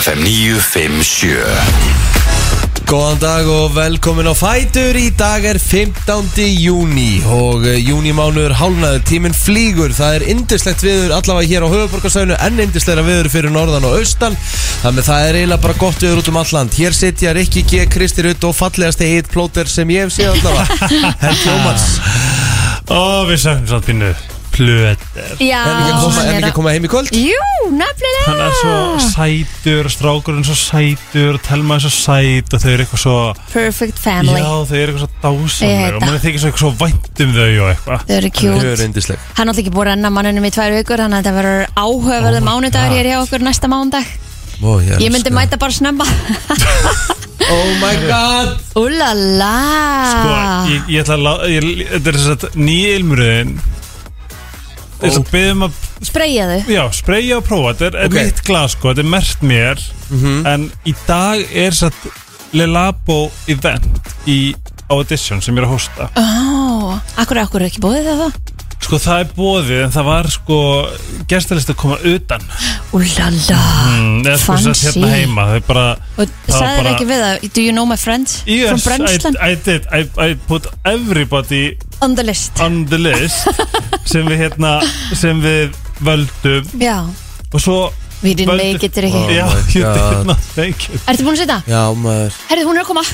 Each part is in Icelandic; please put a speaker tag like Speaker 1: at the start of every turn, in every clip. Speaker 1: FM 957
Speaker 2: Góðan dag og velkomin á Fætur Í dag er 15. júni og eh, júnimánuður hálnaður tíminn flýgur, það er indislegt viður allavega hér á höfuborgarsæðinu en indislegra viður fyrir norðan og austan þannig það er eiginlega bara gott viður út um alland Hér sitja Rikki G. Kristi Rutt og fallegasti heit plóter sem ég hef séð allavega Herr Hljómans
Speaker 3: Ó, við sögum svo að pínu Plöt
Speaker 4: Já,
Speaker 2: En ekki að koma, en
Speaker 4: hann
Speaker 2: ekki
Speaker 4: er
Speaker 2: að koma heim í kvöld
Speaker 4: að- Jú,
Speaker 3: Hann er svo
Speaker 4: nefnilega
Speaker 3: sætur, strákurinn svo sætur Telma er svo sæt og þau eru eitthvað svo
Speaker 4: Perfect family
Speaker 3: Já, þau eru eitthvað svo dásamlega Og
Speaker 4: Ég veit
Speaker 3: mann
Speaker 4: það.
Speaker 3: er þykir svo eitthvað svo vænt um þau og eitthvað
Speaker 4: Þau eru
Speaker 2: Þau
Speaker 4: cute
Speaker 2: eru indisleg
Speaker 4: Hann átti ekki búið að renna mannunum í tvær vikur Þannig að þetta verður áhugaverðu
Speaker 3: Oh my
Speaker 4: mánudagur
Speaker 3: God.
Speaker 4: hér hjá okkur næsta mándag
Speaker 2: Ó,
Speaker 4: Ég myndi mæta bara snemma
Speaker 2: Oh my god
Speaker 3: Sko,
Speaker 4: Úlala
Speaker 3: ég, ég ætla að lá- ég- Þetta er þess að nýja ilmurðin Ég ætla að beðum að
Speaker 4: Spreyja þau
Speaker 3: Já, spreyja og prófa Þetta er, er
Speaker 2: Ok.
Speaker 3: mitt glas, sko, þetta er mert mér
Speaker 4: Mhm.
Speaker 3: En í dag er satt Lelabo event Í Audition sem ég er að hosta
Speaker 4: Ó, Akkur er okkur ekki búið það þá
Speaker 3: Sko það er bóðið en það var sko gestalist að koma utan
Speaker 4: Úlala
Speaker 3: mm, eða sko
Speaker 4: Fancy.
Speaker 3: sett hérna heima þau bara
Speaker 4: Og
Speaker 3: Það var
Speaker 4: sagði þau
Speaker 3: bara-
Speaker 4: ekki við það Do you know my friends
Speaker 3: yes,
Speaker 4: from Brennslan
Speaker 3: I, I did I, I put everybody
Speaker 4: On the list
Speaker 3: on the list sem við hérna sem við völdum
Speaker 4: Já,
Speaker 3: og svo
Speaker 4: we didn't
Speaker 3: Völdu-
Speaker 4: make it er ekki
Speaker 2: Oh
Speaker 3: já,
Speaker 2: my
Speaker 3: you
Speaker 2: God.
Speaker 3: did not make it
Speaker 4: Ertu búin að setja?
Speaker 2: Já maður
Speaker 4: Herðu, hún er að koma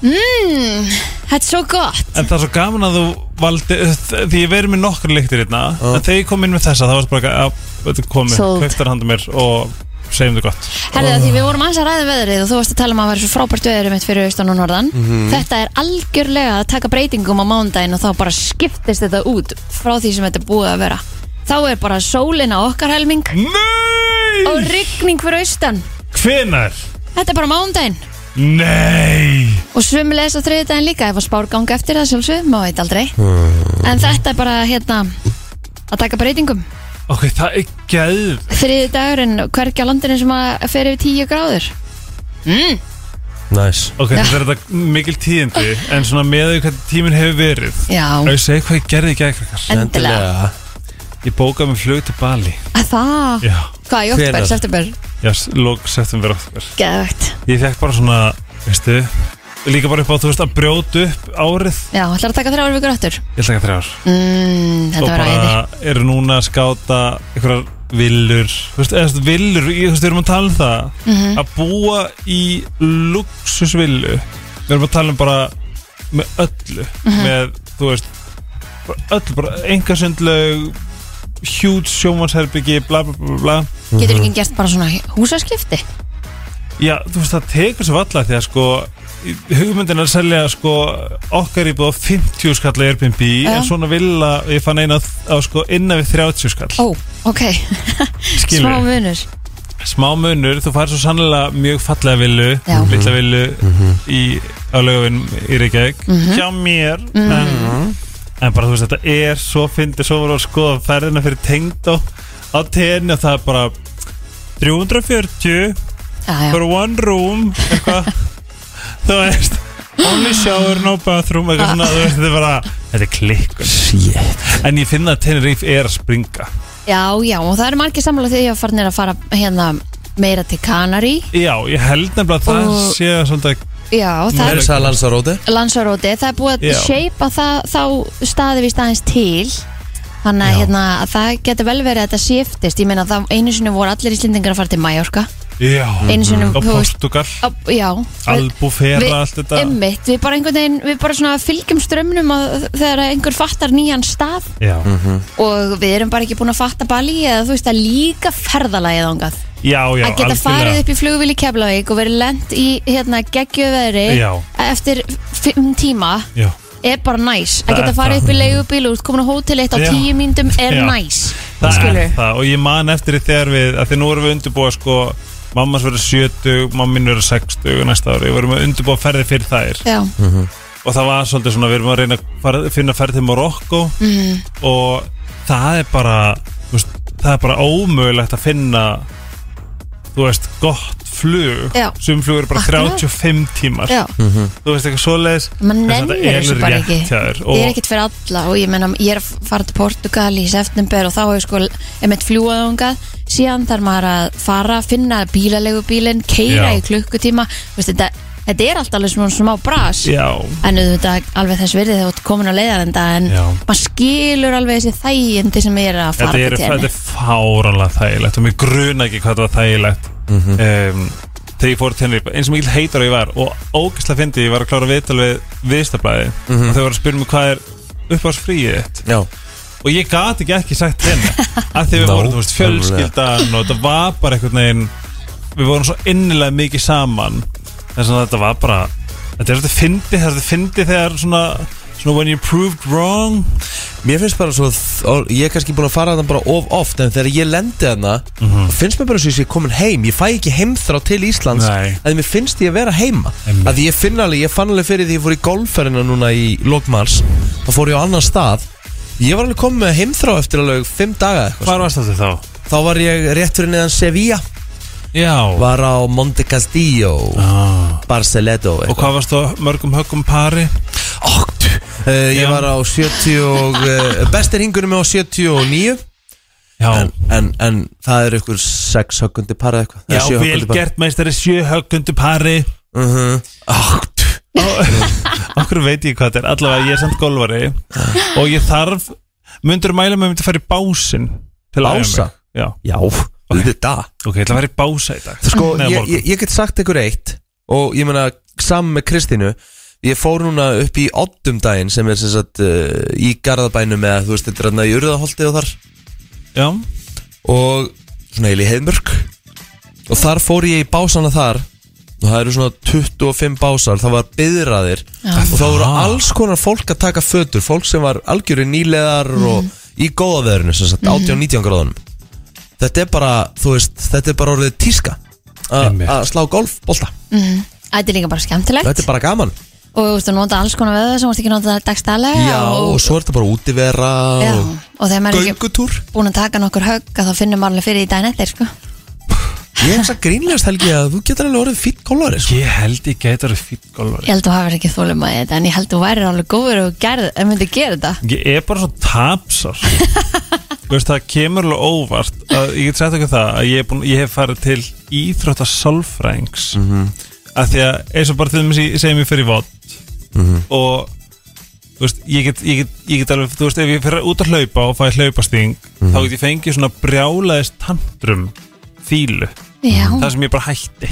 Speaker 4: Mmm, þetta er svo gott
Speaker 3: en það er svo gaman að þú valdi því ég verið með nokkur lyktir hérna
Speaker 2: Já.
Speaker 3: en þegar ég kom inn með þessa það var bara að þetta komi,
Speaker 4: Sold.
Speaker 3: kvektar handa mér og segjum þið gott
Speaker 4: Herðu að því við vorum aðeins að ræða veðrið og þú varst að tala um að vera svo frábært veðrið mitt fyrir austan og norðan Þetta er algjörlega að taka breytingum á mándaginn og þá bara skiptist þetta út frá því sem þetta er búið að vera Þá er bara sólin á okkar helming og
Speaker 3: Nei!
Speaker 4: rigning fyrir austan
Speaker 3: Hvenar?
Speaker 4: Þetta er bara mándaginn
Speaker 3: Nei!
Speaker 4: og sumulegis á þriðdaginn líka ef að spár gangi eftir það sjálfsög, maður veit aldrei En þetta er bara hérna að taka breytingum
Speaker 3: Ok, það er gæð
Speaker 4: Þriðdagurinn hvergi á landinu sem að fer yfir 10 gráður mm.
Speaker 2: Nice
Speaker 3: Ok, þetta er þetta mikil tíðindi En svona með því hvernig tíminn hefur verið
Speaker 4: Já,
Speaker 3: Og ég segi hvað ég gerði í gæðkrakkar
Speaker 4: endilega
Speaker 3: Ég bókaði mig flug til Bali
Speaker 4: Að það,
Speaker 3: Já,
Speaker 4: hvað, í okkur,
Speaker 2: Hvenær?
Speaker 4: september
Speaker 3: já, lók settum við okkur
Speaker 4: Geðvægt
Speaker 3: Ég fekk bara svona, veistu Líka bara upp á, þú veist, að brjóta upp árið
Speaker 4: Já, ætlar að taka þrjár vikur aftur
Speaker 3: Ég ætla ekki þrjár
Speaker 4: mm,
Speaker 3: Og
Speaker 4: Þetta var æði
Speaker 3: bara eru núna að skáta Einhverjar villur Þú veist, eða þú veist, villur, ég þú veist, við erum að tala um það
Speaker 4: Mhm.
Speaker 3: Að búa í luxusvillu Við erum að tala um bara Með öllu
Speaker 4: Mhm.
Speaker 3: Með, þú veist bara Öllu, bara engasundlaug Huge sjómannsherbyggi, bla bla bla bla
Speaker 4: Getur ekki gert bara svona húsaskipti
Speaker 3: Já, þú veist, það tekur svo valla Því að sko hugmyndin er að selja sko okkar íbúð á 50 skall á Airbnb,
Speaker 4: Já.
Speaker 3: en svona villa ég fann eina á, á sko innan við 30 skall
Speaker 4: Ó, ok,
Speaker 3: Skilur.
Speaker 4: smá munur
Speaker 3: smá munur, þú fær svo sannlega mjög fallega villu,
Speaker 4: Já.
Speaker 3: litla villu
Speaker 4: Mhm.
Speaker 3: í álögum í Reykjavík hjá mér
Speaker 4: Mhm.
Speaker 3: en, en bara þú veist, þetta er svo fyndið, svo voru að skoða ferðina fyrir tengd á, á tenni og það er bara 340
Speaker 4: Já, já,
Speaker 3: for one room eitthvað, þú veist only shower, no bathroom eitthvað svona, þú veist, þetta er bara þetta er klikkun,
Speaker 2: Shit
Speaker 3: en ég finna að Tenerife er að springa
Speaker 4: já, já Og það eru margir samlega þegar ég var farinir að fara hérna meira til Kanari
Speaker 3: já, ég held nefnilega að það
Speaker 4: Og-
Speaker 3: sé svolítið
Speaker 4: Já, það
Speaker 2: Það
Speaker 4: er
Speaker 2: er sæl hans að róti
Speaker 4: Lansaróti, það er búið að
Speaker 3: Já.
Speaker 4: shapea það, þá staði við staðins til þannig að
Speaker 3: Já.
Speaker 4: hérna, að það getur vel verið að þetta shiftist, ég meina það einu sinni voru allir íslendingar að fara til Mallorca
Speaker 3: já,
Speaker 4: einu sinni,
Speaker 3: Mhm. á
Speaker 4: þú veist,
Speaker 3: Portugal
Speaker 4: á, já við-
Speaker 3: Albufera, allt þetta
Speaker 4: Einmitt, við bara einhvern veginn, við bara svona fylgjum strömmnum að þegar einhver fattar nýjan stað
Speaker 3: já.
Speaker 4: og við erum bara ekki búin að fatta Bali eða þú veist að líka ferðalagið ángað
Speaker 3: já, já,
Speaker 4: að geta farið upp í flugvil í Keflavík og verið lent í hérna geggjöveðri
Speaker 3: Já.
Speaker 4: eftir fimm tíma
Speaker 3: já.
Speaker 4: er bara
Speaker 3: Það
Speaker 4: næs að
Speaker 3: er
Speaker 4: geta farið
Speaker 3: það.
Speaker 4: upp í leigubíl og komin á hótel eitt á
Speaker 3: Já.
Speaker 4: tíu myndum er
Speaker 3: Já.
Speaker 4: næs
Speaker 3: það
Speaker 4: skilur
Speaker 3: er það og ég man eftir því þegar við að því nú erum við undirbúa sko mammas verður 70, mammin verður 60 næsta ári, við erum að undirbúa ferði fyrir þær
Speaker 4: Já,
Speaker 3: og það var svolítið svona, við erum að reyna að fara, finna ferði til Marokko
Speaker 4: Mhm.
Speaker 3: og það er bara þú veist, það er bara ómögulegt að finna þú veist, gott flug
Speaker 4: Já.
Speaker 3: sum flug eru bara
Speaker 4: Akkurat.
Speaker 3: 35 tímar
Speaker 4: Já,
Speaker 3: þú veist eitthvað svoleiðis
Speaker 4: maður
Speaker 3: Þess að þetta
Speaker 4: nennir
Speaker 3: er
Speaker 4: þessu bara
Speaker 3: rétt
Speaker 4: ekki
Speaker 3: hjá þér
Speaker 4: Ég er
Speaker 3: og-
Speaker 4: ekkert fyrir alla og ég menna ég er að fara til Portugal í september og þá hefur sko einmitt fljúaðungað síðan þarf maður að fara finna bílalegu bílinn, keira
Speaker 3: Já.
Speaker 4: í klukkutíma Vist, þetta, þetta er alltaf alveg svona smá bras
Speaker 3: já,
Speaker 4: en auðvitað alveg þess virði þegar þú ert komin á leiðarenda en
Speaker 3: Já.
Speaker 4: maður skilur alveg þessi þægindi sem er að
Speaker 3: þetta
Speaker 4: fara
Speaker 3: er,
Speaker 4: til
Speaker 3: þetta
Speaker 4: henni
Speaker 3: er fáranlega þægilegt og mér gruna ekki hvað þetta var þægilegt um, þegar ég fór til henni eins og mikill heitar og ég var og ógæslega fyndi, ég var að klára viðtal við viðstablaði og þau voru að spyrja mig hvað er uppáðsfríið þitt
Speaker 2: Já,
Speaker 3: og ég gati ekki ekki sagt henni að því við
Speaker 2: Nákvæmlega.
Speaker 3: vorum, þú veist, fjölskyldan og þetta var bara einhvern veginn við vorum svo innilega mikið saman þess að þetta var bara þetta er þetta fyndi, þetta er fyndi þegar svona, svona when you're proved wrong
Speaker 2: mér finnst bara svo og Ég er kannski búin að fara þarna bara of oft En þegar ég lendi þarna
Speaker 3: Mhm.
Speaker 2: Finnst mér bara svo ég er komin heim Ég fæ ekki heimþrá til Íslands
Speaker 3: Nei.
Speaker 2: Að mér finnst ég að vera heima
Speaker 3: Einmitt.
Speaker 2: Að ég finn alveg, ég fann alveg fyrir því ég fór í golfferðina núna í lokmars Þá fór ég á annan stað Ég var alveg komin með heimþrá eftir alveg Fimm daga eitthvað
Speaker 3: Hvar varst þetta þá?
Speaker 2: Þá var ég rétt fyrir neðan Sevilla
Speaker 3: Já
Speaker 2: Var á Monte Castillo
Speaker 3: ah.
Speaker 2: Barceletto
Speaker 3: Og hvað varst á mörgum höggum pari?
Speaker 2: Ótt uh, Ég
Speaker 3: Já.
Speaker 2: var á 70 og uh, Bestir hingurum er á 79
Speaker 3: Já,
Speaker 2: en, en, en það er ykkur 6 höggundi par eða eitthvað
Speaker 3: já vel gert meistari sjö höggundu pari
Speaker 2: Mhm. Ótt
Speaker 3: Okkur veit ég hvað þetta er, allavega ég er samt golfari Og ég þarf, myndur mæla mig að myndi að fara í básin til að æfa mig?
Speaker 2: Bása?
Speaker 3: Já,
Speaker 2: Já, þetta
Speaker 3: ok, ég ætla að fara í bása í dag
Speaker 2: Sko,
Speaker 3: Nei, á
Speaker 2: ég,
Speaker 3: morgun.
Speaker 2: ég, ég get sagt ykkur eitt Og ég meina, saman með Kristínu Ég fór núna upp í Oddum daginn sem er sem sagt uh, í Garðabænum eða þú veist, þetta er hérna í Urðaholti og þar
Speaker 3: Já,
Speaker 2: og svona eil í heiðmörk og þar fór ég í básana þar og það eru svona 25 básar það var byðraðir og það voru alls konar fólk að taka fötur fólk sem var algjöru nýlegar
Speaker 4: Mhm.
Speaker 2: og í góða veðurinu sem sagt 18-19 gráðunum þetta er bara þú veist, þetta er bara orðið tíska a-
Speaker 3: Einmitt.
Speaker 2: að slá golfbolta
Speaker 4: Þetta er líka bara skemmtilegt
Speaker 2: þetta er bara gaman
Speaker 4: og þú veist að nota alls konar veða sem þú veist ekki nota dagstælega
Speaker 2: já og svo er þetta bara útivera
Speaker 4: já,
Speaker 2: og
Speaker 4: og þegar maður er ekki
Speaker 2: göngutúr
Speaker 4: búin að taka nokkur högg að þá finnum maður alveg fyrir í daginn eftir sko.
Speaker 2: ég hef sagt grínlegast helgi að þú getur alveg orðið fýtt golfari sko.
Speaker 3: ég held ég getur að fýtt golfari
Speaker 4: ég held að þú hafir ekki þólum að þetta en ég held að þú værir alveg góður og gerð, en myndi gera þetta
Speaker 3: Ég er bara svo tapsar Þú veist, það kemur alveg óvart að ég get sagt okkur það að ég, er búin, ég hef farið til íþrótta sálfrængs að því að eins og bara til þess að ég segi mér fyrir vott og þú veist, ég get, ég, get, ég get alveg þú veist, ef ég fer út að hlaupa og fæ hlaupasting þá get ég fengið svona brjálaðist tantrum fílu
Speaker 4: já,
Speaker 3: það sem ég bara hætti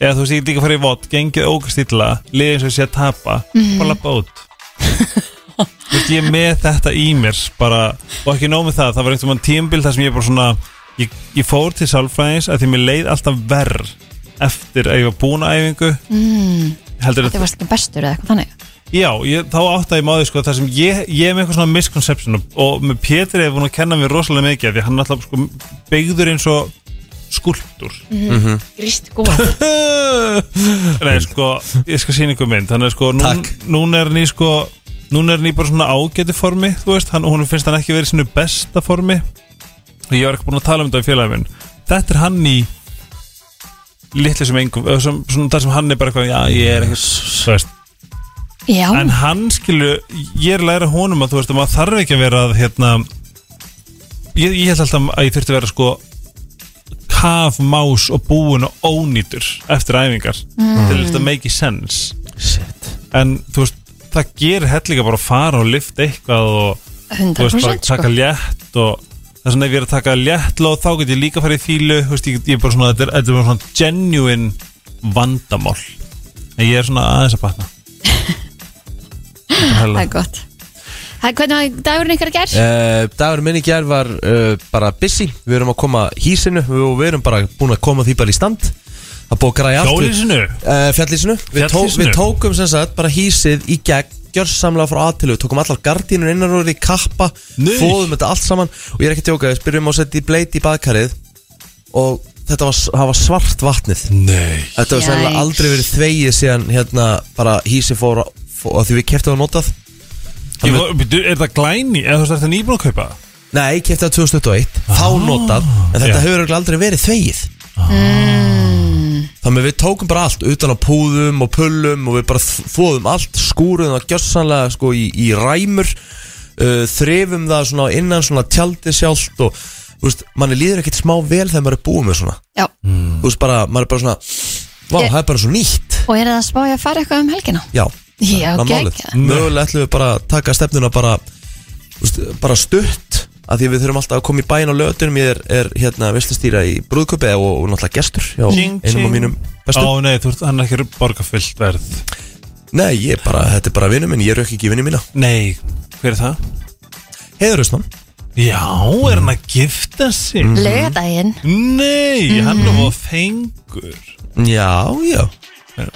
Speaker 3: eða þú veist, ég get líka farið í vott, gengið ógast illa liðið eins og ég sé að tapa
Speaker 4: Mhm.
Speaker 3: bara lappa út þú veist, ég er með þetta í mér bara, og ekki nóg með það, það var einhvern veginn tímbil þar sem ég bara svona ég, ég fór til sálfræðins að því mér leið alltaf verð eftir að ég var búin að æfingu mm. heldur
Speaker 4: þetta
Speaker 3: að,
Speaker 4: varst ekki bestur eða eitthvað þannig
Speaker 3: já, ég, þá átti að ég máði sko, þar sem ég, ég er með eitthvað svona misconception og, og með Pétur er búin að kenna mér rosalega mikið af því að hann er alltaf sko, byggður eins og skulptur
Speaker 4: Grist góð
Speaker 3: Nei, sko, ég skal sína ykkur mynd Þannig að sko, nú,
Speaker 2: Takk.
Speaker 3: núna er hann í sko Núna er hann í bara svona ágæti formi Þú veist, hann, hún finnst hann ekki verið í sinu besta formi Og ég var ekki búin að tala um þetta í félagi minn Þetta er hann í Litli sem engum eða sem, Svona þar sem hann er bara eitthvað Já, ég er ekki Þú veist
Speaker 4: já,
Speaker 3: En hann skilu, ég er að læra honum að þú veist að maður þarf ekki að vera að hérna ég, ég held alltaf að ég þurfti að vera sko kaf, más og búin og ónýtur eftir æfingar til þess að make sense
Speaker 2: shit
Speaker 3: en þú veist, það gerir hellinga bara að fara og lifta eitthvað og þú veist, bara
Speaker 4: 100%
Speaker 3: taka
Speaker 4: sko.
Speaker 3: létt og það er svona ef ég er að taka létt lóð þá get ég líka farið í fílu, þú veist, ég, get- ég er bara svona þetta er, þetta er bara svona genuine vandamál en ég er svona aðeins að batna
Speaker 4: það er gott Hæ, hvernig var dagurinn ykkar gerð?
Speaker 2: Uh, dagur minn í gerð var uh, bara busy Við erum að koma hísinu og við erum bara búin að koma því bara í stand að búa að græja allt við-
Speaker 3: Hjólísinu
Speaker 2: Eh, Fjallísinu við, tó,
Speaker 3: Fjallhýsinu?
Speaker 2: við tókum sem sagt bara hísið í gegn gjörsamlega frá aðtilu, við tókum allar gardínur innanrúri, kappa,
Speaker 3: Nei.
Speaker 2: fóðum þetta allt saman og ég er ekki að tjóka, við spyrjum á að setja í bleiti í baðkarið og þetta var, það var svart vatnið
Speaker 3: Nei
Speaker 2: þetta var
Speaker 4: Yikes.
Speaker 2: sannlega aldrei verið þvegið síðan hérna bara hísið fór, fór að því við keftum að notað
Speaker 3: Ég, var- byrju, Er það glæni? Eða þú veist, er það nýbúin að kaupa? það?
Speaker 2: Nei, ég kefti það 2021 Þá notað En þetta
Speaker 3: Já.
Speaker 2: hefur örugglega aldrei verið þvegið Þannig að við tókum bara allt utan á púðum og pullum og við bara þ- þvoðum allt, skúruðum það gjössanlega sko í, í ræmur uh, þrefum það svona á innan svona tjaldi sjálft og þú veist, manni líður ekkert smá vel þegar maður er búið með svona
Speaker 4: Já,
Speaker 2: þú veist bara, maður er bara svona vá,
Speaker 4: Ég-
Speaker 2: það er bara svo nýtt
Speaker 4: og er það að spá ég að fara eitthvað um helgina?
Speaker 2: Já, það
Speaker 4: Já,
Speaker 2: er málið
Speaker 4: geggjað.
Speaker 2: Mögulega ætlum við bara að taka stefnuna bara, þú veist, bara stutt að því að við þurfum alltaf að koma í bæin á lötunum ég er, er hérna veslistýra í brúðköpi og, og náttúrulega gestur hjá
Speaker 3: Ching,
Speaker 2: einum
Speaker 3: ching.
Speaker 2: af mínum
Speaker 3: Á
Speaker 2: bestum
Speaker 3: nei, þú ert hann er ekki borga fullt verð
Speaker 2: Nei, ég bara, þetta er bara vinnu minn, ég rauk ekki vinnu mína
Speaker 3: Nei, hver er það?
Speaker 2: Heiður Ísland
Speaker 3: Já, er hann að gifta sig?
Speaker 4: Laugardaginn
Speaker 3: Nei, hann er á fengur
Speaker 2: Já, já,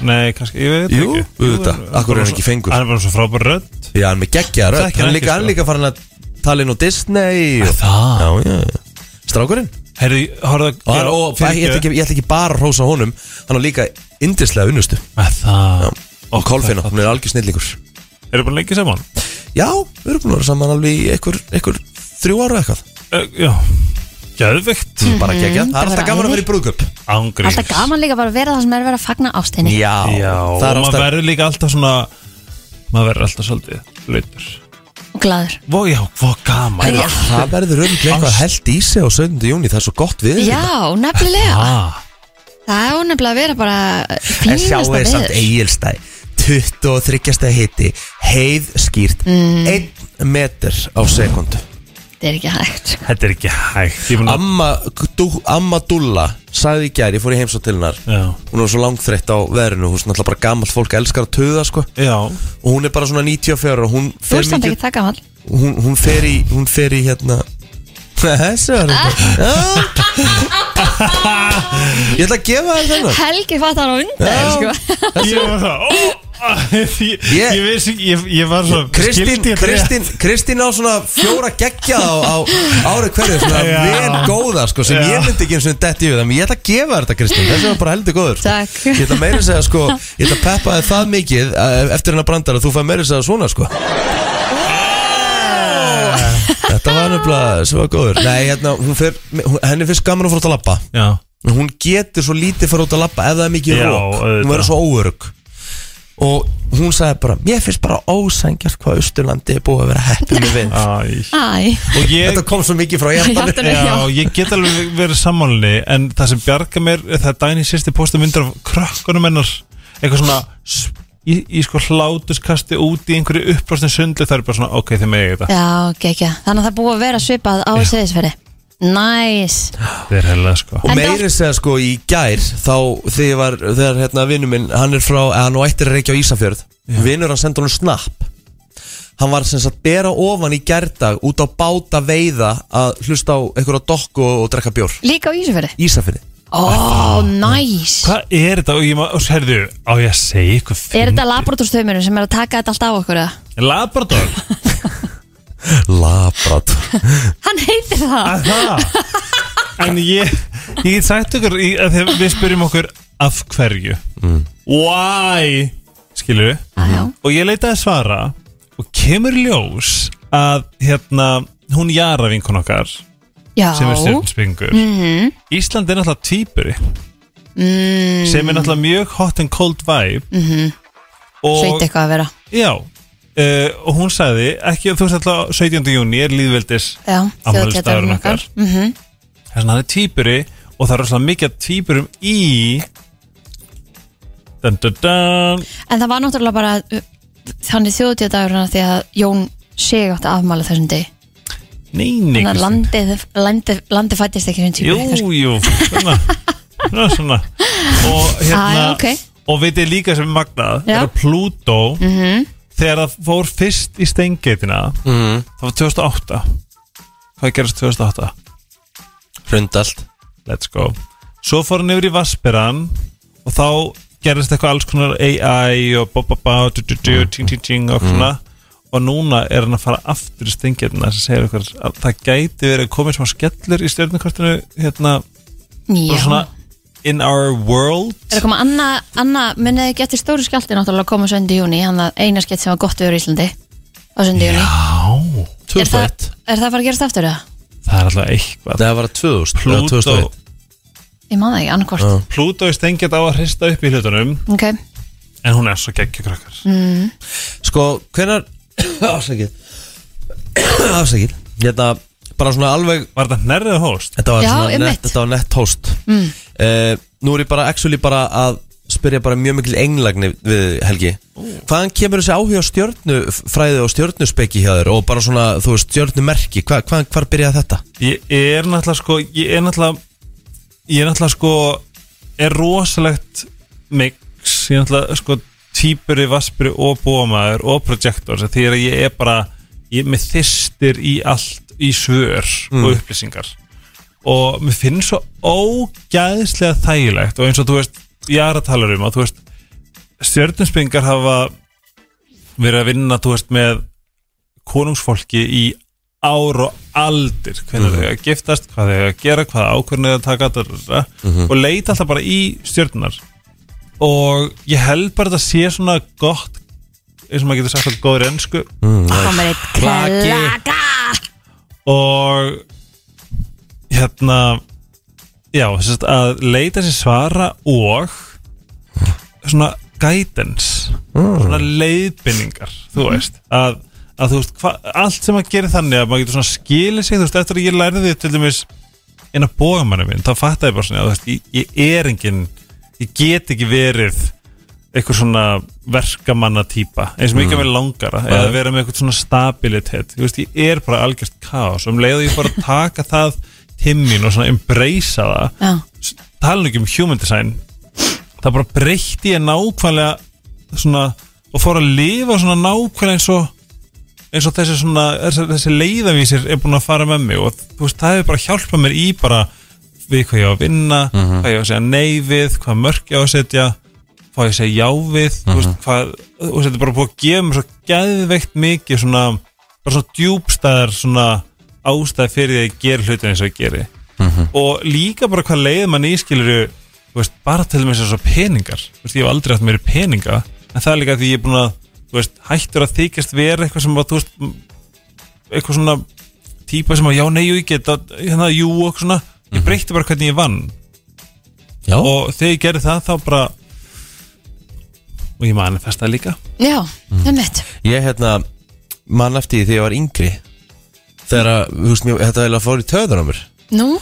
Speaker 3: Nei, kannski, ég veit
Speaker 2: Jú,
Speaker 3: ekki
Speaker 2: auðvitað.
Speaker 3: hann
Speaker 2: Akkur er
Speaker 3: bara
Speaker 2: hann ekki
Speaker 3: svo-
Speaker 2: fengur?
Speaker 3: Hann er bara svo frábær rödd
Speaker 2: já, hann er með geggja rödd
Speaker 3: Þekki
Speaker 2: Hann
Speaker 3: hann
Speaker 2: er
Speaker 3: ekki,
Speaker 2: líka, hann
Speaker 3: sko.
Speaker 2: er líka farin að tala inn á Disney og...
Speaker 3: það?
Speaker 2: Já, já, já Strákurinn
Speaker 3: Herri, horfðu
Speaker 2: Og hann, og,
Speaker 3: fyrirgefðu.
Speaker 2: ég, ætla ekki, ég ætla ekki bara að rósa honum Hann er líka indislega unnustu
Speaker 3: Að Það
Speaker 2: Og Kolfinna, hún er algjör snillingur
Speaker 3: Eru bara lengi saman?
Speaker 2: Já, við erum búin að vera saman alveg í einhver, einhver þrjú ára eitthvað
Speaker 4: Mhm,
Speaker 3: Uh, já, geðvegt
Speaker 2: Bara geggja, það er
Speaker 4: það var
Speaker 2: alltaf gaman að
Speaker 4: æði.
Speaker 2: vera í brúðköp
Speaker 3: Ángriðs
Speaker 4: Alltaf gaman líka bara að vera það sem er verið að fagna ástinni
Speaker 2: Já,
Speaker 3: Já, og
Speaker 2: það er
Speaker 3: maður
Speaker 2: alltaf
Speaker 3: verður líka alltaf svona Maður verður alltaf svolítið Lautur
Speaker 4: og glaður
Speaker 3: Vó, já, hvað gaman
Speaker 4: Já.
Speaker 2: Það verður um eitthvað held í sig á 17. júni Það er svo gott hérna. við
Speaker 4: Já, nefnilega
Speaker 3: Ah,
Speaker 4: Það er nefnilega að vera bara
Speaker 2: En sjáu
Speaker 4: fínasta
Speaker 2: þið samt
Speaker 4: veður
Speaker 2: eigilstæ 23. hiti Heið skýrt
Speaker 4: Mhm.
Speaker 2: 1 meter á sekundu
Speaker 4: Það er ekki hægt
Speaker 3: þetta er ekki hægt Ég mun að
Speaker 2: Amma, dú, amma Dulla Sagði í gær, ég fór í heimsótt til hennar
Speaker 3: Já,
Speaker 2: Hún var svo langþreytt á verðinu Hún er náttúrulega bara gammalt fólk elskar að tuða sko.
Speaker 3: já
Speaker 2: Og hún er bara svona 94 Og hún
Speaker 4: Þú
Speaker 2: fer,
Speaker 4: ert samt
Speaker 2: mikið,
Speaker 4: ekki það gaman
Speaker 2: hún, hún fer í Hún fer í hérna Þessu er þetta Já. Ég ætla að gefa þér þennan
Speaker 4: Helgi fattar á undan
Speaker 2: Já.
Speaker 4: sko.
Speaker 3: Ég var það, ó ah, Ég,
Speaker 2: Ég-
Speaker 3: ég vissi, ekki- ég, ég var svo
Speaker 2: Kristín,
Speaker 3: skildi ég þetta
Speaker 2: Kristín, Kristín á svona fjóra geggja á, á ári hverju svona
Speaker 3: Já.
Speaker 2: vel góða sko sem
Speaker 3: Já.
Speaker 2: ég myndi ekki eins og detti yfir þannig ég ætla að gefa þér þetta Kristín þessi var bara heldur góður sko.
Speaker 4: Takk.
Speaker 2: ég ætla meira að segja sko ég ætla að peppa þér það mikið að- eftir hennar brandar að þú fæ meira að segja svona sko þetta var nefnilega sem var góður nei hérna hún fer, hún, henni finnst gaman að fara út að labba
Speaker 3: Já,
Speaker 2: En hún getur svo lítið fyrir út að lappa ef það er mikið
Speaker 3: Já,
Speaker 2: rók, hún
Speaker 3: auðvitað.
Speaker 2: verður svo óörug og hún sagði bara mér finnst bara ósængjart hvað Östurlandi er búið að vera heppið með vind
Speaker 3: æ
Speaker 4: Æ,
Speaker 3: Og ég
Speaker 2: þetta kom svo mikið frá
Speaker 4: ég
Speaker 2: ég
Speaker 4: átti mig
Speaker 3: Já,
Speaker 4: já.
Speaker 3: ég get alveg verið sammálni En það sem bjarga mér er Það dæni sérsti posta myndir af krökkunum hennar Eitthvað svona s- Í, í sko hlátuskasti út í einhverju upprástin sundlu Það er bara svona, ok, þið megi þetta
Speaker 4: já, gekkja Þannig að það er búið að vera svipað á seðisferði Næs
Speaker 3: Það er heilega sko
Speaker 2: og
Speaker 4: En
Speaker 2: meiri segja sko í gær þá þegar, ég var, þegar hérna vinnu minn hann er frá, eða hann á ættir að reykja á Ísafjörð vinnur hann sendi honum snapp hann var sem sagt bera ofan í gærdag út á báta veiða að hlusta á einhverja dokku og, og drekka bjór
Speaker 4: Líka á Ísafjörði
Speaker 2: Ísafjörði
Speaker 4: Ó, næs
Speaker 3: Hvað er þetta? Og ég maður, herðu, á ég að segja eitthvað
Speaker 4: Er þetta laboratórstöfminu sem er að taka þetta allt af okkur? eða?
Speaker 3: Labrador?
Speaker 2: Labrat
Speaker 4: Hann heitir það
Speaker 3: Að það? En ég, ég get sagt ykkur í, að þegar við spyrjum okkur af hverju Why? Skilur við?
Speaker 4: Já, já.
Speaker 3: og ég leitaði að svara og kemur í ljós að hérna, hún Jara vinkun okkar sem
Speaker 4: Já,
Speaker 3: er stjórnspingur
Speaker 4: Mhm.
Speaker 3: Ísland er náttúrulega týpuri mm. sem er náttúrulega mjög hot and cold vibe -hmm.
Speaker 4: Mhm. sveit
Speaker 3: og,
Speaker 4: eitthvað að vera
Speaker 3: já, uh, og hún sagði ekki, þú veist alltaf 17. júni er líðveldis
Speaker 4: Já,
Speaker 3: afmælisdagurinn okkar
Speaker 4: mm -hmm.
Speaker 3: þess að hann er týpuri og það er rosalega mikið af týpurum í dun, dun, dun.
Speaker 4: En það var náttúrulega bara uh, þannig þjóðtíðadagurinn að því að Jón sig átti afmála þessum degi
Speaker 3: Nei, nei,
Speaker 4: Þannig að
Speaker 3: Kristín.
Speaker 4: landið, landið, landið fættist ekki sem tíma
Speaker 3: Jú, jú, svona, svona, svona. Og hérna
Speaker 4: Æ, Ah, ok.
Speaker 3: Og veit ég líka sem er magnað
Speaker 4: Já. Mhm.
Speaker 3: Er að Plútó Þegar það fór fyrst í stengeitina Það var 2008 Hvað gerist 2008?
Speaker 2: Hrundalt
Speaker 3: Let's go Svo fór hann yfir í Vasperan Og þá gerist eitthvað alls konar AI Og bá-bá-bá Ting-ting-ting og svona Og núna er hann að fara aftur í stengeitina sem segir ykkur að það gæti verið að koma smá skellur í stjörnukortinu hérna
Speaker 4: Já,
Speaker 3: bara svona in our world
Speaker 4: er að koma Anna, Anna minniði ekki eftir stóru skjálti náttúrulega að koma söndi júni hann að eina skeitt sem var gott yfir Íslandi á söndi júni er, það-
Speaker 2: 2001
Speaker 4: er það að fara að gerast aftur eða?
Speaker 3: það er alltaf eitthvað
Speaker 2: Nei, það var 2000 eða
Speaker 3: Plútó
Speaker 2: 2001.
Speaker 4: Ég man það ekki, annarkvort uh.
Speaker 3: Plútó er stengjart á að hrista upp í hlutunum
Speaker 4: Ok,
Speaker 3: En hún er svo geggju krakkar
Speaker 2: Sko, hvenar Afsakið Afsakið Þetta bara svona alveg
Speaker 3: Var þetta nærrið hóst?
Speaker 2: Þetta var
Speaker 4: Já,
Speaker 2: svona
Speaker 4: einmitt.
Speaker 2: nett, þetta var nett host mm. Nú er ég bara actually bara að spyrja bara mjög mikil englagni við Helgi Hvaðan kemur þessi áhuga á stjörnufræði og stjörnuspeki hjá þér og bara svona, þú veist, stjörnumerki Hva, hvaðan, hvar byrjaði þetta?
Speaker 3: Ég er náttúrulega sko Ég er náttúrulega Ég er náttúrulega sko Er rosalegt mix Ég er náttúrulega sko Týpuri, vaspuri og bómaður Og projektor Því að ég er bara Ég er með þystir í allt Í svör og upplýsingar Og mér finnst svo ógæðslega þægilegt Og eins og þú veist Ég er að tala um að þú veist Stjörnumspingar hafa verið að vinna, þú veist, með konungsfólki í ár og aldir hvernig þau eiga að giftast, hvað þau eiga að gera hvað ákvörðinu þau að taka da, da, da, og leita alltaf bara í stjörnunar og ég held bara að þetta sé svona gott eins og maður getur sagt að góður ennsku
Speaker 4: komur eitt klaka
Speaker 3: og hérna já, sem sagt, að leita sér svara og svona guidance svona leiðbynningar þú veist að, að þú veist, hva, allt sem að gera þannig að maður getur svona skilið sig þú veist, eftir að ég lærði því til dæmis inn að boga manni minn, þá fattaði ég bara svona að, þú veist, ég, ég er engin ég get ekki verið eitthvað svona verkamanna týpa eins og mikið mm. með langara eða vera með eitthvað svona stabilitet ég, veist, ég er bara algjörst kaos um leið og ég bara taka það til mín og svona embracea það
Speaker 4: Já,
Speaker 3: S- tala nú ekki um human design það bara breytti ég nákvæmlega svona og fór að lifa svona nákvæmlega eins og eins og þessi svona þessi, þessi leiðavísir er búin að fara með mig og þú veist það hefur bara hjálpað mér í bara við hvað ég á að vinna hvað ég á að segja nei við, hvað mörk ég á að setja hvað ég að segja já við þú veist hvað, þú veist þetta er bara búið að gefa mér svo geðveikt mikið svona bara svona djúbstæðar svona ástæð fyrir því að ég ger hlutin eins og ég geri og líka bara hvað leið mann ískilur veist, bara til með þess að peningar Þú veist, ég hef aldrei haft meiri peninga en það er líka því ég er búin að þú veist, hættur að þykjast vera eitthvað sem að, þú veist, m- eitthvað svona típa sem að já, nei, jú, ég get að, hérna, jú og svona, ég breytti bara hvernig ég vann
Speaker 2: Já,
Speaker 3: og þegar ég gerði það þá bara og ég manifestaði líka
Speaker 4: já,
Speaker 2: Mm.
Speaker 4: um einmitt
Speaker 2: ég hérna mann eftir því þegar ég var yngri þegar að, þú veist, mér, þetta er að fór í töðan á mér
Speaker 4: Nú,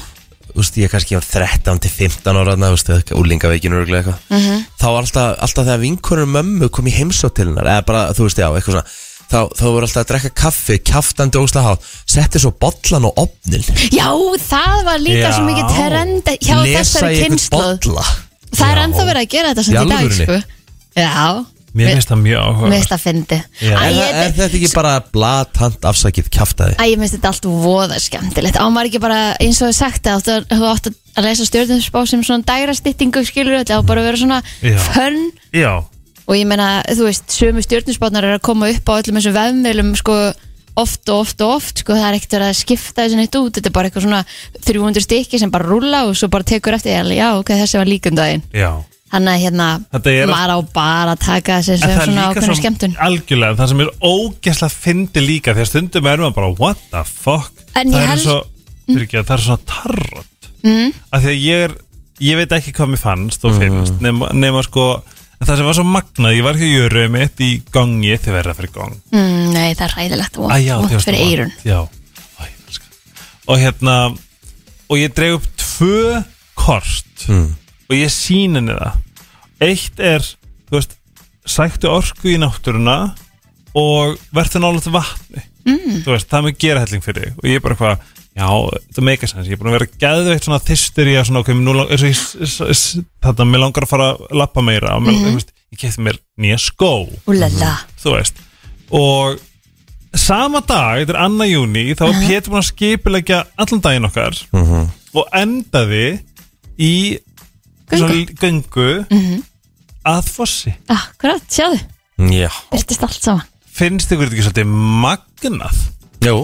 Speaker 2: þú veist, ég kannski var 13 til 15 ára þarna, þú veist, eða úlingaveikinu örgulega eitthvað þá var alltaf, alltaf þegar vinkonur mömmu kom í heimsótt til hennar, eða bara, þú veist, já, eitthvað svona þá, þá voru alltaf að drekka kaffi, kjaftandi ósla hát, setti svo bollan og opnin
Speaker 4: já, það var líka
Speaker 3: Já.
Speaker 4: svo mikið trend hjá
Speaker 2: lesa
Speaker 4: þessari
Speaker 2: í einhvern
Speaker 4: kynnslóð
Speaker 2: bolla
Speaker 4: Það er ennþá verið að gera þetta
Speaker 2: Í
Speaker 4: samt í dag,
Speaker 2: alvörunni?
Speaker 4: sko Já,
Speaker 3: mér finnst það mjög áhuga
Speaker 4: mist að fyndi
Speaker 3: Já.
Speaker 4: Æ,
Speaker 2: er,
Speaker 4: ég-
Speaker 2: það- er þetta ekki bara blatant afsakið kjaftaði?
Speaker 4: Æ, ég minnst þetta allt voða skemmtilegt Á maður ekki bara, eins og ég sagt það áttu að- Þú átt að lesa stjórnumspá sem svona dæra styttingu skilur Þetta á bara að vera svona
Speaker 3: Já.
Speaker 4: fönn
Speaker 3: já,
Speaker 4: Og ég meina, þú veist, sömu stjórnumspánar eru að koma upp á öllum þessum vefnveilum sko, oft og oft og oft sko, það er ekkert verið að skipta þessu neitt út þetta er bara eitthvað svona 300 stykki sem bara rúla og svo bara tekur eftir ég, já, ok, þessi var líkundaginn
Speaker 3: já
Speaker 4: þannig að hérna,
Speaker 3: Þetta er-
Speaker 4: maður á bara að taka þessi
Speaker 3: En
Speaker 4: sem
Speaker 3: það er
Speaker 4: svona
Speaker 3: líka
Speaker 4: ákveðnum
Speaker 3: svo
Speaker 4: skemmtun
Speaker 3: algjörlega, það sem er ógeðslega fyndi líka því að stundum er maður bara what the fuck
Speaker 4: En
Speaker 3: það
Speaker 4: ég
Speaker 3: er
Speaker 4: held-
Speaker 3: svo, mm. ekki, það er svo tarrot mm. af því að ég er ég veit ekki hvað mér fannst og finnst nema, nema sko, en það sem var svo magnað ég var ekki að jöru mitt í gangi þegar verða fyrir gang
Speaker 4: mm, Nei, það er ræðilegt og
Speaker 3: Æ, já,
Speaker 4: vont
Speaker 3: þjóðst
Speaker 4: fyrir
Speaker 3: og
Speaker 4: eirun
Speaker 3: vont, já. Æ, ég elska. og hérna og ég dreig upp tvö kort og ég sín henni það eitt er þú veist, sæktu orku í náttúruna og verður nálega vatni mm. þú veist, það með gera helling fyrir þig og ég er bara eitthvað, já, þetta er meikasens ég er búin að vera geðveitt svona þystur í að svona, ok, nú langar, eins og ég s- s- s- þarna, mér langar að fara að lappa meira og mér, þú veist, ég kefti mér nýja skó
Speaker 4: Úlala,
Speaker 3: þú veist og sama dag, þetta er 2. júni þá var Pétur búinn að skipilegja allan daginn okkar og endaði í
Speaker 4: Göngu.
Speaker 3: svona l- göngu að fossi
Speaker 4: akkurat, sjáðu
Speaker 2: Já
Speaker 4: byrtist allt saman
Speaker 3: finnst ykkur þetta ekki svolítið magnað
Speaker 2: Jú,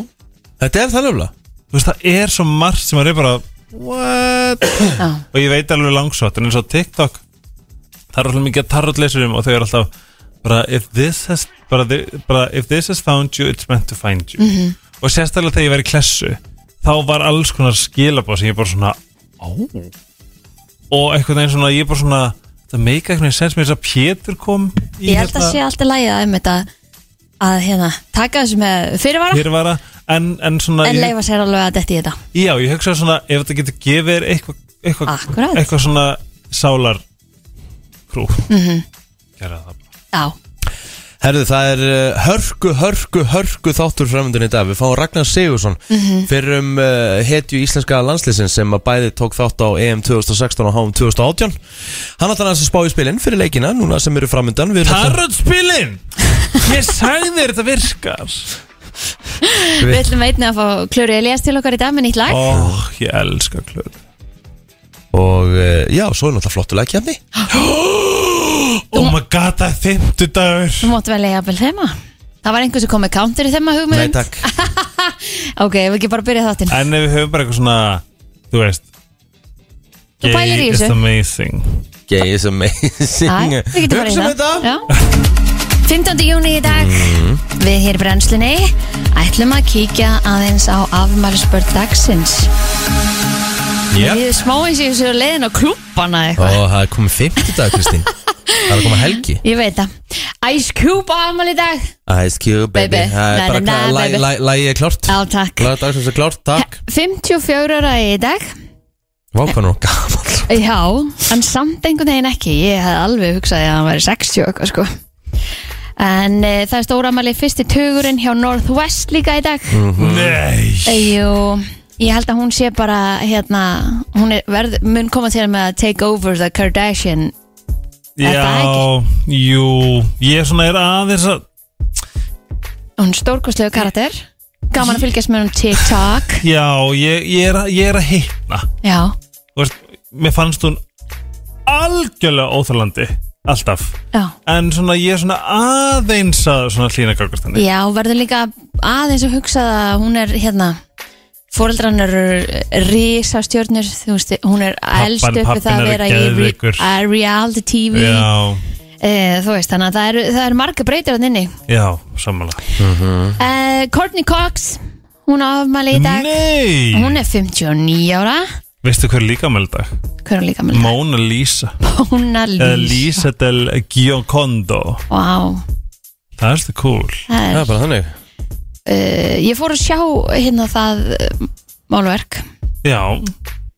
Speaker 2: þetta er það löfla
Speaker 3: þú veist, það er svo margt sem maður er bara what
Speaker 4: Já,
Speaker 3: og ég veit alveg langsótt en eins og TikTok það er alltaf mikið tarotleysur um og þau eru alltaf bara if this has, bara, the- bara, if this has found you it's meant to find you
Speaker 4: Mhm.
Speaker 3: og sérstaklega þegar ég var í klessu þá var alls konar skilabóð sem ég bara svona ó og einhvern veginn svona, ég er bara svona það meika einhvern veginn sens með þess að Pétur kom í hérna-
Speaker 4: Ég held að sé alltaf lægið að um þetta að hérna, taka þessu með fyrirvara
Speaker 3: hér var það en, en svona
Speaker 4: en
Speaker 3: ég-
Speaker 4: leifa sér alveg að detti í þetta
Speaker 3: Já, ég hugsa svona ef þetta getur gefið þér eitthvað eitthva,
Speaker 4: Akkúrat.
Speaker 3: eitthva svona sálar krú mm
Speaker 4: Mhm.
Speaker 3: gera það bara
Speaker 4: Já,
Speaker 2: Herðu, það er uh, hörku, hörku, hörku þáttur framöndun í dag. Við fáum Ragnar Sigursson
Speaker 4: Mhm.
Speaker 2: fyrir um uh, hetju íslenska landslýsins sem að bæði tók þátt á EM 2016 og HM 2018. Hann ætlar hans að spá í spilin fyrir leikina, núna sem eru framöndan. Við erum alltaf-
Speaker 3: Tarotspilin! Ég sagði þér þetta virkar
Speaker 4: við ætlum einnig að fá Klöru Elias til okkar í dag með nýtt lag
Speaker 3: Ó, ég elska klöð
Speaker 2: Og uh, já, svo er náttúrulega flottu leikjafni.
Speaker 3: Oh my god, það er fimmtu dagur
Speaker 4: Þú mátt velja jafnvel þema Það var einhver sem kom með counter í þema
Speaker 2: Nei,
Speaker 4: hugmynd
Speaker 2: takk.
Speaker 4: Ok, ef ekki bara byrja þáttinn
Speaker 3: En ef við höfum bara eitthvað svona Þú veist
Speaker 4: Þú pælir í
Speaker 3: gay is
Speaker 4: þessu.
Speaker 3: amazing
Speaker 2: Gay is amazing.
Speaker 4: Æ, við getum hérna. bara í
Speaker 2: Hugsum
Speaker 4: það.
Speaker 2: þetta.
Speaker 4: Já. 15. júni í dag Við hér í brennslunni ætlum að kíkja aðeins á afmælisbörn dagsins
Speaker 2: Yep.
Speaker 4: Við smáins í þessu leiðin á klubbana eitthvað
Speaker 2: Og það er komið 50 dag, Kristín. það er komið helgi.
Speaker 4: Ég veit það Ice Cube á afmæli í dag
Speaker 2: Ice Cube, baby.
Speaker 4: Baby.
Speaker 2: Það
Speaker 4: Na,
Speaker 2: er bara
Speaker 4: na, na,
Speaker 2: klart.
Speaker 4: baby.
Speaker 2: Læ- læ- Lægið er klart.
Speaker 4: Já, takk
Speaker 2: Lægið dagsins er klart, takk.
Speaker 4: 54 ára í dag
Speaker 2: Vákan og gaman.
Speaker 4: Já, en samt einhvern veginn ekki Ég hef alveg hugsaði að hann væri 60 og eitthvað sko En e, það er stóra afmæli fyrsti tugurinn hjá Northwest líka í dag
Speaker 3: Nei
Speaker 4: Jú, ég held að hún sé bara hérna, hún er, verð, mun koma til með að take over the Kardashian Er það
Speaker 3: Já, jú Ég svona er aðeins að
Speaker 4: hún er stórkostlegu karakter gaman að fylgjast með hún TikTok
Speaker 3: Já, ég, ég, er, að- ég er að hitna
Speaker 4: Já,
Speaker 3: Þú veist, mér fannst hún algjörlega óþarlandi alltaf,
Speaker 4: já,
Speaker 3: en svona ég er svona aðeins að svona hlýna gagast henni
Speaker 4: já verður líka aðeins að hugsa það að hún er hérna fóreldrann eru risastjörnur þú veist, hún er elst upp við
Speaker 3: pabbinn
Speaker 4: það að
Speaker 3: er
Speaker 4: vera í re-
Speaker 3: geðveikur.
Speaker 4: að reality TV
Speaker 3: Já,
Speaker 4: e, þú veist, þannig að það eru, það eru marga breytir hann inni
Speaker 3: já, samanlega
Speaker 4: e, Courtney Cox hún á afmæli í dag
Speaker 3: Nei,
Speaker 4: hún er 59 ára
Speaker 3: veistu hver er líka með dag?
Speaker 4: Hver er líka með það?
Speaker 3: Mona Lisa
Speaker 4: Mona
Speaker 3: Eða
Speaker 4: Lisa
Speaker 3: Lisa del Giocondo
Speaker 4: Vá,
Speaker 3: Það er stu cool
Speaker 4: það
Speaker 2: Það
Speaker 4: er
Speaker 2: er bara þannig.
Speaker 4: uh, Ég fór að sjá hérna það uh, málverk
Speaker 3: Já,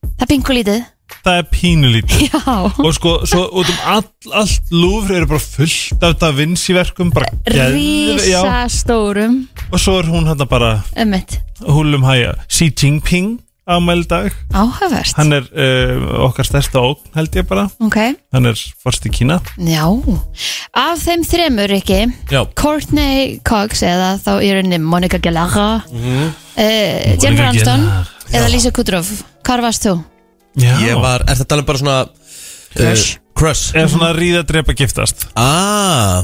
Speaker 4: Það pingu lítið
Speaker 3: það er pínulítið
Speaker 4: Já,
Speaker 3: Og sko, svo út um all, allt lúfri eru bara fullt af Da Vinci verkum bara geðve- já.
Speaker 4: risastórum
Speaker 3: Og svo er hún hérna bara
Speaker 4: Ömmit,
Speaker 3: húlum hæja Xi Jinping ámældag
Speaker 4: áhugavert
Speaker 3: hann er uh, okkar stærsta ógn held ég bara
Speaker 4: Ok,
Speaker 3: hann er forst í Kína
Speaker 4: já Af þeim þremur ekki
Speaker 2: Já.
Speaker 4: Courtney Cox eða þá í rauninni Monica Gallagher uh, Jennifer
Speaker 3: Monica
Speaker 4: Aniston
Speaker 3: Gallagher,
Speaker 4: eða Lisa Kudrow Hvar varst þú?
Speaker 3: já.
Speaker 2: Ég var, er þetta alveg um bara svona
Speaker 4: Crush.
Speaker 2: uh, Crush
Speaker 3: er svona að ríða, drepa, giftast
Speaker 2: Ah,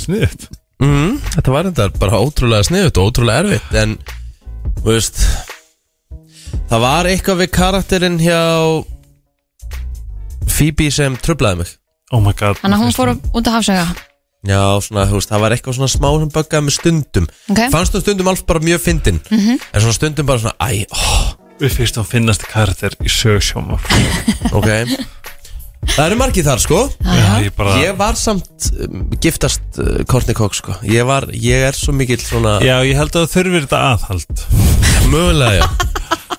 Speaker 3: sniðut
Speaker 2: mm, Þetta var þetta bara ótrúlega sniðut og ótrúlega erfitt En, þú veist Það var eitthvað við karakterinn hjá Phoebe sem tröflaði mig
Speaker 3: oh my god
Speaker 4: Þannig að hún fór út að hafsöga
Speaker 2: Já, svona, þú veist, það var eitthvað svona smá sem böggaði með stundum
Speaker 4: Ok. Mhm.
Speaker 2: Fannst þú stundum allt bara mjög fyndin -hmm. En svona stundum bara svona, æ, ó,
Speaker 3: við fyrst hún finnast karakter í sögsjóma
Speaker 2: ok Það eru margið þar, sko
Speaker 3: já, ég bara
Speaker 2: Ég var samt um, giftast uh, Courtney Cox sko Ég var, ég er svo mikill svona
Speaker 3: já, ég held að þú þurfir þetta aðhald
Speaker 2: Mögulega já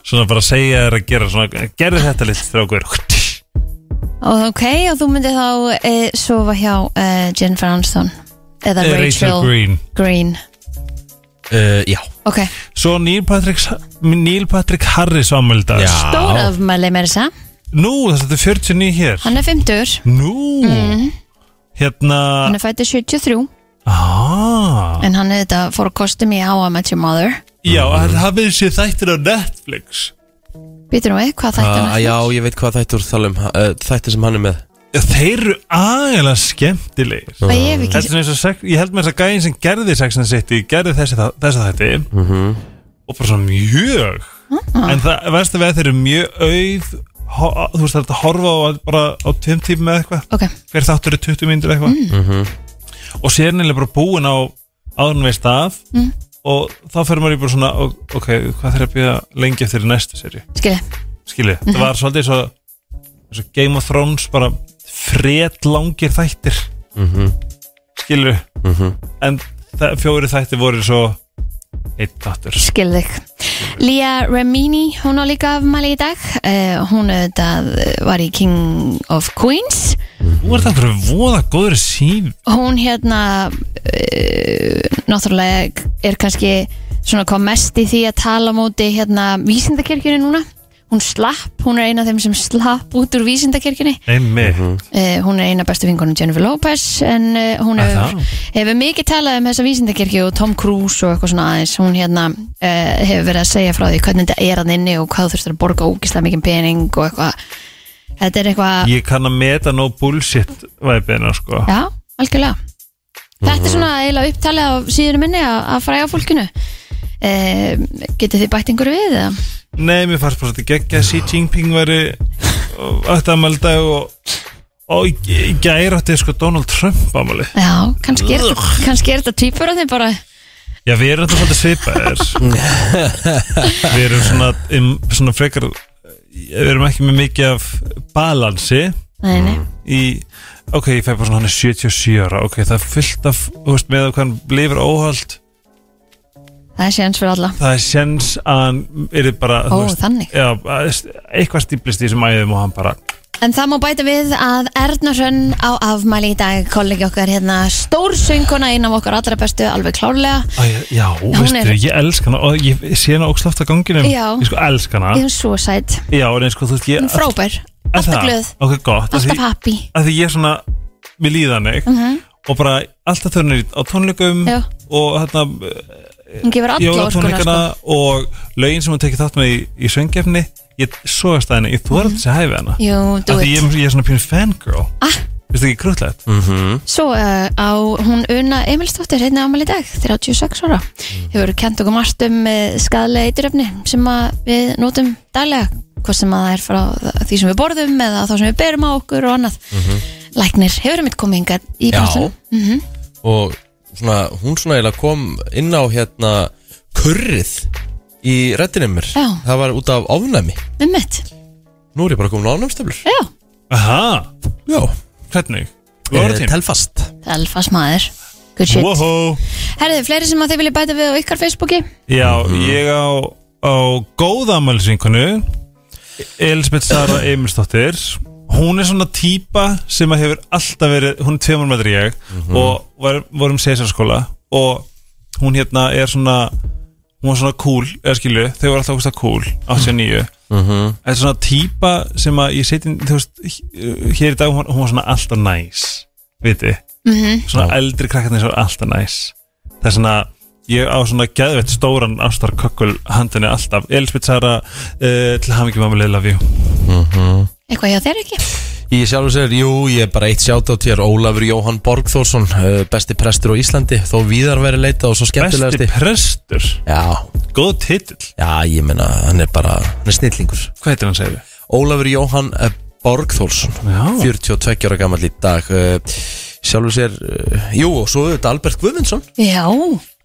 Speaker 3: svona bara að segja þér að gera svona gerði þetta litt strákur
Speaker 4: Og ok, og þú myndir þá e, sofa hjá e, Jennifer Aniston eða Rachel,
Speaker 3: Eh, Green
Speaker 4: Green.
Speaker 2: uh, Já
Speaker 4: Ok,
Speaker 3: svo Neil Patrick, Neil Patrick Harris ámældag
Speaker 4: stóra afmæli meira þess að
Speaker 3: nú, þetta er 49 hér
Speaker 4: Hann er 50,
Speaker 3: nú hérna
Speaker 4: hann er fættur 73
Speaker 3: Ah,
Speaker 4: en hann er þetta fór að kostum í How I Met Your Mother
Speaker 3: já, hann hafið sér þættir á Netflix
Speaker 4: Býtur um við, hvað þætti hann
Speaker 2: Ah, Já, ég veit hvað þættur þalum uh, Þættir sem hann er með
Speaker 3: Þeir eru agalega skemmtilegir
Speaker 4: Það ég
Speaker 3: Þetta
Speaker 4: hef
Speaker 3: er
Speaker 4: ekki,
Speaker 3: svona eins og sex, ég held með þess að gæðin sem gerði sexin sitt í gerði þessi, þa- þessa þætti og bara svona mjög en það verðst að veða þeir eru mjög auð ho, þú veist það er hægt að horfa á bara á tveim tíma eða eitthvað
Speaker 4: ok,
Speaker 3: hver þáttur er 20 myndir eitthvað og sér nýlega bara búin á áðurinn veist af
Speaker 4: Mm.
Speaker 3: og þá fer maður í bara svona ok, hvað þarf að býða lengi eftir í næstu seri
Speaker 4: skilji
Speaker 3: skilju, það var svolítið svo eins og Game of Thrones bara fred langir þættir mm -hmm. skilur en þa- fjóri þættir voru svo eitt þáttur
Speaker 4: skil þig Lía Remini, hún á líka afmæli í dag uh, hún auðvitað eh, var í King of Queens
Speaker 3: Nú er það einhverju voða góður sín
Speaker 4: hún hérna uh, náttúrulega er kannski svona kom mest í því að tala á móti hérna vísindakirkjunni núna hún slapp, hún er eina af þeim sem slapp út úr vísindakirkjunni
Speaker 3: einmitt
Speaker 4: uh, hún er eina af bestu vingunum Jennifer Lopez en uh, hún
Speaker 3: Er
Speaker 4: hefur, hefur mikið talað um þessa vísindakirkju og Tom Cruise og eitthvað svona aðeins hún hérna uh, hefur verið að segja frá því hvernig þetta er að inni og hvað þú þurftur að borga ógislega mikið pening og eitthvað þetta er eitthvað
Speaker 3: ég kann að meta no bullshit væpina sko
Speaker 4: Ah. Já, algjörlega Þetta er svona eiginlega upptalið á síðunum minni að, að fræga fólkinu e, Getið þið bætt einhverju við eða?
Speaker 3: Nei, mér fannst bara þetta geggja að Xi Jinping væri öttamældag og, og í- í gæri átti sko Donald Trump ámæli
Speaker 4: Já, kannski er, þetta- kannski er þetta týpur að þeim bara
Speaker 3: Já, við erum þetta svolítið svipaðir Við erum svona, um, svona frekar Við erum ekki með mikið af balansi
Speaker 4: Nei, nei,
Speaker 3: í Ok, ég fæ bara svona hann er 77 ára Ok, það er fullt af, þú veist, með hvað hann lifir óhald
Speaker 4: það er séans fyrir alla
Speaker 3: Það er sjens að hann er bara þú
Speaker 4: Ó, þannig.
Speaker 3: Já, að- eitthvað stíplist í þessum æðum og hann bara
Speaker 4: En það má bæta við að Erna Hrönn á afmæli í dag kollegi okkar hérna stórsönguna inn af okkar allra bestu alveg klárlega
Speaker 3: Æ, Já, veistu,
Speaker 4: er-
Speaker 3: ég elsk hana og ég sé hana óksláft á ganginum
Speaker 4: Já.
Speaker 3: Ég sko elsk hana
Speaker 4: Ég er svo sætt,
Speaker 3: Já, en sko, þú veist, ég
Speaker 4: hún er frábær
Speaker 3: Er
Speaker 4: Alltaf
Speaker 3: það?
Speaker 4: glöð,
Speaker 3: Ok, gott af því-
Speaker 4: alltaf happy
Speaker 3: að því ég er svona við líðan mig og bara alltaf þau er á tónleikum
Speaker 4: Mhm. Já.
Speaker 3: og hérna
Speaker 4: Hún gefur alla orkuna
Speaker 3: jólatónleikana
Speaker 4: sko.
Speaker 3: og lögin sem hún tekið þátt með í, í söngjefni ég sógast að henni, ég þú er alltaf að hæfi hana
Speaker 4: Jú,
Speaker 3: af
Speaker 4: do
Speaker 3: því
Speaker 4: it
Speaker 3: ég,
Speaker 4: Mm.
Speaker 3: er- ég er svona pínu fangirl ah. veistu ekki krútlegt
Speaker 4: Svo uh, á hún Una Emilsdóttir hérna ámæli í dag, 36 ára
Speaker 3: Mm.
Speaker 4: hefur kent okkur margt um uh, skadlega eituröfni sem að við notum daglega, hvað sem að það er frá þa- því sem við borðum eða þá sem við berum á okkur og annað.
Speaker 3: Mhm.
Speaker 4: Læknir hefur mitt komið hingað í
Speaker 2: Já.
Speaker 4: bæstunum.
Speaker 2: og svona, hún svona eiginlega kom inn á hérna kurrið í reddinum mér
Speaker 4: Já.
Speaker 2: það var út af ofnæmi
Speaker 4: Um mitt.
Speaker 2: nú er ég bara komin á ofnæmstöflur
Speaker 4: Já,
Speaker 3: Aha,
Speaker 2: já,
Speaker 3: hvernig? Lóra
Speaker 2: Eh,
Speaker 3: tím?
Speaker 2: telfast
Speaker 4: telfast maður. Good shit.
Speaker 3: Woho
Speaker 4: Herðu, fleiri sem að þið vilja bæta við á ykkar Facebooki?
Speaker 3: Já, ég á, á góðamælsvinkonu Elisabeth Sara Emilsdóttir Hún er svona típa sem að hefur alltaf verið, hún er tveimur meður ég og var, vorum sesarskóla og hún hérna er svona hún var svona cool, eða skilju þau var alltaf ógust cool, 89 Það er svona típa sem að ég seti þú veist, h- hér í dag hún var, hún var svona alltaf næs, nice, viti svona eldri krakkarnir sem er alltaf næs það er svona ég á svona geðveitt stóran ástarkökkul handinni alltaf, Elisabeth Sara uh, til hafingjum að með leila við
Speaker 4: Eitthvað hjá þér ekki?
Speaker 2: Ég sjálfur sér, jú, ég er bara eitt sjátátt hér Ólafur Jóhann Borgþórsson eh, besti prestur á Íslandi, þó viðar verið leita og svo
Speaker 3: besti
Speaker 2: skemmtilegasti
Speaker 3: prestur,
Speaker 2: Já,
Speaker 3: góð titill
Speaker 2: já, ég meina, hann er bara hann er snillingur
Speaker 3: hvað heitir hann segir við?
Speaker 2: Ólafur Jóhann eh, Borgþórsson
Speaker 3: Já.
Speaker 2: 42 ára gammal í dag Eh, sjálfur sér, eh, jú, og svo auðvitað Albert Guðmundsson
Speaker 4: Já, á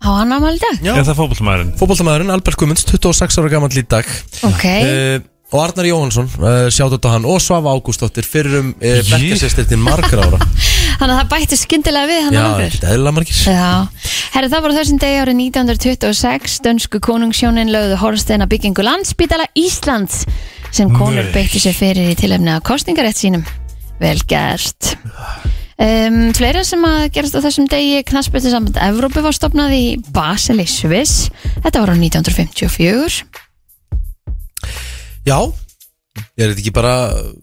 Speaker 4: hann ámæli í dag.
Speaker 2: Já.
Speaker 3: er það fótbollumæðurinn?
Speaker 2: fótboltamæðurinn Albert Guðmunds, 26 ára gammal í dag
Speaker 4: Ok.
Speaker 2: Eh, og Arnar Jóhansson, uh, sjátátt á hann og Svava Ágústóttir, fyrrum uh,
Speaker 3: Jú.
Speaker 2: bekkasestir til margra ára
Speaker 4: Þannig að það bætti skyndilega við hann
Speaker 2: Já,
Speaker 4: ámæli.
Speaker 2: ekkert eðla margir
Speaker 4: Já, herri það voru þessum degi árið 1926 dönsku konungshjónin lögðu horfsteina byggingu landsbítala Íslands sem konur
Speaker 3: Nei.
Speaker 4: beittu sér fyrir í tilefni að kostningarétt sínum vel gert um, Fleira sem að gerast á þessum degi knassbyrti samt Evrópu var stopnað í Basel í Sviss þetta var á 1954
Speaker 2: Já, er þetta ekki bara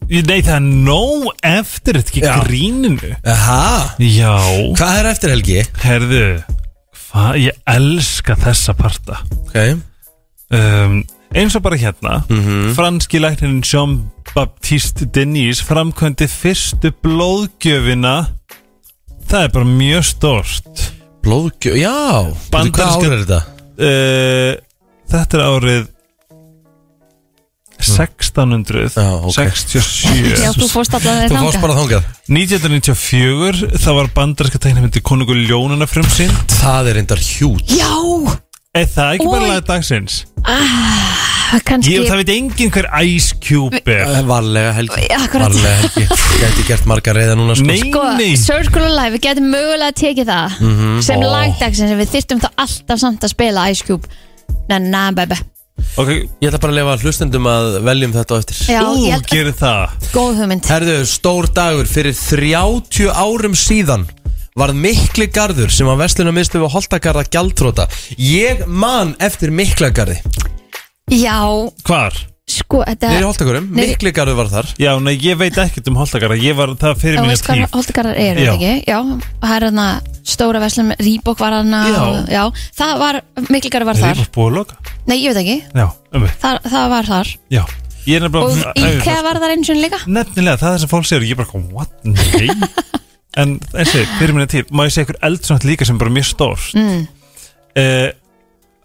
Speaker 3: Nei, það er nóg eftir þetta ekki
Speaker 2: Já.
Speaker 3: gríninu
Speaker 2: Aha,
Speaker 3: Já,
Speaker 2: eh, hvað er eftir helgi?
Speaker 3: herðu hvað, ég elska þessa parta
Speaker 2: Ok,
Speaker 3: um, eins og bara hérna
Speaker 2: Mhm.
Speaker 3: franski læknirinn Jean-Baptiste Denis framkvæmdi fyrstu blóðgjöfina það er bara mjög stort
Speaker 2: blóðgjöf, já Bandarska...
Speaker 3: Bandaríska-
Speaker 2: Hvað ár er þetta?
Speaker 3: uh, þetta er árið 1600
Speaker 2: Mm. Já, ok.
Speaker 3: 67
Speaker 4: Já, þú fórst allavega
Speaker 2: Þú fórst
Speaker 4: þanga
Speaker 2: bara þangað
Speaker 3: 1994 það var bandarska teknimyndi konungu ljónuna frumsýnd
Speaker 2: Það er reyndar hjút
Speaker 4: Já,
Speaker 3: eða það er ekki bara
Speaker 4: Oj.
Speaker 3: laga dagsins
Speaker 4: Það kannski
Speaker 3: Ég, það veit enginn hver Ice Cube er
Speaker 2: Eh, Varlega helgi
Speaker 4: Akkurat.
Speaker 2: Varlega helgi Gæti gert marga reyða núna sko.
Speaker 3: Nei,
Speaker 4: Sko,
Speaker 3: nei Mhm.
Speaker 4: Circle of Life, við getum mögulega tekið það sem oh. lagdagsins en við þyrftum þá alltaf samt að spila Ice Cube Na na bebe
Speaker 3: Ok,
Speaker 2: Ég ætla bara að lefa hlustendum að veljum þetta á eftir
Speaker 4: Já,
Speaker 3: þú
Speaker 4: ég held að
Speaker 3: gerir það
Speaker 4: góð hugmynd
Speaker 2: Herðu, stór dagur fyrir 30 árum síðan varð mikli garður sem að vestluna miðstöfu Holtagarða gjaldtróta Ég man eftir mikla garði
Speaker 4: Já,
Speaker 3: Hvar?
Speaker 4: sko, þetta
Speaker 2: Nýri Holtagarðum,
Speaker 4: Niðri-
Speaker 2: mikli garður var þar
Speaker 3: Já, nei, ég veit ekkert um Holtakara Ég var það fyrir
Speaker 4: Þú
Speaker 3: minni
Speaker 4: veist hvað
Speaker 3: tíf
Speaker 4: Holtegarðar eru,
Speaker 3: Já.
Speaker 4: já. ekki? Já, það er hérna stóra veslum, Rýbók var hérna
Speaker 3: Já.
Speaker 4: og- já, það var, Miklgarður var
Speaker 3: Það
Speaker 4: þar
Speaker 3: er búið að loka
Speaker 4: Nei, ég veit ekki,
Speaker 3: Já, um veit
Speaker 4: það, það var þar
Speaker 3: Já Ég er nefnilega
Speaker 4: Og
Speaker 3: Æ,
Speaker 4: Íkea
Speaker 3: það-
Speaker 4: var þar eins og líka
Speaker 3: Nefnilega, það er það sem fólk sér Ég er bara kom, what? Nei En eins og fyrir minni tíf Má ég segja ykkur eldsnátt líka sem er bara mjög stór mm.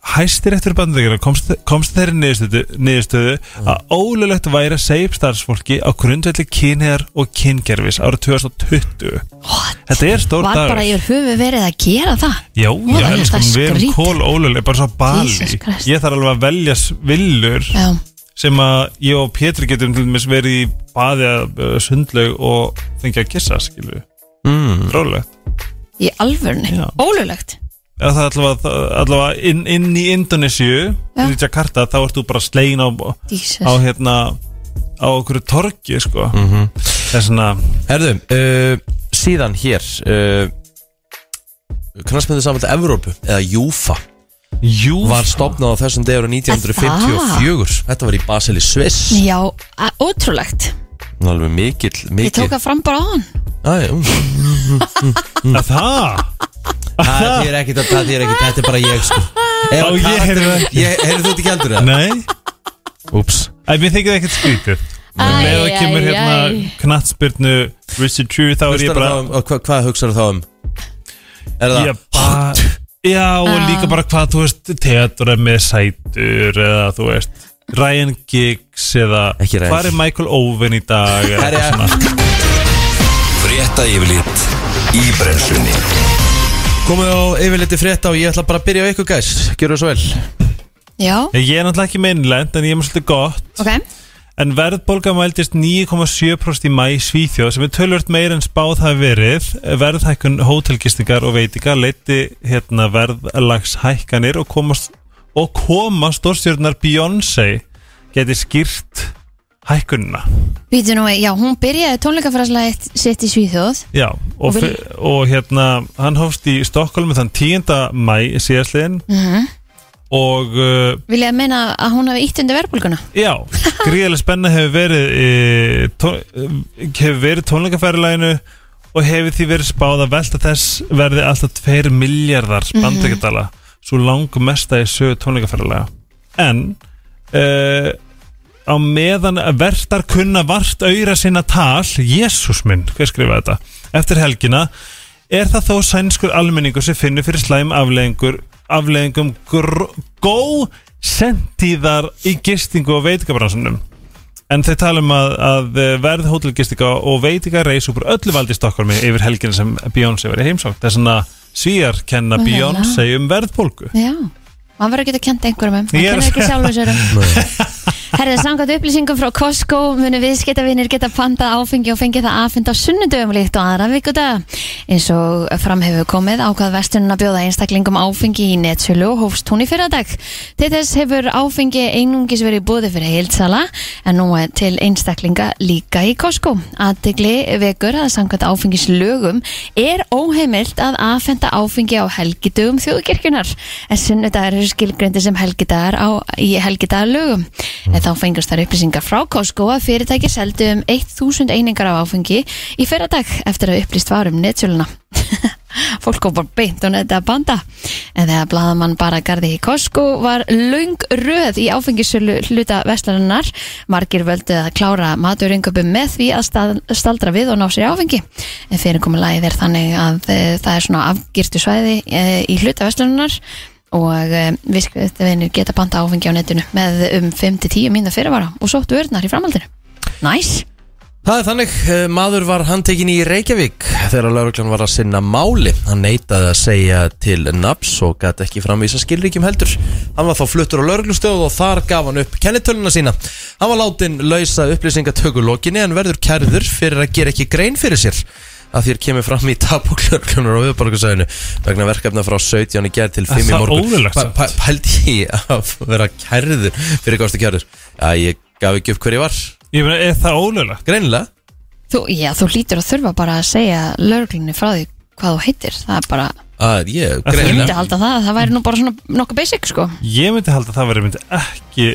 Speaker 3: Hæstir eftir bandingar komst, komst þeirri niðurstöðu, niðurstöðu að ólulegt væri að segja upp starfsfólki á grundvelli kynheðar og kyngerfis árið 2020
Speaker 4: What?
Speaker 3: Þetta er stór
Speaker 4: Var
Speaker 3: dagur
Speaker 4: bara yfir höfu verið að gera það
Speaker 3: Já, já,
Speaker 4: það er
Speaker 3: elskum,
Speaker 4: það
Speaker 3: við erum
Speaker 4: skrítið.
Speaker 3: kól óluleg, bara svo bali
Speaker 4: Jesus Christ.
Speaker 3: Ég þarf alveg að velja svillur
Speaker 4: Já,
Speaker 3: sem að ég og Pétur getum til dæmis verið í baði að uh, sundlaug og fengið að kissa, skilur við
Speaker 2: mm.
Speaker 3: Rólegt
Speaker 4: í alvörni,
Speaker 3: Já.
Speaker 4: ólulegt
Speaker 3: Eða það er allavega, það- allavega inn, inn í Indonésiu,
Speaker 4: Já.
Speaker 3: í Jakarta, þá ert þú bara slegin á, á
Speaker 4: Jesus,
Speaker 3: hérna á okkur torgi, sko
Speaker 2: Mhm.
Speaker 3: Það er svona,
Speaker 2: Herðu, uh, síðan hér uh, Knarsmyndu samvælt Evrópu eða Júfa
Speaker 3: jú
Speaker 2: var stopnað á þessum degur á 1954 Þetta var í Basel í Sviss
Speaker 4: já, a- ótrúlegt
Speaker 2: Alveg mikill,
Speaker 4: Ég
Speaker 2: mikill
Speaker 4: tók það fram bara á hann
Speaker 2: Æ, um.
Speaker 3: að það
Speaker 2: Það þýr ekkit, það þýr ekkit, þetta er bara ég sko Ef
Speaker 3: Ó, ég
Speaker 2: karakterinn-
Speaker 3: heyrði það ekki.
Speaker 2: Ég heyrði þú þetta ekki heldur það?
Speaker 3: Nei,
Speaker 2: Úps
Speaker 3: Æ, mér þykir það ekkert skrítið
Speaker 4: Æ,
Speaker 3: Með það
Speaker 4: æ,
Speaker 3: kemur
Speaker 4: æ.
Speaker 3: hérna knattspyrnu Richard Chew þá er ég
Speaker 2: Hlustar
Speaker 3: bara
Speaker 2: þá um, og hva, hvað hugsaðu þá um? Er það?
Speaker 3: ég bara- Já og líka bara hvað þú veist Teatur er með sætur eða þú veist Ryan Giggs eða
Speaker 2: Ekki Ryan.
Speaker 3: Hvað er Michael Owen í dag eða
Speaker 2: Herja.
Speaker 3: eitthvað svona.
Speaker 1: Frétta yfirlit í brennslunni
Speaker 2: Komið á yfirleiti frétta og ég ætla bara að byrja á ykkur gæs Gjörðu svo vel
Speaker 4: Já,
Speaker 3: Ég er náttúrulega ekki með innlend en ég er með svolítið gott
Speaker 4: ok,
Speaker 3: En verðbólga mældist 9,7% í mæ í Svíþjóð sem er tölvört meir en spáð hafi verið. Verðhækkun hótelgistingar og veitingar leiti hérna verðlagshækkanir og komast og koma stórstjórnar Beyoncé geti skýrt hækkunina.
Speaker 4: býtu nú, já, hún byrjaði tónleikafræslega sitt í Svíþjóð
Speaker 3: Já, og,
Speaker 4: Og vil-
Speaker 3: fyr- og hérna hann hófst í Stokkólmi þann 10. mæ síðastliðin
Speaker 4: Mhm.
Speaker 3: og uh,
Speaker 4: Vil ég að meina að hún hafi ítt undir verðbólguna?
Speaker 3: Já, gríðarlega spenna hefur verið e, tón, hefur verið tónleikaferðalaginu og hefur því verið spáð að velta þess verði alltaf 2 miljardar bandekadala svo langum mesta í sögu tónleikaferðalaga en e, á meðan verðar kunna vart auðra sinna tal Jésús minn, hver skrifaði þetta eftir helgina er það þó sænskur almenningur sem finnur fyrir slæm afleðingur afleðingum góð sentíðar í gistingu og veitingabransunum en þeir tala um að, að verð hótelgistinga og veitinga reis upp úr öllu valdi í Stokkólmi yfir helgina sem Beyoncé var í heimsókn þess að svíjar kenna
Speaker 4: Ó,
Speaker 3: Beyoncé um verðbólgu
Speaker 4: Já, hann verður að geta kent einhverjum um. Hann
Speaker 3: Ég er að
Speaker 4: kennir ekki
Speaker 3: segja-
Speaker 4: sjálfur sér um Herðið samkvæmt upplýsingum frá Costco munu viðskiptavinir geta panta áfengi og fengið það aðfenda á sunnudöfum líkt og aðra vikudaga. Eins og fram hefur komið ákvað vestununa bjóða einstaklingum áfengi í netsölu og hófst hún í fyrradag. Til þess hefur áfengi einungis verið búði fyrir heilsala en nú er til einstaklinga líka í Costco. Aðtegli vekur að samkvæmt áfengislögum er óheimilt að aðfenda áfengi á helgidögum þjóðkirkjunar en sunnudagar eru skilgrindi sem helgidagar á, í helgidagalögum. En þá fengast þær upplýsingar frá Costco að fyrirtæki seldu um 1000 einingar af áfengi í fyrradag eftir að upplýst var um netsöluna. Fólk kom bara beint og netta að banda. En þegar blaðamann bara garði í Costco var löng röð í áfengisölu hluta vestlarinnar. Margir völdu að klára maturinköpum með því að stað- staldra við og ná sér í áfengi. En fyrirkomulagið er þannig að e, það er svona afgirtu svæði e, í hluta vestlarinnar og e, viðskiptavinir geta banta áfengi á netinu með um 5-10 mínúta fyrirvara og sóttu örnar í framhaldinu. Næs!
Speaker 2: Það er þannig, eh, maður var handtekinn í Reykjavík þegar lauruglan var að sinna máli. Hann neitaði að segja til naps og gæti ekki framvísa skilríkjum heldur. Hann var þá fluttur á lauruglustöð og þar gaf hann upp kennitöluna sína. Hann var látin lausa upplýsingatökulokinni en verður kærður fyrir að gera ekki grein fyrir sér að þér kemur fram í tapuglörglunar á viðborgarsæðinu vegna verkefna frá 17 í gerð til 5 í
Speaker 3: það
Speaker 2: morgun
Speaker 3: óðurlegt
Speaker 2: Pæ- pæ- Pældi ég að vera kærður fyrir hvað varstu kærður? Já, ég gaf ekki upp hver ég var,
Speaker 3: Ég meina, er það ólöglegt?
Speaker 2: greinilega
Speaker 4: Þú, já, þú lítur að þurfa bara að segja lögreglunni frá því hvað þú heitir Það er bara,
Speaker 2: að ég,
Speaker 3: Að
Speaker 4: ég myndi
Speaker 2: greinilega
Speaker 4: að halda það, það væri nú bara svona nokkuð basic sko
Speaker 3: Ég myndi halda að það verið myndi ekki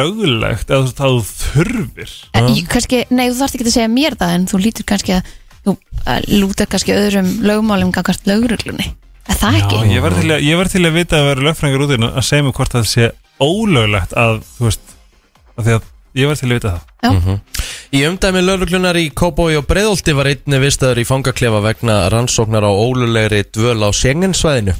Speaker 3: löglegt eða þú veist að þú þurfir
Speaker 4: En ég kannski, nei, þú þarft ekki að segja mér það en þú lítur kannski að þú að lúta kannski öðrum lögmálum gangast lögreglunni, er það ekki?
Speaker 3: Ég verð til, að- ég verð til að vita að vera lögfrængur út í hérna að segja mér hvort það sé ólöglegt að, þú veist, að því að ég verð til að vita það
Speaker 2: Í umdæmi lauruglunar í Kóbói og Breiðolti var einni vistaður í fangaklefa vegna rannsóknar á ólulegri dvöl á Schengensvæðinu.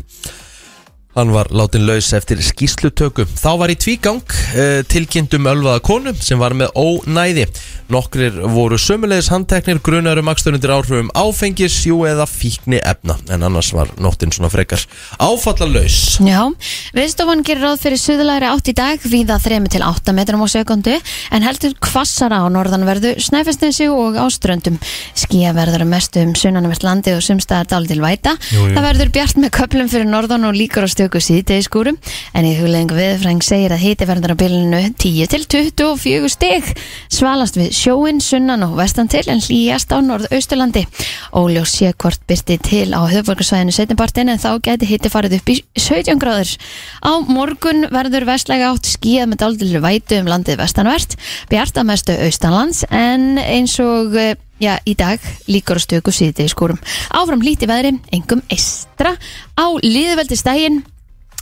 Speaker 2: Hann var látin laus eftir skýslutöku. Þá var í tvígang uh, tilkynntum ölvaða konu sem var með ónæði. Nokkrir voru sömulegis handteknir grunar um aksturundir áhrifum áfengis, jú eða fíkni efna. En annars var nóttin svona frekar áfallalaus.
Speaker 4: Já, viðstofan gerir ráð fyrir suðlæri átt í dag víða 3 til 8 metrum á sekundu en heldur hvassara á norðanverðu Snæfellsnesi og áströndum skía verður að mestu um sunnanvert landi og sumstaðar dálítil væta
Speaker 3: Jú, jú.
Speaker 4: það verður bjart með köplum fyrir norðan og líkur á stöku síðdegiskúrum en í hugleðingu viðfræng segir að hiti verður á bilinu 10 til 24 stig svalast við sjóin sunnan og vestan til en hlýjast á norðausturlandi óljós sé hvort byrti til á höfvörgarsvæðinu setnipartin en þá gæti hitti farið upp í 17 gráður. Á morgun verður vestlæga átt skíðað með dálítil vætu um landið vestanvert, bjarta mestu austanlands en eins og eh, já, í dag líkur á stöku síðdegi skúrum. Áfram líti veðri, engum eistra á liðveldistægin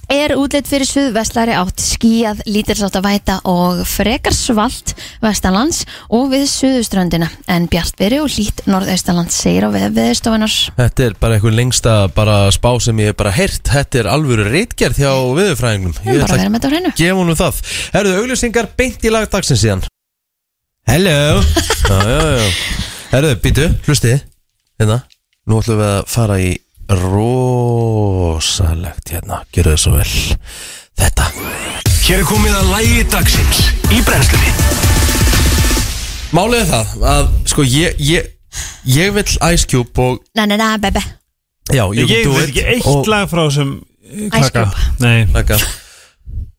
Speaker 4: er útlitt fyrir suðvestlari átt skíjað, lítilsátt að væta og frekar svalt vestanlands og við suðuströndina en bjartveri og lít norðaustanlands segir á veðstofunar.
Speaker 2: Þetta er bara eitthvað lengsta bara spá sem ég hef bara heyrt. Þetta er alvöru reitgerð hjá viðurfræðingum.
Speaker 4: Við erum bara að vera með þetta á hreinu.
Speaker 2: gefa honum það Herðu, auglýsingar beint í lagdagsins síðan Hello Já, já, já Herðu, býtu, hlusti Hérna, nú ætlum við að fara í rosalegt hérna Gjörðu þið svo vel Þetta
Speaker 1: Hér er komið að lægi dagsins í brennslunni
Speaker 2: Málið er það að, sko, ég, ég Ég vill Ice Cube og
Speaker 4: Na na na bebe.
Speaker 2: Já, you
Speaker 3: Ég
Speaker 2: can do
Speaker 3: veit
Speaker 2: it
Speaker 3: ekki eitt
Speaker 2: og,
Speaker 3: lag frá sem
Speaker 4: Ice
Speaker 3: klaka Nei,
Speaker 2: Taka.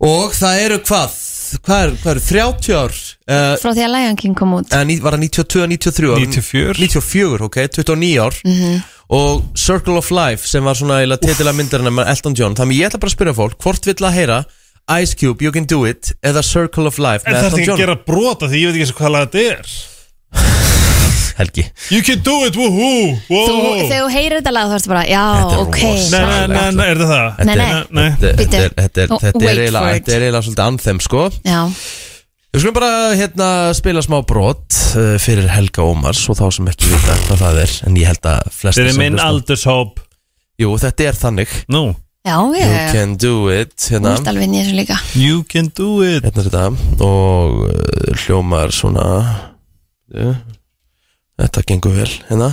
Speaker 2: og það eru hvað Hvað eru, hvað eru, 30 ár uh,
Speaker 4: Frá því að Lion King kom út.
Speaker 2: eða ní- var það 92, 93 ára?
Speaker 3: 94.
Speaker 2: 94, ok, 29 ár
Speaker 4: Mhm.
Speaker 2: og Circle of Life sem var svona eiginlega titila myndarinn með Elton John þannig ég ætla bara að spyrja fólk, hvort vill að heyra Ice Cube, You Can Do It eða Circle of Life
Speaker 3: en
Speaker 2: með
Speaker 3: það er
Speaker 2: Elton
Speaker 3: ekki
Speaker 2: John
Speaker 3: að gera brota því ég veit ekki eins og hvað lag þetta er
Speaker 2: Helgi,
Speaker 3: You can do it, woohoo
Speaker 4: Þú,
Speaker 3: woohoo.
Speaker 4: þegar þú heyrir þetta lag þú ert bara,
Speaker 2: Þetta er
Speaker 4: já, ok.
Speaker 3: Nei,
Speaker 2: rosa.
Speaker 3: nei, nei, nei, er það það?
Speaker 4: Nei, nei.
Speaker 3: nei.
Speaker 2: þetta þetta er-
Speaker 4: Bíddu.
Speaker 2: þetta er-
Speaker 4: Og
Speaker 2: þetta
Speaker 4: wait
Speaker 2: er eiginlega
Speaker 4: for it.
Speaker 2: þetta er eiginlega svolítið anthem sko
Speaker 4: Já,
Speaker 2: Við skulum bara hérna spila smá brot uh, fyrir Helga Ómars og þá sem ekki vita hvað það er en ég held að flestir
Speaker 3: Þetta er
Speaker 2: sem
Speaker 3: minn
Speaker 2: hlusta-
Speaker 3: aldurshóp
Speaker 2: Jú, þetta er þannig
Speaker 3: Nú,
Speaker 4: já,
Speaker 2: You
Speaker 4: ég
Speaker 2: Can Do It
Speaker 4: Eh. þú
Speaker 2: hérna.
Speaker 4: ert alveg nýja þessu líka.
Speaker 3: you can do it
Speaker 2: hérna er þetta og uh, hljómar svona uh, þetta gengur vel hérna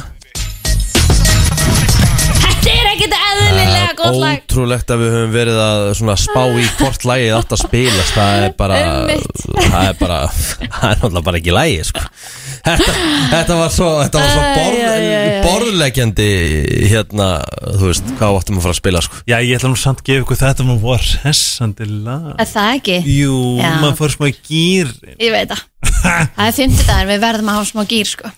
Speaker 4: Þetta er ekkit eðlilega gott lag. Ah.
Speaker 2: ótrúlegt að við höfum verið að svona spá í hvort lagið átt að spilast það er bara
Speaker 4: Einmitt.
Speaker 2: það er bara það er náttúrulega bara ekki lagið sko. þetta, þetta var svo, þetta var svo borð,
Speaker 4: Æ, æ, æ, æ.
Speaker 2: borðlegjandi hérna þú veist hvað áttum að fara að spila sko.
Speaker 3: Já, ég ætla nú samt að gefa ykkur þetta maður var hessandi lag
Speaker 4: Er það ekki?
Speaker 3: Jú,
Speaker 4: Já.
Speaker 3: maður fór smá í gýrin
Speaker 4: Ég veit það. Það er fymtudagar, við verðum að hafa smá gýr sko.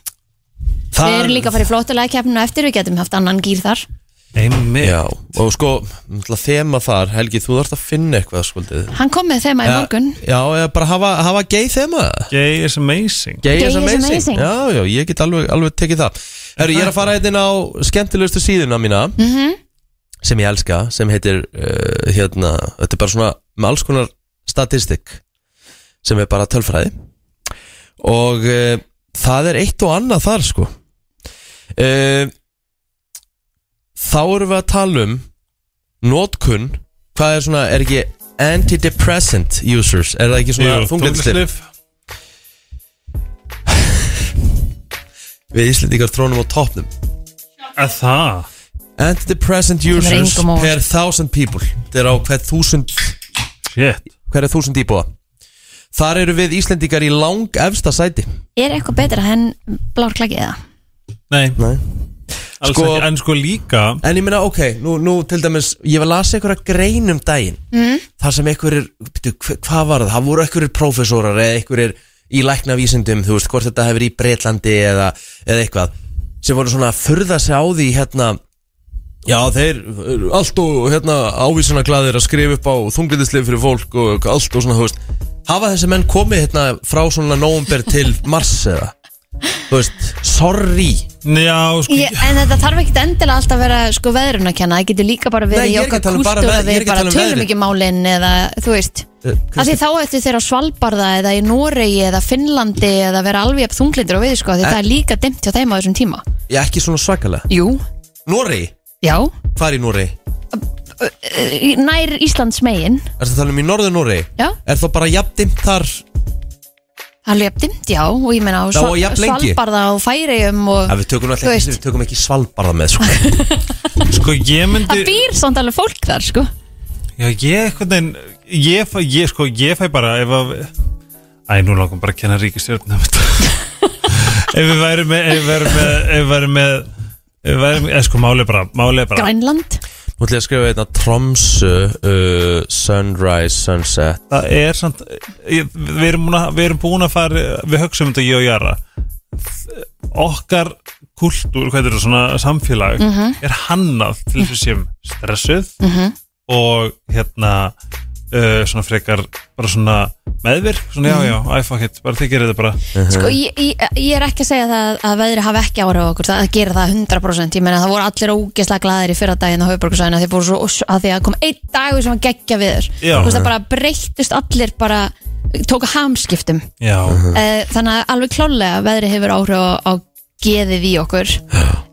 Speaker 4: Við erum líka að fara í flottulegkeppninu eftir, við getum haft annan gýr þar.
Speaker 3: Einmitt
Speaker 2: Já, og sko, náttúrulega þema þar Helgi, þú þarfst að finna eitthvað skuldið
Speaker 4: Hann kom með þema í morgun.
Speaker 2: Já, eða bara hafa, hafa gay þema
Speaker 3: Gay is amazing
Speaker 2: Gay
Speaker 4: Gay
Speaker 2: is
Speaker 4: is
Speaker 2: amazing.
Speaker 4: amazing.
Speaker 2: Já, já, ég get alveg, alveg tekið það Heru, Ég er að fara hérna á skemmtilegustu síðuna mína
Speaker 4: Mhm.
Speaker 2: sem ég elska, sem heitir uh, hérna, þetta er bara svona með alls konar statistik sem er bara tölfræði og uh, það er eitt og annað þar sko uh, Þá erum við að tala um notkun, hvað er svona er ekki antidepressant users er það ekki svona
Speaker 3: Jú,
Speaker 2: þunglindslir
Speaker 3: þunglyndislyf.
Speaker 2: Við Íslendingar trónum á toppnum
Speaker 3: Að það?
Speaker 2: And the present
Speaker 4: er
Speaker 2: users
Speaker 4: engum á óvart.
Speaker 2: per thousand people Þetta er á hver þúsund
Speaker 3: Shit
Speaker 2: hver er þúsund íbúa Þar eru við Íslendingar í lang efsta sæti
Speaker 4: Er eitthvað betra en blár klakið eða?
Speaker 3: Nei,
Speaker 2: Nei
Speaker 3: alls
Speaker 2: Sko-
Speaker 3: ekki En sko líka
Speaker 2: En ég meina, ok, nú, nú til dæmis Ég var að lasa einhverja grein um daginn mm. Þar sem einhverjir, byrju, hva- hvað var það? Það voru einhverjir prófessorar eða einhverjir í læknavísindum, þú veist, hvort þetta hefur í Breitlandi eða, eða eitthvað sem voru svona að furða sig á því hérna Já, þeir eru allt og hérna ávísunaglæðir að skrifa upp á þunglindisleif fyrir fólk og allt og svona, þú veist Hafa þessi menn komið hérna frá svona nóvember til mars eða? Þú veist, sorry
Speaker 3: Já, sko
Speaker 4: Ég, en þetta þarf ekkit endilega alltaf að vera sko veðrun að kenna, það getur líka bara verið
Speaker 2: Nei,
Speaker 4: í
Speaker 2: ég er
Speaker 4: okkar
Speaker 2: ekki að tala um bara
Speaker 4: kúltúr
Speaker 2: veð-
Speaker 4: að
Speaker 2: ég er
Speaker 4: við
Speaker 2: ekki að
Speaker 4: bara
Speaker 2: tala um
Speaker 4: tölum
Speaker 2: veðrið.
Speaker 4: ekki málinn eða þú veist
Speaker 2: Eh,
Speaker 4: af því þá ættu þeir á Svalbarða eða í Noregi eða Finnlandi eða vera alveg jafn þunglindur og við sko, því
Speaker 2: Eh.
Speaker 4: það er líka dimmt hjá þeim á þessum tíma.
Speaker 2: Já, ekki svona svakalega
Speaker 4: Jú,
Speaker 2: Noregi?
Speaker 4: já Eh,
Speaker 2: Hvað er í Noregi?
Speaker 4: Í- nær Íslands megin
Speaker 2: Er það tala um í norður Noregi?
Speaker 4: Já. Ah,
Speaker 2: Er það bara jafndimt þar?
Speaker 4: alveg jafn dimmt, já, og ég meina á
Speaker 2: Já, og jafn lengi.
Speaker 4: Svalbarða og Færeyjum og
Speaker 2: Ja, við tökum alltaf
Speaker 4: Þú
Speaker 2: ekki,
Speaker 4: veist.
Speaker 2: við tökum ekki svalbarða með sko.
Speaker 3: Sko ég myndi
Speaker 4: það býr samt alveg fólk þar sko
Speaker 3: Já ég eitthvað en ég, fæ- ég sko ég fæ bara ef að Æ nú langum bara að kenna ríkistjórnum Ef við værum með Ef við værum með Ef við værum með Ef við værum Eða sko máli bara Máli bara
Speaker 4: Grænland,
Speaker 2: Nú ætlum ég að skrifa einna Tromsu uh, Sunrise, Sunset
Speaker 3: Það er samt ég, við, erum búin að, við erum búin að fara Við högstum þetta ég og Jara Okkar kultúr Hvað er þetta svona samfélag Er hannað til þess að við séum stressuð Og hérna uh, Svona frekar Bara svona meðvirk Svona já já, æ fuck it, bara þið gerir þetta bara
Speaker 4: sko ég, ég, ég er ekki að segja það að veðri hafi ekki ára á okkur, það það gerir það 100% ég meina það voru allir ógeðslega glaðir í fyrra daginn á höfuborgarsæðinu að þeir voru svo að því að kom einn dagur sem að geggja við þur
Speaker 3: Já.
Speaker 4: það bara breyttust allir bara tóka hamskiptum
Speaker 3: Já,
Speaker 4: Eh, þannig að alveg klálega veðri hefur áhrif á, á geðið í okkur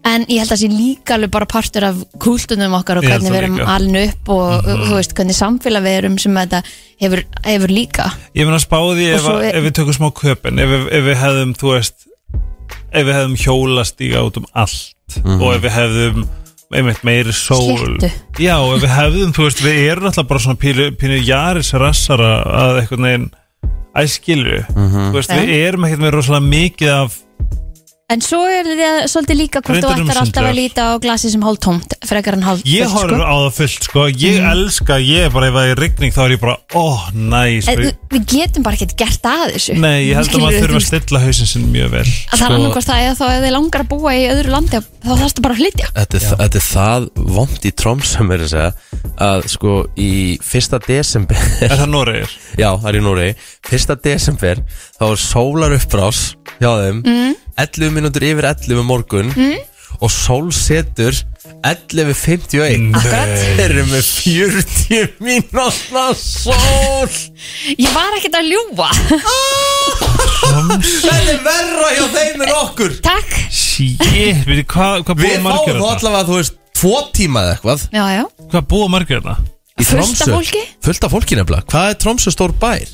Speaker 4: en ég held að það sé líka alveg bara partur af kultunum okkar og
Speaker 3: Ég held
Speaker 4: hvernig
Speaker 3: það
Speaker 4: við erum
Speaker 3: líka. Mhm.
Speaker 4: alin upp og þú veist hvernig samfélag við erum sem þetta hefur, hefur líka
Speaker 3: ég meina spáði
Speaker 4: Og
Speaker 3: ef,
Speaker 4: svo
Speaker 3: að-
Speaker 4: er-
Speaker 3: ef við tökum smá köpinn ef, við- ef við hefðum, þú veist Ef við hefðum hjólastíga út um allt Og ef við hefðum einmitt meiri sól
Speaker 4: Sléttu.
Speaker 3: Já, og ef við hefðum, þú veist, við erum alltaf bara svona pínu, pínu jaris rassara að einhvern veginn æskilu Þú veist, við erum ekkert með rosalega mikið af
Speaker 4: en svo er þetta svolítið líka hvort þú
Speaker 3: Reyndar erum
Speaker 4: ættir alltaf
Speaker 3: sundlegar.
Speaker 4: að líta á glasi sem hálf tómt frekar en hálf
Speaker 3: Ég horfur á það fullt, sko Ég
Speaker 4: Mhm.
Speaker 3: elska, ég er bara, ef það er rigning þá er ég bara, ó, næs
Speaker 4: Eh, við, við getum bara ekkert gert að þessu
Speaker 3: Nei, ég held að
Speaker 4: Skilurðu,
Speaker 3: maður
Speaker 4: þú
Speaker 3: þurfa að sko.
Speaker 4: veist,
Speaker 3: stilla hausinn sinn mjög vel
Speaker 4: að það er annarkvort það eða þá ef þið langar að búa í öðru landi þá þarfstu bara að flytja
Speaker 2: Þetta er, þetta er það vond í Tromsu mér að segja að sko í fyrsta desember
Speaker 3: Er það Noregur?
Speaker 2: Já, það er í Núri Fyrsta desember þá er sólar uppbrás hjá þeim
Speaker 4: Mm.
Speaker 2: 11 mínútur yfir 11 um morgun mm. og sól setur 11.51
Speaker 4: Mm. Akkurat.
Speaker 2: Þeir eru með 40 mínútna sól
Speaker 4: ég var ekkert að ljúfa
Speaker 2: Þetta er verra hjá þeim en okkur
Speaker 4: takk
Speaker 3: Shit, veitir, hvað hva búa
Speaker 2: Við
Speaker 3: margir
Speaker 2: fáum þá
Speaker 3: þetta?
Speaker 2: allavega, þú veist, tvo tíma eða eitthvað
Speaker 4: já, já.
Speaker 3: Hvað búa margir þetta?
Speaker 2: í
Speaker 4: Fullt af
Speaker 2: Tromsö.
Speaker 4: fólki?
Speaker 2: Fullt af fólki nefnilega Hvað er Tromsö stór bær?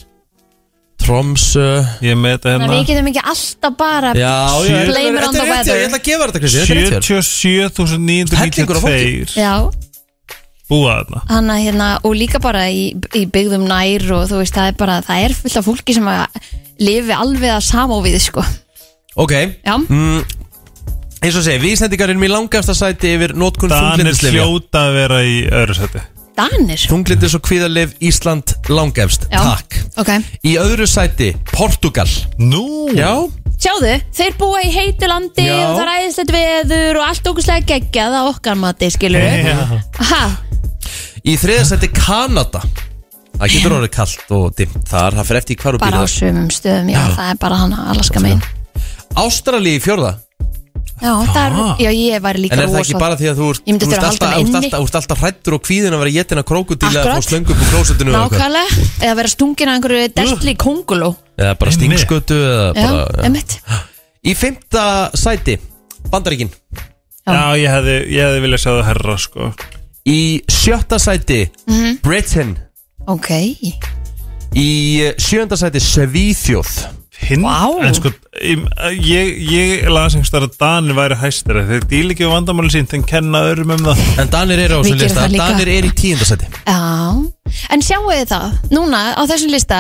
Speaker 2: Tromsö
Speaker 3: Ég með þetta
Speaker 4: Þannig að við
Speaker 3: hérna
Speaker 4: getum ekki alltaf bara
Speaker 2: Já, já,
Speaker 4: Blame
Speaker 2: þetta er-
Speaker 4: it on
Speaker 2: þetta er
Speaker 4: the
Speaker 2: rétt hjá þér, Ég ætla
Speaker 4: weather.
Speaker 2: að gefa þér þetta, Kristi, þetta er rétt hjá þér.
Speaker 3: 77.992
Speaker 2: Hellingur af fólki.
Speaker 4: Já,
Speaker 3: búa þarna
Speaker 4: hann að hérna og líka bara í, í byggðum nær og þú veist, það er bara, það er fullt af fólki sem að lifi alveg að samóvið sko.
Speaker 2: Ok,
Speaker 4: Já,
Speaker 2: Mm. eins og segi, við Íslandingar erum í langasta sæti yfir notkun
Speaker 3: Danir
Speaker 2: þunglindislyfja
Speaker 3: hljóta að vera í öðru seti
Speaker 4: Danir
Speaker 2: Þunglindis og kvíðarlif Ísland langefst,
Speaker 4: Já.
Speaker 2: takk
Speaker 4: Ok,
Speaker 2: Í öðru sæti, Portugal
Speaker 3: Nú,
Speaker 2: Já,
Speaker 4: sjáðu, þeir búa í heitu landi
Speaker 2: Já.
Speaker 4: og það er æðislegt veður og allt ógustlega geggjað að okkar mati, skilur við
Speaker 3: Já.
Speaker 4: Ha,
Speaker 2: í þriða sæti Kanada Það getur orðið kalt og dimmt þar, það fer eftir í hvar og
Speaker 4: bara á
Speaker 2: býr
Speaker 4: sumum stöðum, já, það er bara hann að alaska megin
Speaker 2: Ástrali í fjórða
Speaker 4: Já, það er, já, ég væri líka
Speaker 2: En er það ekki
Speaker 4: rosa-
Speaker 2: bara því að þú ert,
Speaker 4: Ég myndi
Speaker 2: þú ert
Speaker 4: þurfa að halda
Speaker 2: alltaf,
Speaker 4: mig
Speaker 2: út
Speaker 4: inni.
Speaker 2: alltaf, út alltaf hrættur og kvíðin að vera getin að krókudíla
Speaker 4: Akkurat.
Speaker 2: og slöngu upp úr klósettinu og eitthvað?
Speaker 4: Nákvæmlega, eða vera stungin að einhverju dertli í konguló
Speaker 2: Eða bara
Speaker 3: Einmitt.
Speaker 2: stingskötu eða
Speaker 4: Já,
Speaker 2: bara,
Speaker 4: emitt
Speaker 2: Í fymta sæti Bandaríkin
Speaker 3: Já, ég hefði, ég hefði viljað sjá það herra sko
Speaker 2: Í sjötta sæti
Speaker 4: Mhm.
Speaker 2: Britain
Speaker 4: Ok,
Speaker 2: Í eh, sjöunda sæti Svíþjóð
Speaker 3: hinn
Speaker 4: Vá.
Speaker 3: en sko, ég, ég, ég las einhvers þar að Danir væri hæstir þeir dýl ekki við vandamáli sín þeir kenna öðrum um það
Speaker 2: En Danir eru á
Speaker 4: Við
Speaker 2: þessum
Speaker 4: gerum
Speaker 2: lista
Speaker 4: það líka.
Speaker 2: Danir eru í tíundasæti
Speaker 4: Já, en sjáu þið það, núna á þessum lista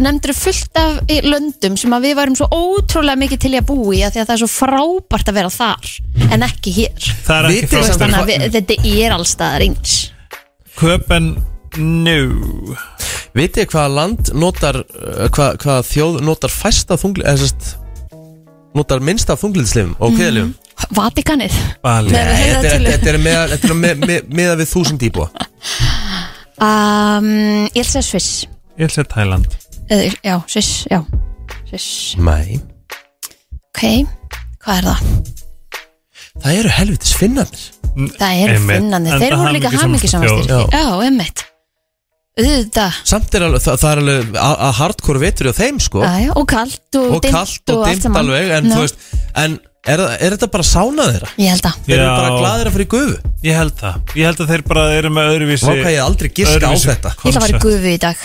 Speaker 4: nefndur fullt af í löndum sem að við varum svo ótrúlega mikið til í að búa í að því að það er svo frábært að vera þar en ekki hér.
Speaker 3: það er
Speaker 2: Vitið þið
Speaker 3: ekki frá
Speaker 2: samt-
Speaker 4: Þannig
Speaker 3: Íslandi.
Speaker 4: að við, þetta er allstaðar eins.
Speaker 3: Köpen nú
Speaker 2: Vitið þið hvaða land notar uh, hvað, hvaða þjóð notar fæsta þungli eða sérst notar minnsta þungliðslifum og kveðlifum
Speaker 4: Vatikanið.
Speaker 3: Bali
Speaker 4: Mm. Nei.
Speaker 2: Nei,
Speaker 4: það
Speaker 2: þetta er-
Speaker 4: til-
Speaker 2: þetta er meða- þetta er með- með- meða við þúsund íbúa
Speaker 4: Um, ég ætla að segja Sviss.
Speaker 3: ég ætla að Thailand
Speaker 4: Eða, já, Sviss, já. Sviss.
Speaker 2: Nei
Speaker 4: Ok, hvað er það?
Speaker 2: Það eru helvitis finnarnir
Speaker 4: Það eru
Speaker 3: Einmitt.
Speaker 4: finnandi.
Speaker 3: Enda
Speaker 4: Þeir voru líka
Speaker 3: hamingjusamasta
Speaker 4: hamingisamastir.
Speaker 2: þjóð.
Speaker 4: Já, emmitt. Auðvitað.
Speaker 2: Samt er alveg, það, það er alveg að að hardcore vetur á þeim sko
Speaker 4: Æ, og kalt og,
Speaker 2: og kallt og
Speaker 4: allt
Speaker 2: dimmt
Speaker 4: saman.
Speaker 2: alveg en,
Speaker 4: Já.
Speaker 2: þú veist, en er, það- er þetta bara sána þeirra?
Speaker 4: Ég held að
Speaker 2: Þeir eru
Speaker 3: Já.
Speaker 2: bara glaðir að fara í gufu
Speaker 3: ég held það, ég held að þeir bara eru með öðruvísi
Speaker 2: Vá hvað ég aldrei giska á
Speaker 3: öðruvísi
Speaker 2: þetta
Speaker 4: Ég ætla að vera
Speaker 3: konsept.
Speaker 4: gufu í dag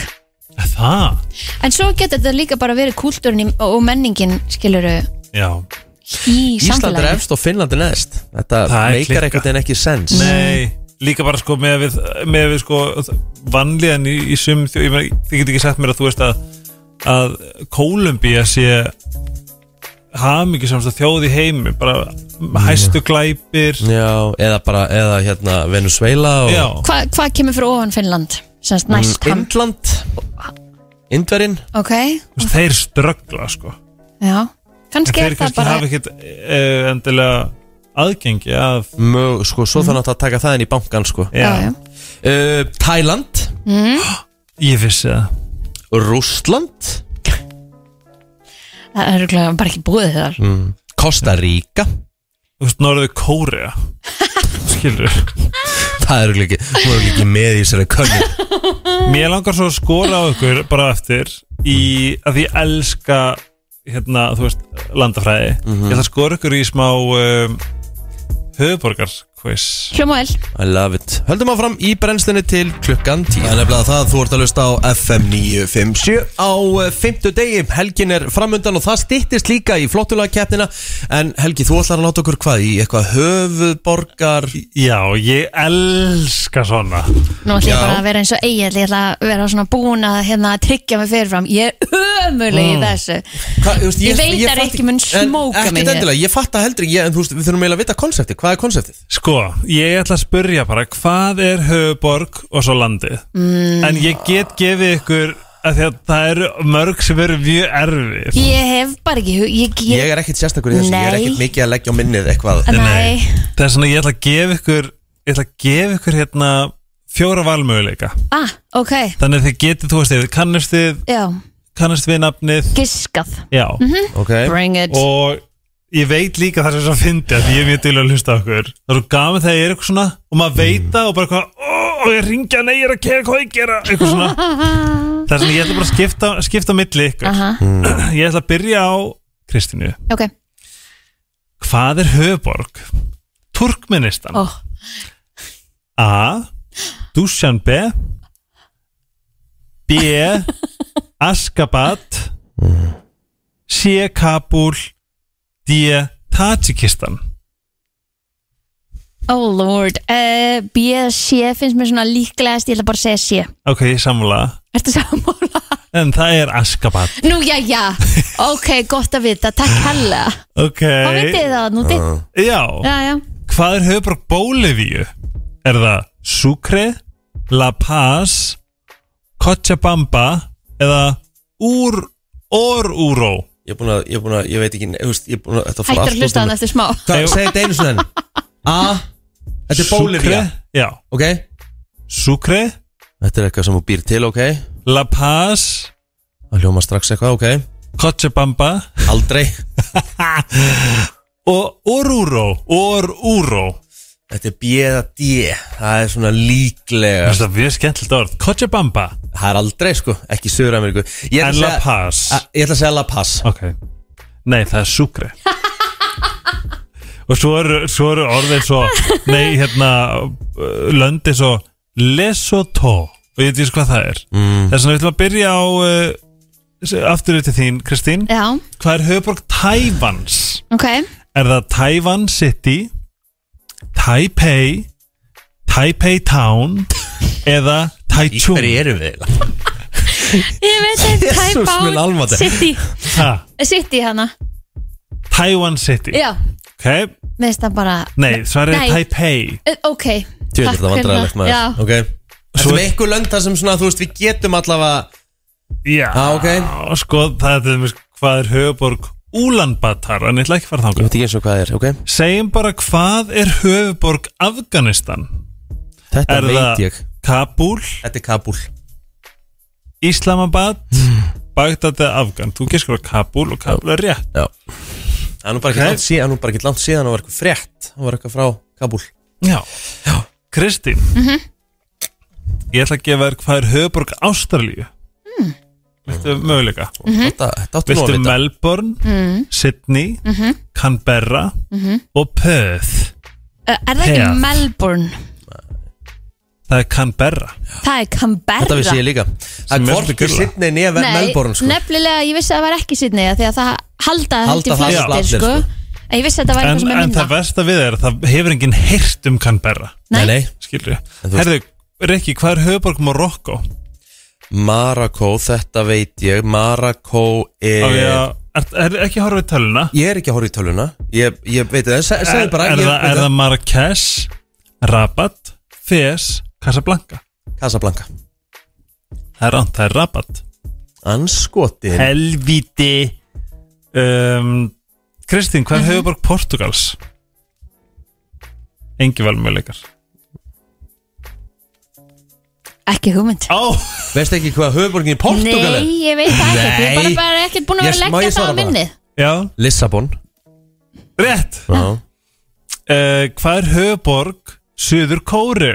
Speaker 3: það,
Speaker 4: En svo getur þetta líka bara verið kúltúrin í- og menningin skiluru
Speaker 3: já,
Speaker 4: í
Speaker 2: Ísland er
Speaker 4: samfélaginu
Speaker 2: efst og Finnland er neðst Þetta
Speaker 3: Það er
Speaker 2: meikar
Speaker 3: klikkað.
Speaker 2: ekkert en ekki sens
Speaker 3: nei líka bara sko með við, með við sko vanlíðan í, í sum þjó- ég meina, þið get ekki sagt mér að þú veist að að Kólumbía sé hamingi samst að þjóð í heimi bara hæstu glæpir
Speaker 2: Já, eða bara, eða hérna Venezuela og
Speaker 3: já,
Speaker 4: Hva, Hvað kemur fyrir ofan Finnland? Semst næst mm,
Speaker 2: Indland Indverinn
Speaker 4: Ok,
Speaker 3: þú veist, þeir ströggla sko
Speaker 4: já
Speaker 3: en
Speaker 4: Kannski
Speaker 3: þeir
Speaker 4: er það
Speaker 3: kannski
Speaker 4: bara
Speaker 3: hafa ekkert uh, endilega aðgengi að
Speaker 2: Mög, sko,
Speaker 4: Mm.
Speaker 2: svo þarf náttúrulega að taka það inn í bankan sko
Speaker 4: já, já.
Speaker 2: uh, Thailand
Speaker 3: ég vissi það
Speaker 2: Rússland
Speaker 4: Það er örugglega bara ekki búið þar
Speaker 2: Mm. Costa Rica
Speaker 3: Þú veist, norðu Kórea Skilur
Speaker 2: Það eru ekki, hún eru ekki með í sér að könni
Speaker 3: Mér langar svo að skora á ykkur bara eftir í að ég elska hérna, þú veist, landafræði Ég ætla að skora ykkur í smá um, höfuborgarquiz
Speaker 4: Hljómavel,
Speaker 2: I love it Höldum áfram í brennslunni til klukkan 10 Það er nefnilega það, þú ert að lusta á FM 957 Á eh, fimmtu degi, helgin er framundan og það styttist líka í flottulega keppnina En Helgi, þú ætlar að láta okkur hvað í eitthvað höfuborgar
Speaker 3: Já, ég elska svona
Speaker 4: nú ætla
Speaker 2: Já.
Speaker 4: ég bara að vera eins og eigin Ég ætla að vera svona búin að hérna, tryggja mig fyrirfram Ég er ömuleg
Speaker 2: Mm.
Speaker 4: í þessu
Speaker 2: Hva, veist,
Speaker 4: Ég veit að Rikki mun smóka
Speaker 2: Ekki
Speaker 4: mig hér.
Speaker 2: endilega, ég fatt að heldur ekki, ég- en þú veist, við þurfum eiginlega að vita konseptið Hvað er konseptið?
Speaker 3: Sko, ég ætla að spyrja bara hvað er höfuborg og svo landið mm. En ég get gefið ykkur að því að það eru mörg sem eru mjög erfið
Speaker 4: Ég hef bara ekki hug- Ég, ég,
Speaker 2: Ég er ekkit sérstakur í þessu, ég er
Speaker 4: Nei.
Speaker 2: ekkit mikið að leggja á minnið eitthvað
Speaker 4: Nei.
Speaker 3: Það er svona ég ætla að gefa ykkur Ég ætla að gefa ykkur hérna fjóra valmöguleika
Speaker 4: Ah, ok,
Speaker 3: Þannig að þið getið, þú veist, þið kannast þið
Speaker 4: já,
Speaker 3: kannast við nafnið
Speaker 4: giskað
Speaker 3: Já,
Speaker 2: okay.
Speaker 4: Bring it
Speaker 3: og ég veit líka það sem svo fyndi að ég er mjög til að hlusta á okkur Það eru gaman þegar ég er eitthvað svona og maður veit það og bara hvað og ég ringja, nei, ég er að kera hvað ég gera eitthvað svona Það er svona, ég ætla bara að skipta, skipta á milli ykkur
Speaker 4: Aha,
Speaker 3: Ég ætla að byrja á Kristínu
Speaker 4: ok
Speaker 3: Hvað er höfuborg? Turkmenistan
Speaker 4: oh.
Speaker 3: A. Dushanbe B. Askabat C. Kabul D. Tajikistan
Speaker 4: oh lord uh, B, C finnst mér svona líklegast Ég ætla bara að segja C
Speaker 3: Ok, ég samla
Speaker 4: Ertu sammála?
Speaker 3: En það er Askabat
Speaker 4: Nú, já, já Ok, gott að vita, takk hella
Speaker 3: Ok
Speaker 4: Hvað vitið þið það núti?
Speaker 2: Ah.
Speaker 3: Já,
Speaker 4: Já, já
Speaker 3: hvað er höfbrok Bólivíu? Er það Sucre, La Paz Cochabamba eða Úr Orúró
Speaker 2: Ég er búin að, ég er búin að, ég veit ekki, þú veist, ég er búin að Þetta fór
Speaker 4: Hættur
Speaker 2: allt út
Speaker 4: að
Speaker 2: um
Speaker 4: hlusta á
Speaker 2: mig.
Speaker 4: hann eftir smá
Speaker 2: Hvað, segðu þetta einu sinni enn. A Þetta er Bolivia
Speaker 3: Já,
Speaker 2: Ok
Speaker 3: Sucre,
Speaker 2: Þetta er eitthvað sem þú býr til, ok
Speaker 3: La Paz
Speaker 2: Það hljóma strax eitthvað, ok
Speaker 3: Cochabamba
Speaker 2: Aldrei
Speaker 3: og Oruro Oruro
Speaker 2: Þetta er B eða D Það er svona líklega
Speaker 3: Það er mjög skemmtilegt orð Cochabamba
Speaker 2: Það er aldrei, sko Ekki í Suður-Ameríku Ég ætla að
Speaker 3: en La
Speaker 2: segja-
Speaker 3: Paz
Speaker 2: A- Ég ætla að segja La Paz
Speaker 3: Ok Nei, það er Sucre Og svo eru, svo eru orðin svo Nei, hérna uh, Löndi svo Lesotho Og ég veit víst hvað það er mm. Þess vegna við ætlum að byrja á uh, aftur yfir til þín, Kristín
Speaker 4: Já,
Speaker 3: Hvað er höfuborg Tævans?
Speaker 4: ok
Speaker 3: Er það Taiwan City Taipei Taipei Town eða Taichung
Speaker 5: Hverju erum við? eiginlega?
Speaker 4: Ég veit að
Speaker 2: Jesús minn
Speaker 4: Taipán
Speaker 2: almáttugur.
Speaker 4: City,
Speaker 3: Ha,
Speaker 4: City hana
Speaker 3: Taiwan City
Speaker 4: Já,
Speaker 3: Ok,
Speaker 4: minnst það bara
Speaker 3: nei, svarið
Speaker 4: Nei.
Speaker 3: er Taipei
Speaker 4: Eh, Ok,
Speaker 2: Þú veit
Speaker 4: Takk
Speaker 2: þetta
Speaker 4: fyrir
Speaker 2: vandræðilegt
Speaker 4: það.
Speaker 2: maður
Speaker 4: Já.
Speaker 2: Ok Þetta
Speaker 3: Svo-
Speaker 2: er með ykkur lönd þar sem svona, þú veist, við getum allavega
Speaker 3: Já,
Speaker 2: Já, ok.
Speaker 3: sko, það er til dæmis hvað er höfuborg Úlanbatar, en ég ætla ekki að fara
Speaker 2: Ég
Speaker 3: þangað
Speaker 2: veit ekki eins og hvað er, ok
Speaker 3: Segjum bara hvað er höfuborg Afganistan
Speaker 2: Þetta
Speaker 3: Er
Speaker 2: veit
Speaker 3: það
Speaker 2: ég
Speaker 3: Kabul,
Speaker 2: Þetta er Kabul
Speaker 3: Islamabad
Speaker 2: Hmm.
Speaker 3: Bagdad eða Afgan Þú giskur á Kabul og Kabul er rétt
Speaker 2: Já Það er nú bara
Speaker 3: Ok.
Speaker 2: ekki langt síðan, það er nú bara ekki langt síðan og var eitthvað frétt og var eitthvað frá Kabul
Speaker 3: Já, Kristín Ég ætla að gefa þér hvað er höfuborg Ástralíu Viltu möguleika
Speaker 4: Mhm.
Speaker 2: Þetta, þetta áttu nú að
Speaker 3: Viltu
Speaker 2: vita
Speaker 3: Melbourne, Sydney Canberra og Perth
Speaker 4: Eh, Er það ekki
Speaker 3: Perth.
Speaker 4: Melbourne?
Speaker 3: Það er Canberra
Speaker 4: Það er Canberra
Speaker 2: Þetta vissi ég líka
Speaker 3: Sem
Speaker 2: Það er
Speaker 3: er svolítið
Speaker 2: hvorki
Speaker 3: grilla.
Speaker 2: sittni nýja Melbourne sko
Speaker 4: nefnilega ég vissi að það var ekki Sydney af Því að það halda
Speaker 2: Halda
Speaker 4: það heldur
Speaker 2: það
Speaker 4: flestir
Speaker 2: allir,
Speaker 4: sko.
Speaker 2: sko.
Speaker 4: En ég vissi að þetta var eitthvað
Speaker 3: En,
Speaker 4: sem er
Speaker 3: en það
Speaker 4: minna
Speaker 3: versta við er að það hefur enginn heyrt um Canberra
Speaker 4: Nei.
Speaker 2: nei
Speaker 3: Skilju
Speaker 2: þú veist-
Speaker 3: Herðu, Rikki, hvað er höfuborg Marokko?
Speaker 2: Marako, þetta veit ég Marako er
Speaker 3: Á ég að- Er, er ekki að horfa í töluna?
Speaker 2: Eh. Ég er ekki að horfa í töluna Ég, ég veit það, Se-
Speaker 3: Er,
Speaker 2: segðu bara
Speaker 3: er,
Speaker 2: ég,
Speaker 3: það, er það Marrakesh, Rabat, Fes, Casablanca?
Speaker 2: Casablanca
Speaker 3: Það er ránt, það er rabat
Speaker 2: Anskotin
Speaker 3: Helvíti um, Kristín,
Speaker 4: Mhm.
Speaker 3: hvað er höfuborg Portugals? Engi valmöðleikar
Speaker 4: Ekki hugmynd
Speaker 3: Á,
Speaker 2: Veistu ekki hvað höfuborgin í Portugal er?
Speaker 4: Nei, ég veit það ekki Ég er bara,
Speaker 2: Nei.
Speaker 4: bara ekkert búin að
Speaker 2: Ég-
Speaker 4: vera að
Speaker 2: má ég
Speaker 4: leggja það
Speaker 2: svara
Speaker 4: á
Speaker 2: bara?
Speaker 4: minni
Speaker 3: já,
Speaker 2: Lissabon
Speaker 3: rétt
Speaker 2: Já.
Speaker 3: uh, Hvað er höfuborg Suður Kóru?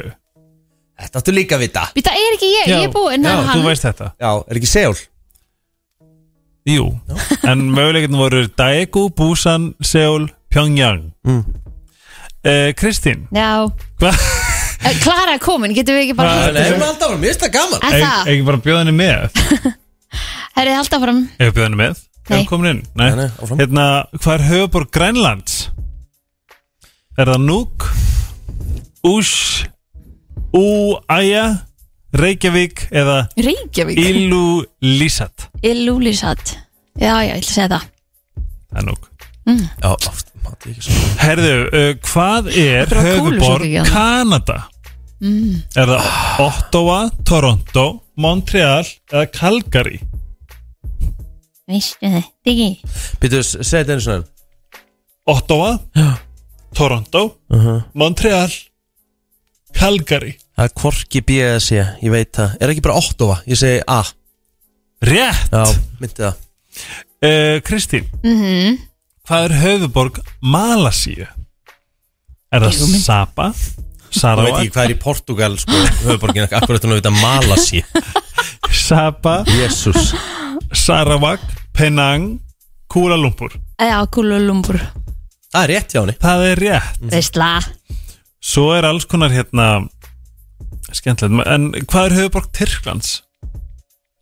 Speaker 2: Þetta áttu líka að vita
Speaker 4: Við það er ekki ég, ég er búin
Speaker 3: já,
Speaker 4: það er
Speaker 3: þú
Speaker 4: hann.
Speaker 3: veist þetta
Speaker 2: Já, er ekki Seul?
Speaker 3: Jú, en möguleikin voru Daegu, Busan, Seoul, Pyongyang mm. Kristín,
Speaker 4: Já,
Speaker 3: hvað
Speaker 4: Eh, Klara er komin, getum við ekki bara
Speaker 3: Hvað?
Speaker 2: Nei, hún er alltaf að mér finnst það gaman
Speaker 4: Er það?
Speaker 3: Ekki bara bjóða henni með
Speaker 4: Herrið, halda fram
Speaker 3: Ekki bjóða henni með
Speaker 4: Nei.
Speaker 3: Hefur komin inn Nei.
Speaker 2: Nei, nei, áfram.
Speaker 3: Hérna, hvað er höfuborg Grænlands? Er það Núk Ús Úæja Reykjavík eða
Speaker 4: Reykjavík
Speaker 3: Ilulísat
Speaker 4: Illúlisat Já, já, ég ætla að segja það
Speaker 3: Það er Núk
Speaker 2: Já, oft, maður ekki svo
Speaker 3: Herðu, uh, hvað er
Speaker 4: Þetta var kúlusokki
Speaker 3: höfuborg
Speaker 4: ekki annað.
Speaker 3: Kanada? Er það Ottawa, Toronto, Montreal eða Calgary?
Speaker 4: Veistu þið, diggi
Speaker 2: Býtu, segðu þetta einu svona
Speaker 3: Ottawa, Toronto,
Speaker 2: Uh-huh.
Speaker 3: Montreal, Calgary
Speaker 2: Það er Kvorki BSC, ég veit það Er ekki bara Ottawa, ég segi A
Speaker 3: Rétt!
Speaker 2: Já, myndi það
Speaker 3: Eh, Kristín, hvað er höfuborg Malasíu? Er það Sapa,
Speaker 2: Ég veit
Speaker 3: Sarawak,
Speaker 2: ekki hvað er í Portugal, sko, höfuborgin Akkur þetta hún að vita Malasi
Speaker 3: Sapa,
Speaker 2: Jésús
Speaker 3: Sarawak, Penang, Kuala Lumpur?
Speaker 4: Já, Kululumbur
Speaker 2: Það er rétt hjá henni
Speaker 3: Það er rétt.
Speaker 2: Mhm.
Speaker 4: Veistla
Speaker 3: Svo er alls konar hérna, skemmtilegt, en hvað er höfuborg Tyrklands?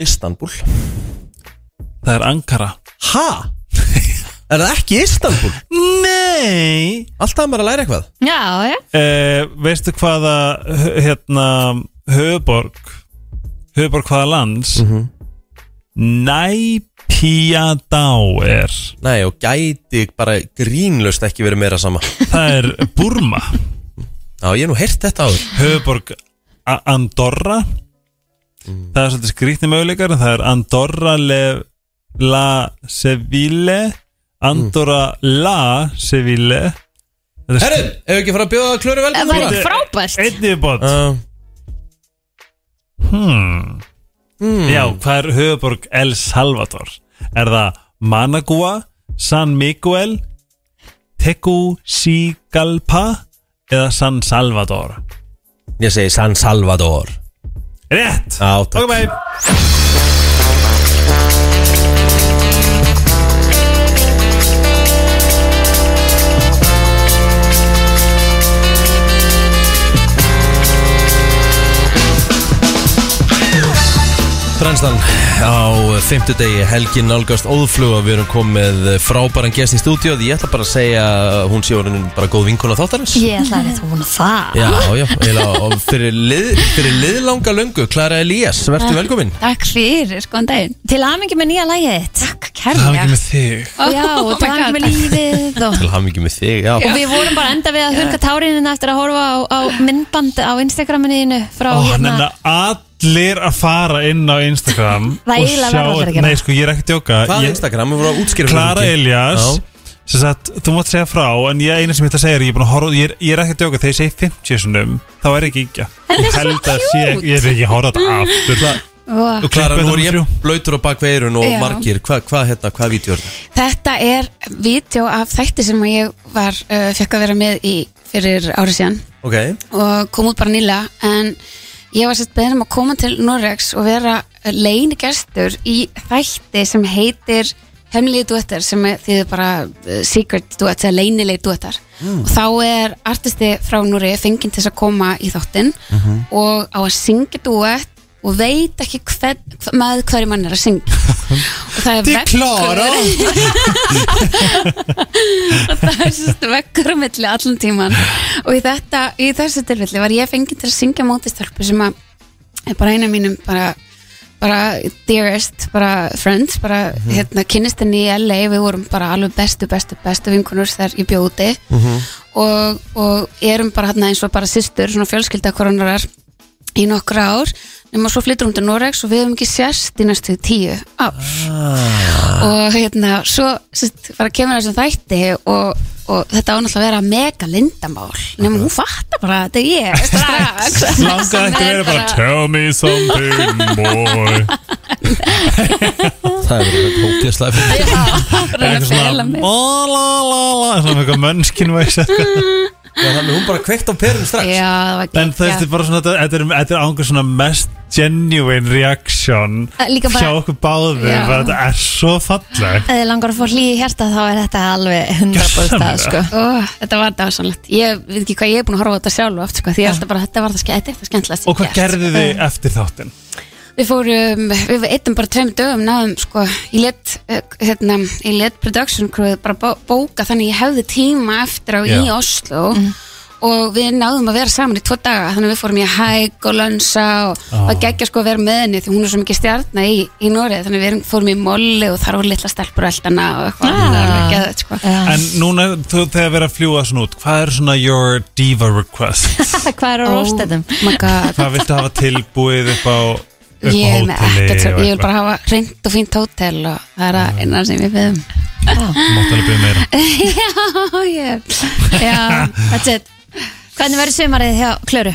Speaker 2: Istanbul
Speaker 3: Það er Ankara.
Speaker 2: Ha? Er það ekki Istanbul?
Speaker 3: Nei!
Speaker 2: Alltaf er maður að læra eitthvað
Speaker 4: Já, já
Speaker 3: Eh, veistu hvaða hö- hérna höfuborg höfuborg hvaða lands mm -hmm. er
Speaker 2: Nei, og gæti bara grínlaust ekki verið meira sama
Speaker 3: það er Burma
Speaker 2: Já, ég hef nú heyrt þetta áður
Speaker 3: höfuborg A- Andorra
Speaker 2: Mm.
Speaker 3: það er svolítið skrýtni möguleikar en það er Andorra le, la Seville Andorra la Seville Þetta er
Speaker 2: Mm. Herru, ef við ekki fara að bjóða klöru
Speaker 4: Það
Speaker 2: velkomna
Speaker 4: var frábært
Speaker 3: Einn yfirbót
Speaker 2: Uh, Mm.
Speaker 3: Já, hvað er höfuborg El Salvador? Er það Managua, San Miguel, Tegucigalpa eða San Salvador?
Speaker 2: ég segi San Salvador
Speaker 3: Rétt!
Speaker 2: Já, Ah, takk
Speaker 3: Ok, bye!
Speaker 2: Brennstan á fimmtudegi helgin nálgast óðfluga Við erum komið frábæran gest í stúdíu Ég ætla bara að segja að hún sé orðin bara góð vinkona þáttarins
Speaker 4: Ég ætla að þetta vona það
Speaker 2: Já, já, eiginlega, og fyrir, lið, fyrir liðlanga löngu Klara Elías, verður velkomin
Speaker 5: Takk fyrir, skoðan daginn
Speaker 4: Til aðmengi með nýja lægið þitt
Speaker 5: Takk
Speaker 3: Það er
Speaker 5: kærlega
Speaker 3: ekki með þig
Speaker 4: Já, og til aðmengi með lífið og,
Speaker 2: Til hamingi með þig, já,
Speaker 4: og við vorum bara enda við að hurga tárinin eftir að horfa á, á myndband á Instagraminu þínu frá hérna-
Speaker 3: Ó, nenna, Allir að fara inn á Instagram
Speaker 4: Það
Speaker 3: og
Speaker 4: er eiginlega
Speaker 3: sjá-
Speaker 4: verða allir að gera.
Speaker 3: Nei, sko, ég er ekki að djóka
Speaker 2: Hvað er
Speaker 3: Ég-
Speaker 2: Instagram? Við vorum að útskýra fyrir
Speaker 3: Klara
Speaker 2: fólki.
Speaker 3: Elias
Speaker 2: Já.
Speaker 3: sem sagt, þú mátt segja frá en ég eina sem ég ætla að segja er að ég er, búin að horfa, ég er, ég er ekki að djóka þegar ég segi 50 sunnum þá er ekki ekki ég held að sé ekki, ég er ekki að horfa á þetta aftur
Speaker 5: Vá.
Speaker 2: Og Klara, nú er ég
Speaker 3: Klippu
Speaker 2: blöytur á bakveirun og
Speaker 5: Já.
Speaker 2: margir Hvað hva, hérna, hvað vídeo er það?
Speaker 5: Þetta er vídeo af þætti sem ég var, uh, fekk að vera með í fyrir árið síðan
Speaker 2: Ok,
Speaker 5: og kom út bara nýla en ég var sett beðin um að koma til Norex og vera leinigestur í þætti sem heitir hemmilegi duettar sem er- þýðir bara uh, secret duett eða leinilegi duettar og þá er artisti frá Núri fenginn til þess að koma í þáttinn og á að syngja duett og veit ekki hver, hver, með hverju mann er að syngja og það er
Speaker 3: Þið Klara!
Speaker 5: og það er sérst vekkur á milli allan tíman og í, þetta, í þessu tilfelli var ég fengið til að syngja mótistelpu sem að er bara eina mínum bara, bara dearest, bara friends bara hérna kynnist henni í LA við vorum bara alveg bestu, bestu, bestu vinkunur þegar ég bjóti mm og, og erum bara hérna eins og bara systur svona fjölskylda koronarar í nokkra ár, nema svo flyttur hún til Noregs og við hefum ekki sérst í næstu tíu ár og hérna, svo sérst, bara kemur þessum þætti og, og þetta ánáttúrulega að vera mega lindamál nema hún fattar bara að þetta er ég strax
Speaker 3: langaði ekki að vera bara tell me something more
Speaker 2: það er verið hókjastlega fyrir
Speaker 5: bara
Speaker 3: eitthvað
Speaker 5: að fela mig.
Speaker 3: svona "Ó, la la la svona eitthvað mönnskinn
Speaker 2: Já, þannig hún bara kveikt á perun strax
Speaker 5: Já, það var
Speaker 3: en
Speaker 5: geggjað.
Speaker 3: þetta er bara svona þetta- þetta er- þetta er ángur svona mest genuine reaction
Speaker 5: Eh, líka bara-
Speaker 3: hjá okkur báðum
Speaker 5: Já.
Speaker 3: bara þetta er svo falleg
Speaker 4: Ef þið langar að fá hlýi hjarta þá er þetta alveg 100%
Speaker 3: Gjörsamlega.
Speaker 4: það, sko.
Speaker 5: Ó, þetta var dásanlegt Ég veit ekki hvað ég er búin að horfa á þetta sjálf oft sko, Því ég alltaf bara, þetta var það skemmt Þetta er skemmtilegast sem
Speaker 3: og hvað
Speaker 5: ég hef gert. Eh.
Speaker 3: gerðu þið eftir þáttinn?
Speaker 5: Við fórum, við eittum bara tveim dögum náðum, sko, ég let eh, hérna, ég let production crew bara bó- bóka þannig ég hefði tíma eftir á í
Speaker 2: Já.
Speaker 5: Oslo
Speaker 3: Mhm.
Speaker 5: og við náðum að vera saman í tvo daga þannig að við fórum í að hæk og lönsa og
Speaker 3: Ó.
Speaker 5: það oh. geggja sko að vera með henni því hún er svo mikið stjarnar í, í Norið þannig að við erum- fórum í molli og þar voru litla stelpur eldana og eitthvað,
Speaker 4: Ah.
Speaker 5: það var alveg geðveikt, sko.
Speaker 3: En núna, þú, þegar við erum að fljúa svona út, hvað er svona your diva request?
Speaker 4: Hvað er á
Speaker 5: Oh
Speaker 4: róstættum?
Speaker 5: my god
Speaker 3: Hvað viltu hafa tilbúið upp á, upp
Speaker 5: Ég,
Speaker 3: á
Speaker 5: er með
Speaker 3: hóteli?
Speaker 5: ekkert,
Speaker 3: og
Speaker 5: ég vil
Speaker 3: eitthvað?
Speaker 5: bara hafa reynd og fínt hótel og það er að eina sem ég byggðum
Speaker 3: Þú mátt alveg byrja meira.
Speaker 5: Já, ég Já, that's it
Speaker 4: Hvernig verður sumarið hjá Klöru?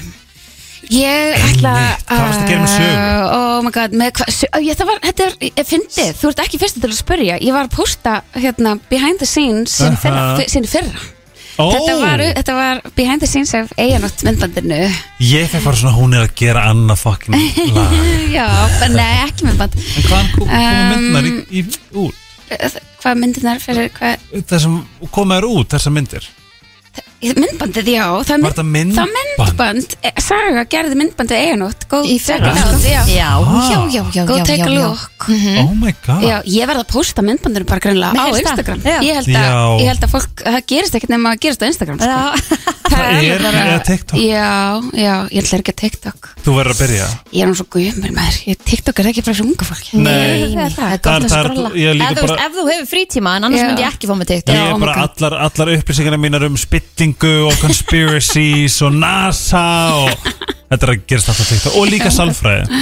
Speaker 5: Ég ætla
Speaker 3: Einmitt, hvað varstu að gera með sögu?
Speaker 5: Uh, Oh my god, með hvað sög, ég, Það var, þetta er, ég fyndið Þú ert ekki fyrstu til að spyrja Ég var að posta, hérna, behind the scenes Sinni
Speaker 3: Aha.
Speaker 5: fyrra, fyr- sinni fyrra.
Speaker 3: Ó,
Speaker 5: Þetta, var, þetta var behind the scenes af eiganótt myndbandinu
Speaker 3: ég fekk bara svona hún er að gera annað fucking lag.
Speaker 5: Já, nei, ekki myndband
Speaker 3: En hvaðan kom, komu
Speaker 5: Um,
Speaker 3: myndnar í, í, úr?
Speaker 5: Uh, Hvað myndirnar fyrir, hvað
Speaker 3: Það sem komaður út, þessar myndir.
Speaker 5: Myndbandið, já það er
Speaker 3: Var þetta myndband?
Speaker 5: Það Um, myndband, eh, Saga gerði myndbandið eiginótt
Speaker 4: Í fyrra?
Speaker 5: Já,
Speaker 4: Já,
Speaker 3: Ah.
Speaker 4: já, já, já.
Speaker 5: Go
Speaker 4: já,
Speaker 5: take
Speaker 4: já,
Speaker 5: a
Speaker 4: já.
Speaker 5: look
Speaker 3: Oh my god.
Speaker 5: Mm-hmm. Já, ég verð að posta myndbandinu bara greinlega
Speaker 4: Nei,
Speaker 5: á
Speaker 4: helst það.
Speaker 5: Instagram
Speaker 4: Já.
Speaker 5: ég held, að,
Speaker 3: Já.
Speaker 5: ég held að fólk, það gerist ekkert nema að gerist á Instagram sko.
Speaker 4: Já,
Speaker 3: Það
Speaker 5: alveg
Speaker 3: er eða TikTok.
Speaker 5: Já, já, ég ætla ekki að TikTok
Speaker 3: Þú verður að byrja.
Speaker 5: Ég er nú svo guðmur maður, ég, TikTok er ekki bara fyrir unga fólki
Speaker 3: Nei.
Speaker 5: það er það.
Speaker 4: gott
Speaker 3: Þar-
Speaker 4: að
Speaker 3: þar-
Speaker 4: skrolla.
Speaker 3: ég er líka
Speaker 4: Eða þú veist,
Speaker 3: bara-
Speaker 4: Ef þú hefur frítíma, en annars
Speaker 5: Já.
Speaker 4: myndi ég ekki fá mig
Speaker 3: Ég
Speaker 4: TikTok
Speaker 5: Já,
Speaker 3: er
Speaker 5: oh my
Speaker 3: bara
Speaker 5: God.
Speaker 3: allar, allar upplýsingarna mínar um spillingu og conspiracies og NASA og þetta er að gerast alltaf TikTok og líka salfræði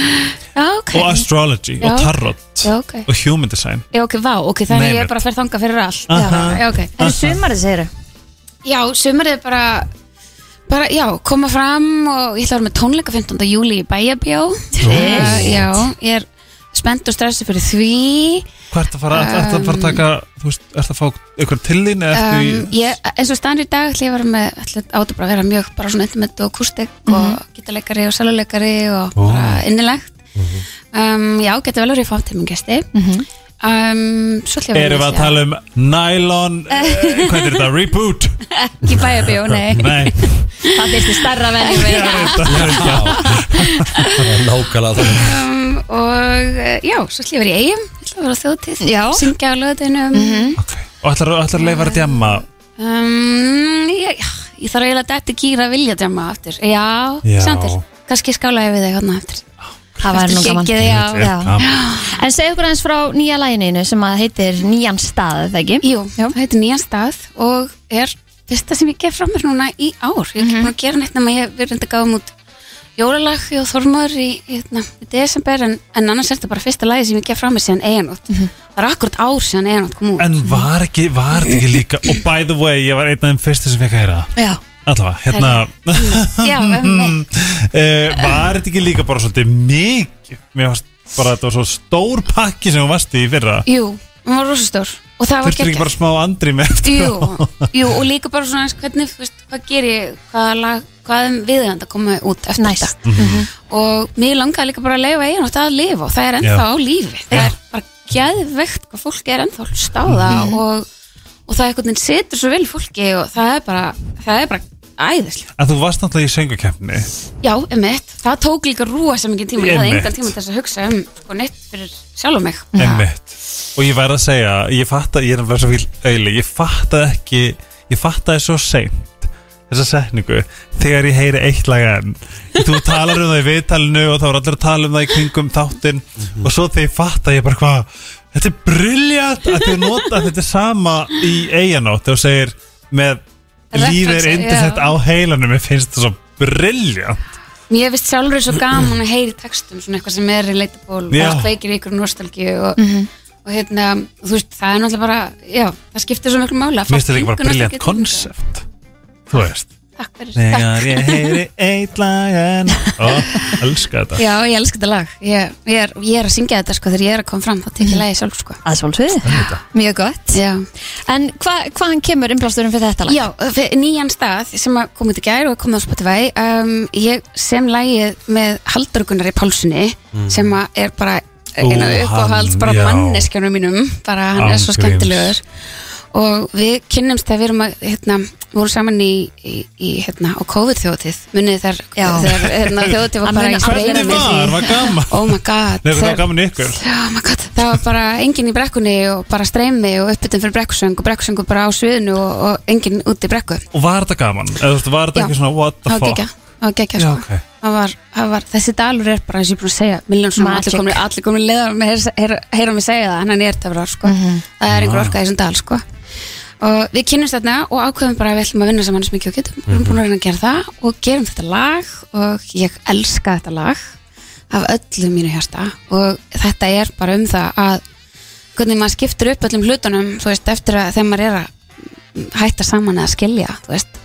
Speaker 5: Já, ok
Speaker 3: og astrology
Speaker 5: Já.
Speaker 3: og tarot
Speaker 5: Já, ok
Speaker 3: og human design
Speaker 5: Já, ok, vá, ok, þannig að ég
Speaker 3: Nei, nei.
Speaker 5: er bara að fer þanga fyrir allt
Speaker 3: Aha.
Speaker 5: Já, já, ok
Speaker 4: Það er sumarið, segir þú?
Speaker 5: Já, sumarið er bara bara, já, koma fram og ég ætla að vera með tónleika 15. júli í Bæjabjó uh, Já, ég er spennt og stressi fyrir því
Speaker 3: Hvað ert að fara, um, ert að fara að taka þú veist, ert að fá ykkur til þín eða ertu í
Speaker 5: um, ég, eins og staðan í dag ætla ég að vera með, ætla átta bara að vera mjög bara svona intimate og kústik
Speaker 3: Mhm.
Speaker 5: og gítarleikari og saluleikari og bara innilegt
Speaker 3: Mhm.
Speaker 5: um, já, geti vel verið að fá til minn gesti um, svo ætla ég
Speaker 3: Erum við að tala um nylon uh, Hvað er þetta? Reboot?
Speaker 5: ekki bæjabjó, nei
Speaker 3: um- Nei,
Speaker 4: Það þyrfti starra venni við
Speaker 3: ég veit það
Speaker 2: Já, nákvæmlega það
Speaker 5: um, og eh, já, svo ætlum ég að vera í eigum ætlum að vera á þjóðtíð,
Speaker 4: Já.
Speaker 5: syngja á löðinum
Speaker 3: Ok. Og ætlar að leifa að djamma
Speaker 5: um, ég, ég þarf eiginlega að dætti kýra að vilja drömma aftur já,
Speaker 3: Já.
Speaker 5: samtil, kannski skála ég við þig hérna eftir
Speaker 4: Það var nú gaman
Speaker 5: Geggið, já.
Speaker 4: Já. En segja okkur aðeins frá nýja lægininu sem að heitir Nýjan stað, er það ekki?
Speaker 5: Jú, það heitir nýjan stað og er fyrsta sem ég gef fram mér núna í ár. Ég er
Speaker 3: Mhm.
Speaker 5: ekki búin að gera neitt nema ég verður enda gáðum út jólalag og þormar í, hérna, í desember en, en annars er þetta bara fyrsta lagi sem ég gef fram mér síðan eiginótt.
Speaker 3: Mhm.
Speaker 5: Það er akkurat ár síðan eiginótt kom út.
Speaker 3: En var ekki, var þetta ekki líka Og by the way, ég var einn af þeim fyrstu sem fekk að heyra það
Speaker 4: Já.
Speaker 3: Allavega, hérna
Speaker 5: Já, um,
Speaker 3: uh, Var þetta ekki líka bara svolítið mikið Mér varst bara, þetta var svo stór pakki sem hún varst í í fyrra
Speaker 5: jú, hún var rosa stór og það var
Speaker 3: Þurftur ekki bara smá andri með eftir á?
Speaker 5: Jú, jú, og líka bara svona eins hvernig, þú veist, hvað ger ég, hvaða lag, hvað er viðjönd að koma út eftir
Speaker 4: Næst.
Speaker 5: þetta Mhm. og mér langaði líka bara að leifa eigin og það að lifa og það er ennþá á lífi það er bara gæðvegt hvað fólk er ennþá að stáða og, og það einhvern veginn setur svo vel í fólki og það er bara, það er bara æðislega.
Speaker 3: En þú varst náttúrulega í söngakefni
Speaker 5: Já, emitt, það tók líka rúa sem ekki tíma, ég hafði
Speaker 3: Einmitt.
Speaker 5: engan tíma til þess að hugsa um og neitt fyrir sjálf og mig
Speaker 3: Einmitt Og ég verð að segja, ég fatt að, ég er að vera svo fíl auðli Ég fatt að ekki, ég fatt að svo seint Þessa setningu Þegar ég heyri eitt lag enn Þú talar um það í viðtalinu og þá er allir að tala um það í kringum þáttinn
Speaker 5: Mhm.
Speaker 3: Og svo þegar ég fatt að ég bara hvað Þetta er briljant að þið nota þetta sama í eiginótt og segir með
Speaker 5: Reference,
Speaker 3: lífið er indislegt
Speaker 5: já.
Speaker 3: á heilanum Mér finnst þetta svo briljant
Speaker 5: Mér finnst sjálfur svo gaman að heyri textum svona eitthvað sem er relatable og
Speaker 3: Já.
Speaker 5: það kveikir í ykkur nostalgíu og, og hérna, þú veist, það er náttúrulega bara já, það skiptir svo miklu máli að fá
Speaker 3: Mér finnst þetta líka
Speaker 5: fólk
Speaker 3: bara briljant
Speaker 5: nostalgíu tilfinningar.
Speaker 3: konsept Þú veist
Speaker 5: Takk fyrir, takk
Speaker 3: Þegar ég heyri eitt lagan Ó, elska þetta
Speaker 5: Já, ég elska þetta lag ég, ég, er, ég er að syngja þetta sko þegar ég er að koma fram þá tekja lagið sjálf sko
Speaker 4: Að svolsviði. Mjög gott.
Speaker 5: Já,
Speaker 4: En hva, hvaðan kemur innblásturum fyrir þetta lag?
Speaker 5: já fyrir nýjan stað sem að koma út í gær og kom á Spotify um, ég sem lagið með Haldurgunari Pálsunni sem að er bara eina
Speaker 3: Ú,
Speaker 5: uppáhalds
Speaker 3: Mm. hann,
Speaker 5: bara
Speaker 3: já.
Speaker 5: manneskjanum mínum bara hann er svo
Speaker 3: Án gríns.
Speaker 5: skemmtilegur og við kynnumst þegar við erum að hérna, við vorum saman í, í, í hérna, á COVID-þjóðtíð munið þar,
Speaker 4: Já.
Speaker 5: þegar hérna, þjóðtíð var
Speaker 4: Að
Speaker 5: bara
Speaker 4: muna
Speaker 5: í
Speaker 4: alveg
Speaker 5: spreyinu
Speaker 3: Hvernig var, var gaman
Speaker 5: oh my god
Speaker 3: Nei, það var
Speaker 5: þegar-
Speaker 3: gaman í ykkur
Speaker 5: Já, oh my god, það var bara enginn í brekkunni og bara streymi og uppbytun fyrir brekkusöng og brekkusöngu bara á sviðinu og, og enginn út í brekku
Speaker 3: Og var þetta gaman? Eða, þú veist, var þetta
Speaker 5: Já.
Speaker 3: ekki svona what the
Speaker 5: það var
Speaker 3: fuck
Speaker 5: gekkja, það var gekkja
Speaker 3: Já,
Speaker 5: sko.
Speaker 3: ok.
Speaker 5: það var, það var, þessi dalur er bara eins og ég er búin að segja, miljón svona
Speaker 4: Magic.
Speaker 5: allir komin, allir komin leðar með heyra, heyra, heyra mig segja það, en hann er það var sko. það er
Speaker 3: Ah.
Speaker 5: einhver orka í þessum dal sko. og við kynnumst þarna og ákveðum bara að við ætlum að vinna saman sem mikið og getum við erum búin að reyna að gera það og gerum þetta lag og ég elska þetta lag af öllu mínu hjarta og þetta er bara um það að hvernig maður skiptir upp öllum hlutunum þú veist, eftir að þegar maður er að hætta saman eða skilja þú veist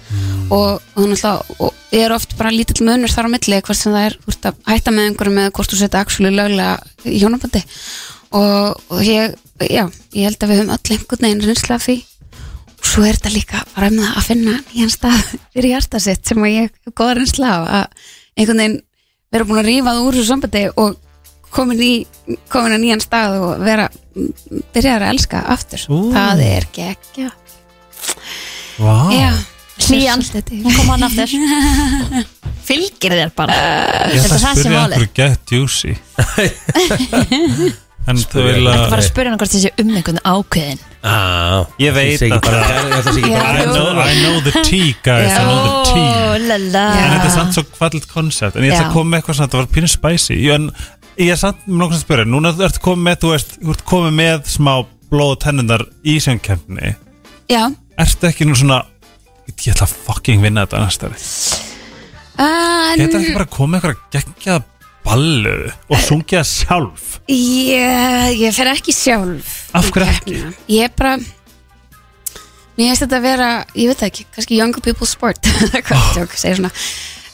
Speaker 5: og, og, þú náttúrulega- og ég er oft bara lítill munur þar á milli hvort sem það er hvort að hætta með einhverjum eða hvort þú setja axúli löglega í hjónabandi og, og ég, já, ég held að við höfum öll einhvern veginn reynsla af því og svo er þetta líka bara um það að finna nýjan stað fyrir hjarta sitt sem að ég hef góða reynsla af að einhvern veginn vera búin að rífa það úr þessu sambandi og komin, í, komin að nýjan stað og vera byrjar að elska aftur
Speaker 3: Ú.
Speaker 5: það er gekkja
Speaker 3: Vá.
Speaker 5: Já,
Speaker 4: Hlýjan.
Speaker 5: þetta
Speaker 4: Hún kom hann aftur. Fylgir þér bara.
Speaker 3: Ég ætla að
Speaker 4: Þetta það sem
Speaker 3: spyrja
Speaker 4: málið.
Speaker 3: ykkur get juicy En þú vil
Speaker 4: Þetta var
Speaker 3: að
Speaker 4: að spyrja hann hvort þessi um einhvern ákveðin.
Speaker 2: ah,
Speaker 3: Ég veit
Speaker 2: að
Speaker 3: að það-
Speaker 2: Það sé ekki
Speaker 5: Já.
Speaker 2: bara
Speaker 3: I know, I know the tea guys, I know the tea
Speaker 4: lala.
Speaker 3: En þetta er samt svo fallit koncept En ég ætla
Speaker 4: Já.
Speaker 3: að koma með eitthvað svona, þetta var pínu spicy Jú, En ég er samt með nokkuð að spyrja Núna ertu komið með, þú veist, þú ert komið með smá blóð og tennundar í sjöngkefni
Speaker 5: Já,
Speaker 3: ertu ekki nú svona ég ætla að fucking vinna þetta annars stæri
Speaker 5: en
Speaker 3: geta ekki bara komið eitthvað að gegja ballu og sungja sjálf
Speaker 5: ég, ég fer ekki sjálf
Speaker 3: Af
Speaker 5: í
Speaker 3: hverju ekki?
Speaker 5: keppnina. Ég er bara Mér finnst þetta að vera, ég veit það ekki, kannski younger people sport Hvað oh. tjók, segir svona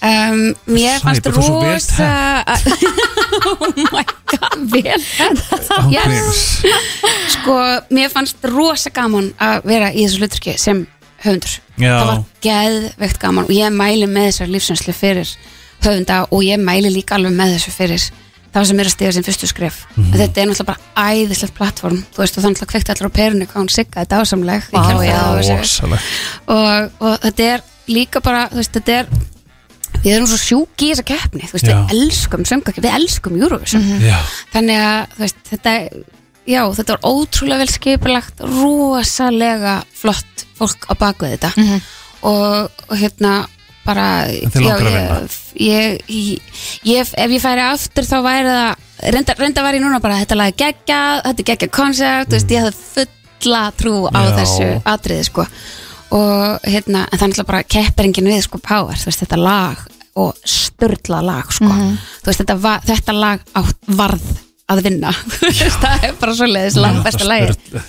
Speaker 5: um, Mér
Speaker 3: Sæ,
Speaker 5: fannst
Speaker 3: bara Ah. svo vel
Speaker 5: rosa Oh my god, vel
Speaker 3: Án
Speaker 5: Yes.
Speaker 3: gríns.
Speaker 5: Sko, mér fannst rosa gaman að vera í þessu hluturki sem höfundur
Speaker 3: Já.
Speaker 5: Það var geðveikt gaman og ég mæli með þessar lífsinslu fyrir höfunda og ég mæli líka alveg með þessu fyrir það sem er að stiga sem fyrstu skref mm þetta er náttúrulega bara æðislegt plattform þú veist og þannig að kveikta allar á perunni hvað hún sigga þetta ásamleg
Speaker 4: Vá,
Speaker 5: já,
Speaker 3: rosaleg
Speaker 5: og, og þetta er líka bara þú veist, þetta er við erum svo sjúki í þessa keppni þú veist,
Speaker 3: Já.
Speaker 5: við elskum söngakefni, við elskum Eurovision
Speaker 3: Já,
Speaker 5: þannig að þú veist, þetta já, þetta var ótrúlega vel skipulagt rosalega flott fólk á bakvið þetta og, og hérna bara
Speaker 3: Mhm. En þig langar að vinna?
Speaker 5: ég, ég, ég, ef ég færi aftur þá væri það reynda, reynda var ég núna bara þetta lag er geggjað, þetta er geggjað koncept þú veist, ég hafði fulla trú á
Speaker 3: Já.
Speaker 5: þessu atriði sko og hérna, en þannig að bara kepperingin við sko power, þú veist, þetta lag og störla lag sko þú veist, þetta, va, þetta lag átt, varð að vinna, Þú veist, það er bara svo leiðis lag, besta lagið
Speaker 3: eh,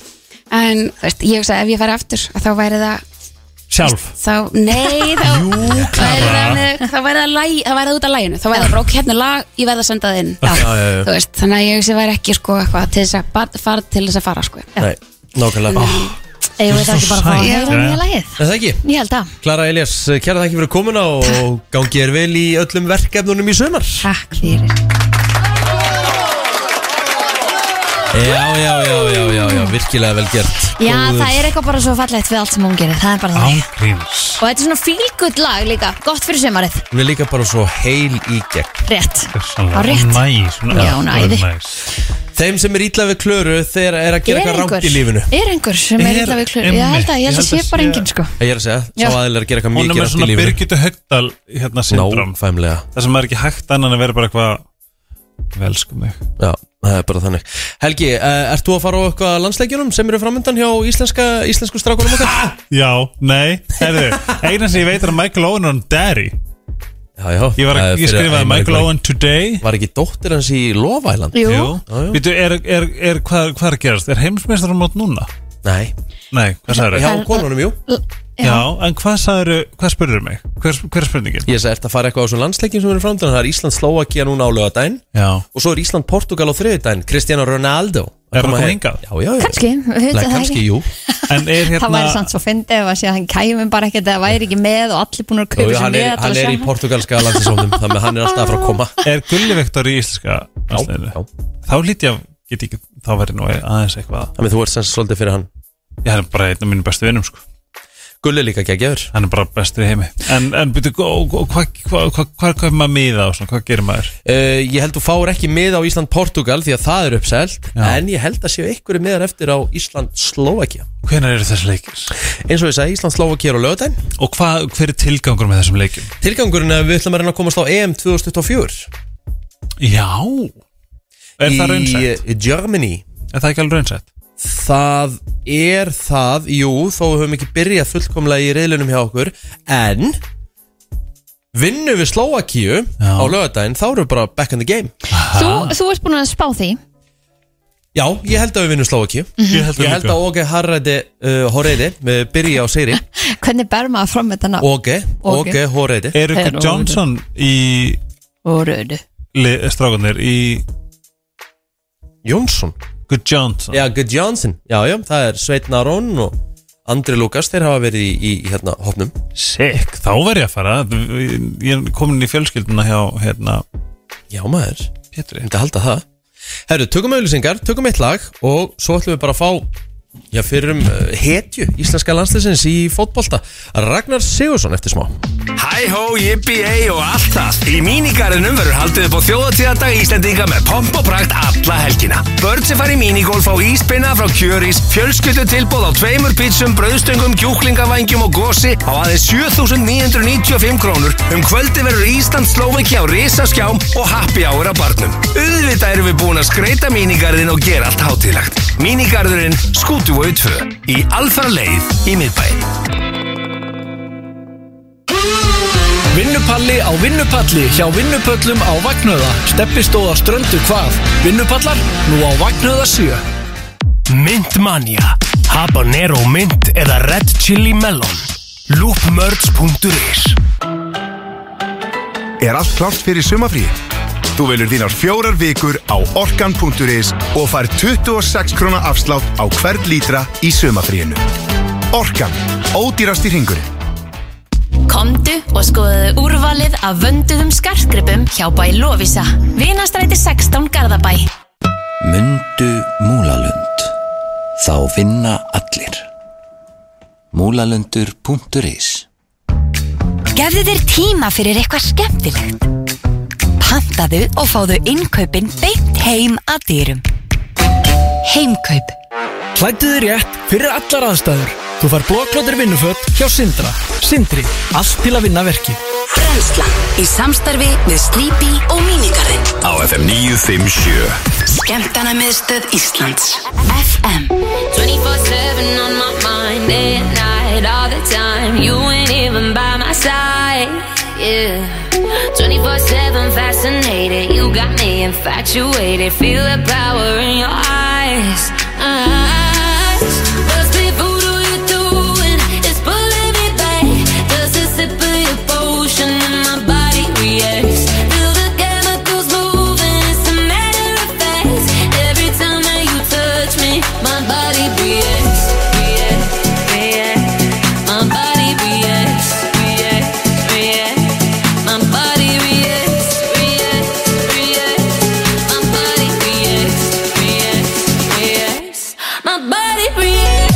Speaker 5: en þú veist, ég hugsa ef ég færi aftur að þá væri það
Speaker 3: Sjálf
Speaker 5: þá, nei, þá Jú, væri það, með- þá væri það, læg, það væri það út af læginu þá væri það bara, ok, hérna er lag, ég verð að senda það inn já,
Speaker 2: já, já.
Speaker 5: þú veist, þannig að ég hugsa væri ekki sko eitthvað til þess að bara fara til þess að fara sko
Speaker 2: Nei, nákvæmlega
Speaker 3: Ah.
Speaker 4: Ég veit ekki bara hvað
Speaker 3: sæt.
Speaker 4: Það er nýja lagið
Speaker 2: Er það ekki?
Speaker 4: Ég held að
Speaker 2: Klara Elias, kæra þakki fyrir komuna og gangi er vel í öllum verkefnunum í sumar
Speaker 5: Takk fyrir
Speaker 2: Já, já, já, já, já, já, virkilega vel gert
Speaker 4: Já,
Speaker 2: Góður.
Speaker 4: það er eitthvað bara svo fallegt við allt sem hún gerir Það er bara það
Speaker 3: Ángríns
Speaker 4: Og þetta er svona fílgutt lag líka Gott fyrir sumarið
Speaker 2: Hún er líka bara svo heil í gegn
Speaker 4: Rétt
Speaker 3: Gjörsamlega.
Speaker 4: Á rétt.
Speaker 3: Næs, hún er-
Speaker 4: Já, hún er æði.
Speaker 3: næs.
Speaker 2: Þeim sem er ítla við Klöru, þeir eru að gera
Speaker 4: Er
Speaker 2: eitthvað
Speaker 4: einhver-
Speaker 2: rámt í lífinu
Speaker 4: Er einhver sem er
Speaker 3: Er-
Speaker 4: illa við klur Ég held að, ég held að sé bara enginn sko
Speaker 2: Ég er að segja,
Speaker 4: Já.
Speaker 2: sá aðeins er að gera eitthvað
Speaker 3: Hún er
Speaker 2: mikið
Speaker 3: með
Speaker 2: rámt í
Speaker 3: svona
Speaker 2: lífinu
Speaker 3: Birgitta Högdal hérna syndrom
Speaker 2: Náfæmlega
Speaker 3: Það sem er ekki hægt annan að vera bara eitthvað Velsku mig
Speaker 2: Já, það er bara þannig Helgi, uh, ert þú að fara á eitthvað landsleikjunum sem eru framöndan hjá íslenska, íslensku strákunum okkar?
Speaker 3: Já, nei, heyrðu Einan sem ég veit er að Michael Owen er hann Daddy
Speaker 2: Já, já
Speaker 3: Ég, var,
Speaker 2: það er
Speaker 3: að- ég
Speaker 2: Eh, fyrir
Speaker 3: skrifaði
Speaker 2: Æmari
Speaker 3: Michael
Speaker 2: Glæ.
Speaker 3: Owen Today
Speaker 2: Var ekki dóttir hans í Lofæland?
Speaker 4: Jú,
Speaker 2: Já, já.
Speaker 3: Vítu, er, er, er, hvað, hvað er að gerast? Er heimsmeistarum mót núna?
Speaker 2: Nei,
Speaker 3: Nei, hvað sagður
Speaker 2: hjá
Speaker 3: þau?
Speaker 4: Það-
Speaker 2: konunum, jú
Speaker 4: L-
Speaker 3: Já. en hvað sagður þau, hvað spurður mig? Hver, hver er spurningin?
Speaker 2: Ég sagði, ert að fara eitthvað á þessum landsleikjum sem eru framöndan Það er Ísland Slovakia núna á lögadaginn
Speaker 3: Já,
Speaker 2: Og svo er Ísland Portugal á þriðudaginn Cristiano Ronaldo
Speaker 3: Er hann að koma
Speaker 2: heim.
Speaker 3: hingað?
Speaker 2: Já, já, já
Speaker 4: Kannski, við
Speaker 2: Nei,
Speaker 4: veitum það
Speaker 2: kannski,
Speaker 4: ekki
Speaker 2: jú
Speaker 3: en er hérna
Speaker 4: Það væri samt svo fyndið ef að sé að hann kæmi bara ekkert eða væri ekki með og allir búin að
Speaker 2: Jú,
Speaker 4: kaupa
Speaker 2: jú,
Speaker 4: sér
Speaker 2: Hann
Speaker 4: með
Speaker 2: er, hann er í portugalska landsinsóknum Þannig að hann er alltaf að fara að koma
Speaker 3: Er Gulli Vektor í íslenska? landsliðinu?
Speaker 2: já.
Speaker 3: Þá lítið ég, get ekki, þá verði nú aðeins eitthvað
Speaker 2: Þannig að þú ert sem sagt svolítið fyrir hann
Speaker 3: Ég er bara einn af mínum bestu vinum, sko
Speaker 2: Gulli er líka geggjör
Speaker 3: Hann er bara bestur í heimi En, en byrju, og- og hvað hva, hva, hva, hva er maður miða og svona, hvað gerir maður?
Speaker 2: Uh, ég held þú fáir ekki mið á Ísland-Portugal því að það er uppselt
Speaker 3: Já.
Speaker 2: en ég held að séu einhverju miðar eftir á Ísland-Slovakia
Speaker 3: Hvenær eru þessi leikir?
Speaker 2: eins og ég sagði Ísland-Slovakia er á lögadaginn
Speaker 3: Og hvað, hver er tilgangur með þessum leikjum?
Speaker 2: tilgangurinn er að við ætlum að reyna að komast á EM 2024
Speaker 3: Já Er það
Speaker 2: í
Speaker 3: raunsætt?
Speaker 2: í Germany
Speaker 3: Er það ekki alveg raunsætt?
Speaker 2: það er það, jú þó við höfum ekki byrjað fullkomlega í reyðlunum hjá okkur en vinnum við Slovakia
Speaker 3: Já.
Speaker 2: á lögadaginn þá erum við bara back in the game
Speaker 4: Þú, þú ert búin að spá því
Speaker 2: já, ég held að við vinnum Slovakia
Speaker 3: Ég held,
Speaker 2: Mhm. ég held að Åge Harreide uh, Horreide uh, byrja á sigri
Speaker 4: Hvernig ber maður fram þetta nafn?
Speaker 2: Åge,
Speaker 4: Åge.
Speaker 2: Åge Horreide
Speaker 4: Það er
Speaker 3: Erika
Speaker 4: óvænt.
Speaker 3: Johnson í
Speaker 4: Og rödu
Speaker 3: le- strákunir í
Speaker 2: Jónsson
Speaker 3: Good Johnson
Speaker 2: Já, Good Johnson, já, já, það er Sveitn Aron og Andri Lukas, þeir hafa verið í, í, í hérna, hopnum
Speaker 3: Sick, þá verð ég að fara Ég er komin í fjölskylduna hjá hérna,
Speaker 2: Já, maður,
Speaker 3: Pétri
Speaker 2: myndi að halda það Herru, tökum auðlýsingar, tökum eitt lag og svo ætlum við bara að fá já, fyrir um uh, hetju íslenska landsliðsins í fótbolta Ragnar Sigursson eftir smá
Speaker 1: Hæ hó, jippi, ei og allt það Í mínigarðinum verður haldið upp á þjóðatíðardag Íslendinga með pomp og prakt alla helgina Börn sem fara í mínigolf á íspinna frá Kjörís Fjölskyldu tilbúð á tveimur pítsum, brauðstöngum, kjúklingavangjum og gósi á aðeins 7.995 krónur Um kvöldi verður Ísland Slóviki á risaskjám og happy hour á barnum Auðvitað erum við búin að skreita mínigarðin og gera allt hátíðlegt Mínigarðurinn Skútuvói 2 í alfara leið í miðbæinn
Speaker 6: Vinnupalli á vinnupalli hjá vinnupöllum á Vagnöða. Steppistóð á ströndu hvað? Vinnupallar nú á Vagnöða 7.
Speaker 1: Myntmania Habanero mynd eða Red Chili Melon loopmerge.is
Speaker 7: Er allt klárt fyrir sumafríi? Þú velur þínar fjórar vikur á orkan.is og fær 26 króna afslátt á hvert lítra í sumafríinu. Orkan, ódýrast í ringurinn.
Speaker 8: Komdu og skoðuðu úrvalið af vönduðum skartgripum hjá bæ Lovisa. Vinastræti 16 Garðabæ.
Speaker 9: Mundu Múlalund. Þá vinna allir. Múlalundur.is
Speaker 10: Gefðu þér tíma fyrir eitthvað skemmtilegt. Pantaðu og fáðu innkaupin beint heim að dýrum. Heimkaup.
Speaker 1: Klæddu þig rétt fyrir allar aðstæður. Þú fær blóklóttir vinnuföt hjá Sindra. Sindri, allt til að vinna verki.
Speaker 11: Brennslan í samstarfi við Sleepy og Minigarinn
Speaker 9: Á FM 957
Speaker 11: Skemmtana miðstöð Íslands FM
Speaker 12: 24-7 on my mind Day and night, all the time You ain't even by my side Yeah 24-7 fascinated You got me infatuated Feel the power in your eyes Eyes What's the voodoo you're doing? It's pulling me back There's a sip of your potion And my body reacts Feel the chemicals moving It's a matter of fact Every time that you touch me My body reacts Reacts Reacts My body reacts Reacts Reacts My body reacts Reacts Reacts My body reacts Reacts Reacts My body reacts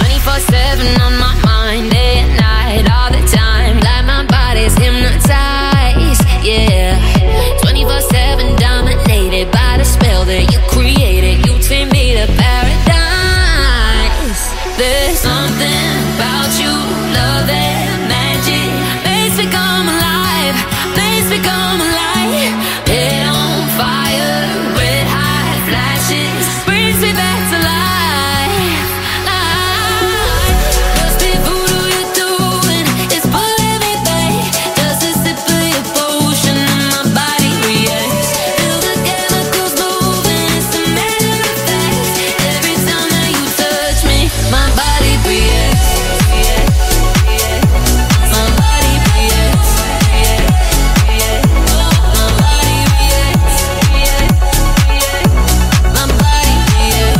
Speaker 12: Twenty-four seven on my mind, day and night, all the time. Like my body's hypnotized, yeah. Twenty-four seven dominated by the spell that you created. You take me to paradise. There's something about you, love and magic makes me come alive, makes me come alive. Head on fire, red hot flashes brings me back to life. Ah, My body reacts, my body reacts, my body reacts, my body reacts,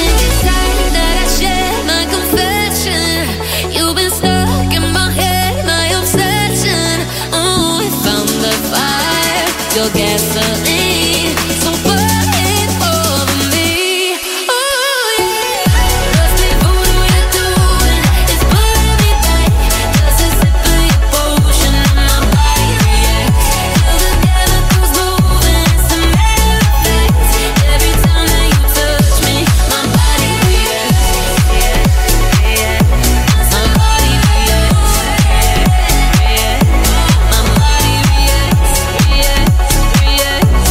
Speaker 12: and it's time that I share my confession. You've been stuck in my head, my obsession. Oh, we found the fire, your gasoline. So burn it over me. Oh yeah. Does it voodoo you're doing? It's pulling me back. Does it sip of your potion and my body reacts? Feel the chemicals moving, it's a matter of fact. Every time that you touch me, my body reacts. My body reacts. My body reacts. Reacts. Reacts. My body reacts. Reacts. Reacts. My body reacts.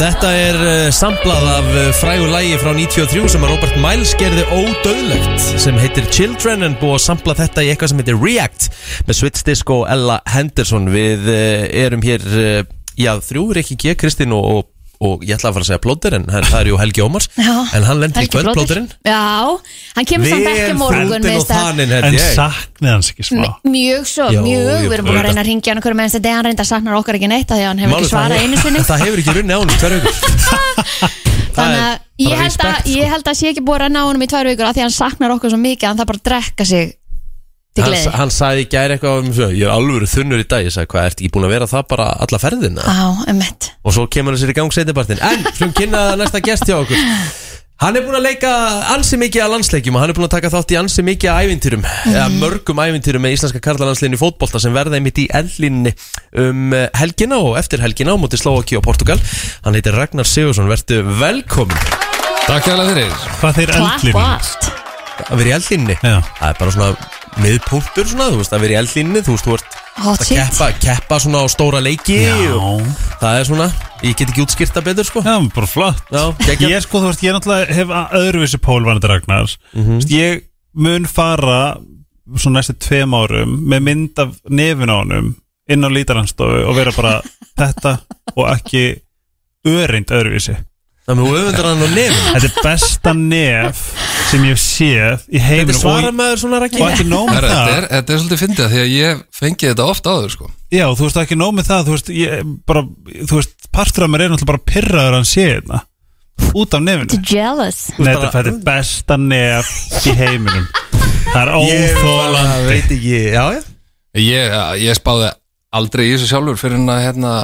Speaker 2: Þetta er uh, samblað af uh, frægu lægi frá 93 sem að Robert Miles gerði ódöðlegt sem heitir Children en búið að sampla þetta í eitthvað sem heitir React með Switch Disco og Ella Henderson við uh, erum hér uh, já, þrjú, Rikki G, Kristín og, og, og ég ætla að fara að segja plóterinn en það er jú Helgi Ómars
Speaker 4: Já.
Speaker 2: en hann lendir í
Speaker 4: Helgi
Speaker 2: kvöld
Speaker 4: Blóter.
Speaker 2: plóterinn
Speaker 4: Já, hann kemur samt ekki á morgun
Speaker 2: Vel
Speaker 4: veist að-
Speaker 2: feldin og þaninn
Speaker 3: En
Speaker 2: held ég
Speaker 3: saknið hans ekki smá
Speaker 4: M- Mjög svo,
Speaker 2: Jó,
Speaker 4: mjög,
Speaker 2: jú,
Speaker 4: við erum búin að
Speaker 2: auðvitað.
Speaker 4: reyna að ringja hann okkur með þess að hann reynda að saknar okkar ekki neitt af því að hann hefur
Speaker 2: Málið
Speaker 4: ekki svarað einu sinni
Speaker 2: það hefur ekki runni á hann í tverju vikur Það
Speaker 4: Þannig
Speaker 2: er
Speaker 4: að ég
Speaker 2: bara
Speaker 4: held að,
Speaker 2: respekt, sko.
Speaker 4: ég held að sé ekki búið að renna á honum í tvær vikur af því að hann saknar okkur svo mikið að hann þarf bara að drekka sig til
Speaker 2: Hann,
Speaker 4: gleði
Speaker 2: hann sagði í gæri eitthvað um, ég er alvöru þunnur í dag, ég sagði hvað, ertu ekki búin að vera það bara alla ferðina?
Speaker 4: Á, emmett
Speaker 2: og svo kemur hann sér í gang setjabartin en slum kynna næsta gest hjá okkur hann er búin að leika ansi mikið að landsleikjum og hann er búin að taka þátt í ansi mikið að ævintýrum eða
Speaker 4: Mhm.
Speaker 2: mörgum ævintýrum með íslenska karlalandsliðinu í fótbolta sem verða einmitt í ellinni um eh, helgina og eftir helgina á móti Slovaki og Portugal hann heitir Ragnar Sigursson, verðu velkomin
Speaker 13: Takk fyrir fyrir
Speaker 3: Hvað þeir
Speaker 4: Klapp
Speaker 3: eldlir
Speaker 4: og allt
Speaker 2: að vera í ellinni
Speaker 3: Já.
Speaker 2: það er bara svona miðpunktur svona, þú veist, að vera í ellinni þú veist, þú ert
Speaker 4: Hot
Speaker 2: að
Speaker 4: shit.
Speaker 2: keppa, keppa svona á stóra leiki og það er svona, ég get ekki útskýrta betur sko
Speaker 3: Já, bara flott
Speaker 2: Já, geggjað.
Speaker 3: Ég er sko, þú veist, ég náttúrulega hef a- öðruvísi pólvanandi Ragnar
Speaker 2: Mhm.
Speaker 3: mm Ég mun fara svo næstu tveim árum með mynd af nefin á honum inn á lítaranstofu og vera bara þetta og ekki öreind öðruvísi
Speaker 2: Það með öfundar hann á nefn
Speaker 3: Þetta er besta nef sem ég hef séð í heiminum
Speaker 2: Þetta svarar maður svona rakki
Speaker 3: Og ekki nóg með
Speaker 12: Herra,
Speaker 3: það
Speaker 12: Þetta er, þetta er svolítið fyndið af því að ég fengi þetta oft áður sko.
Speaker 3: Já, þú veist ekki nóg með það Þú veist, ég, bara, þú veist partur af mér er náttúrulega bara pirraður að hann sé þetta Út af nefinu
Speaker 4: Too jealous
Speaker 3: Nei, þetta þetta er besta nef í heiminum Það er óþólandi
Speaker 2: veit ekki, já, já
Speaker 12: ég, ég spáði aldrei í þessu sjálfur fyrir en að hérna,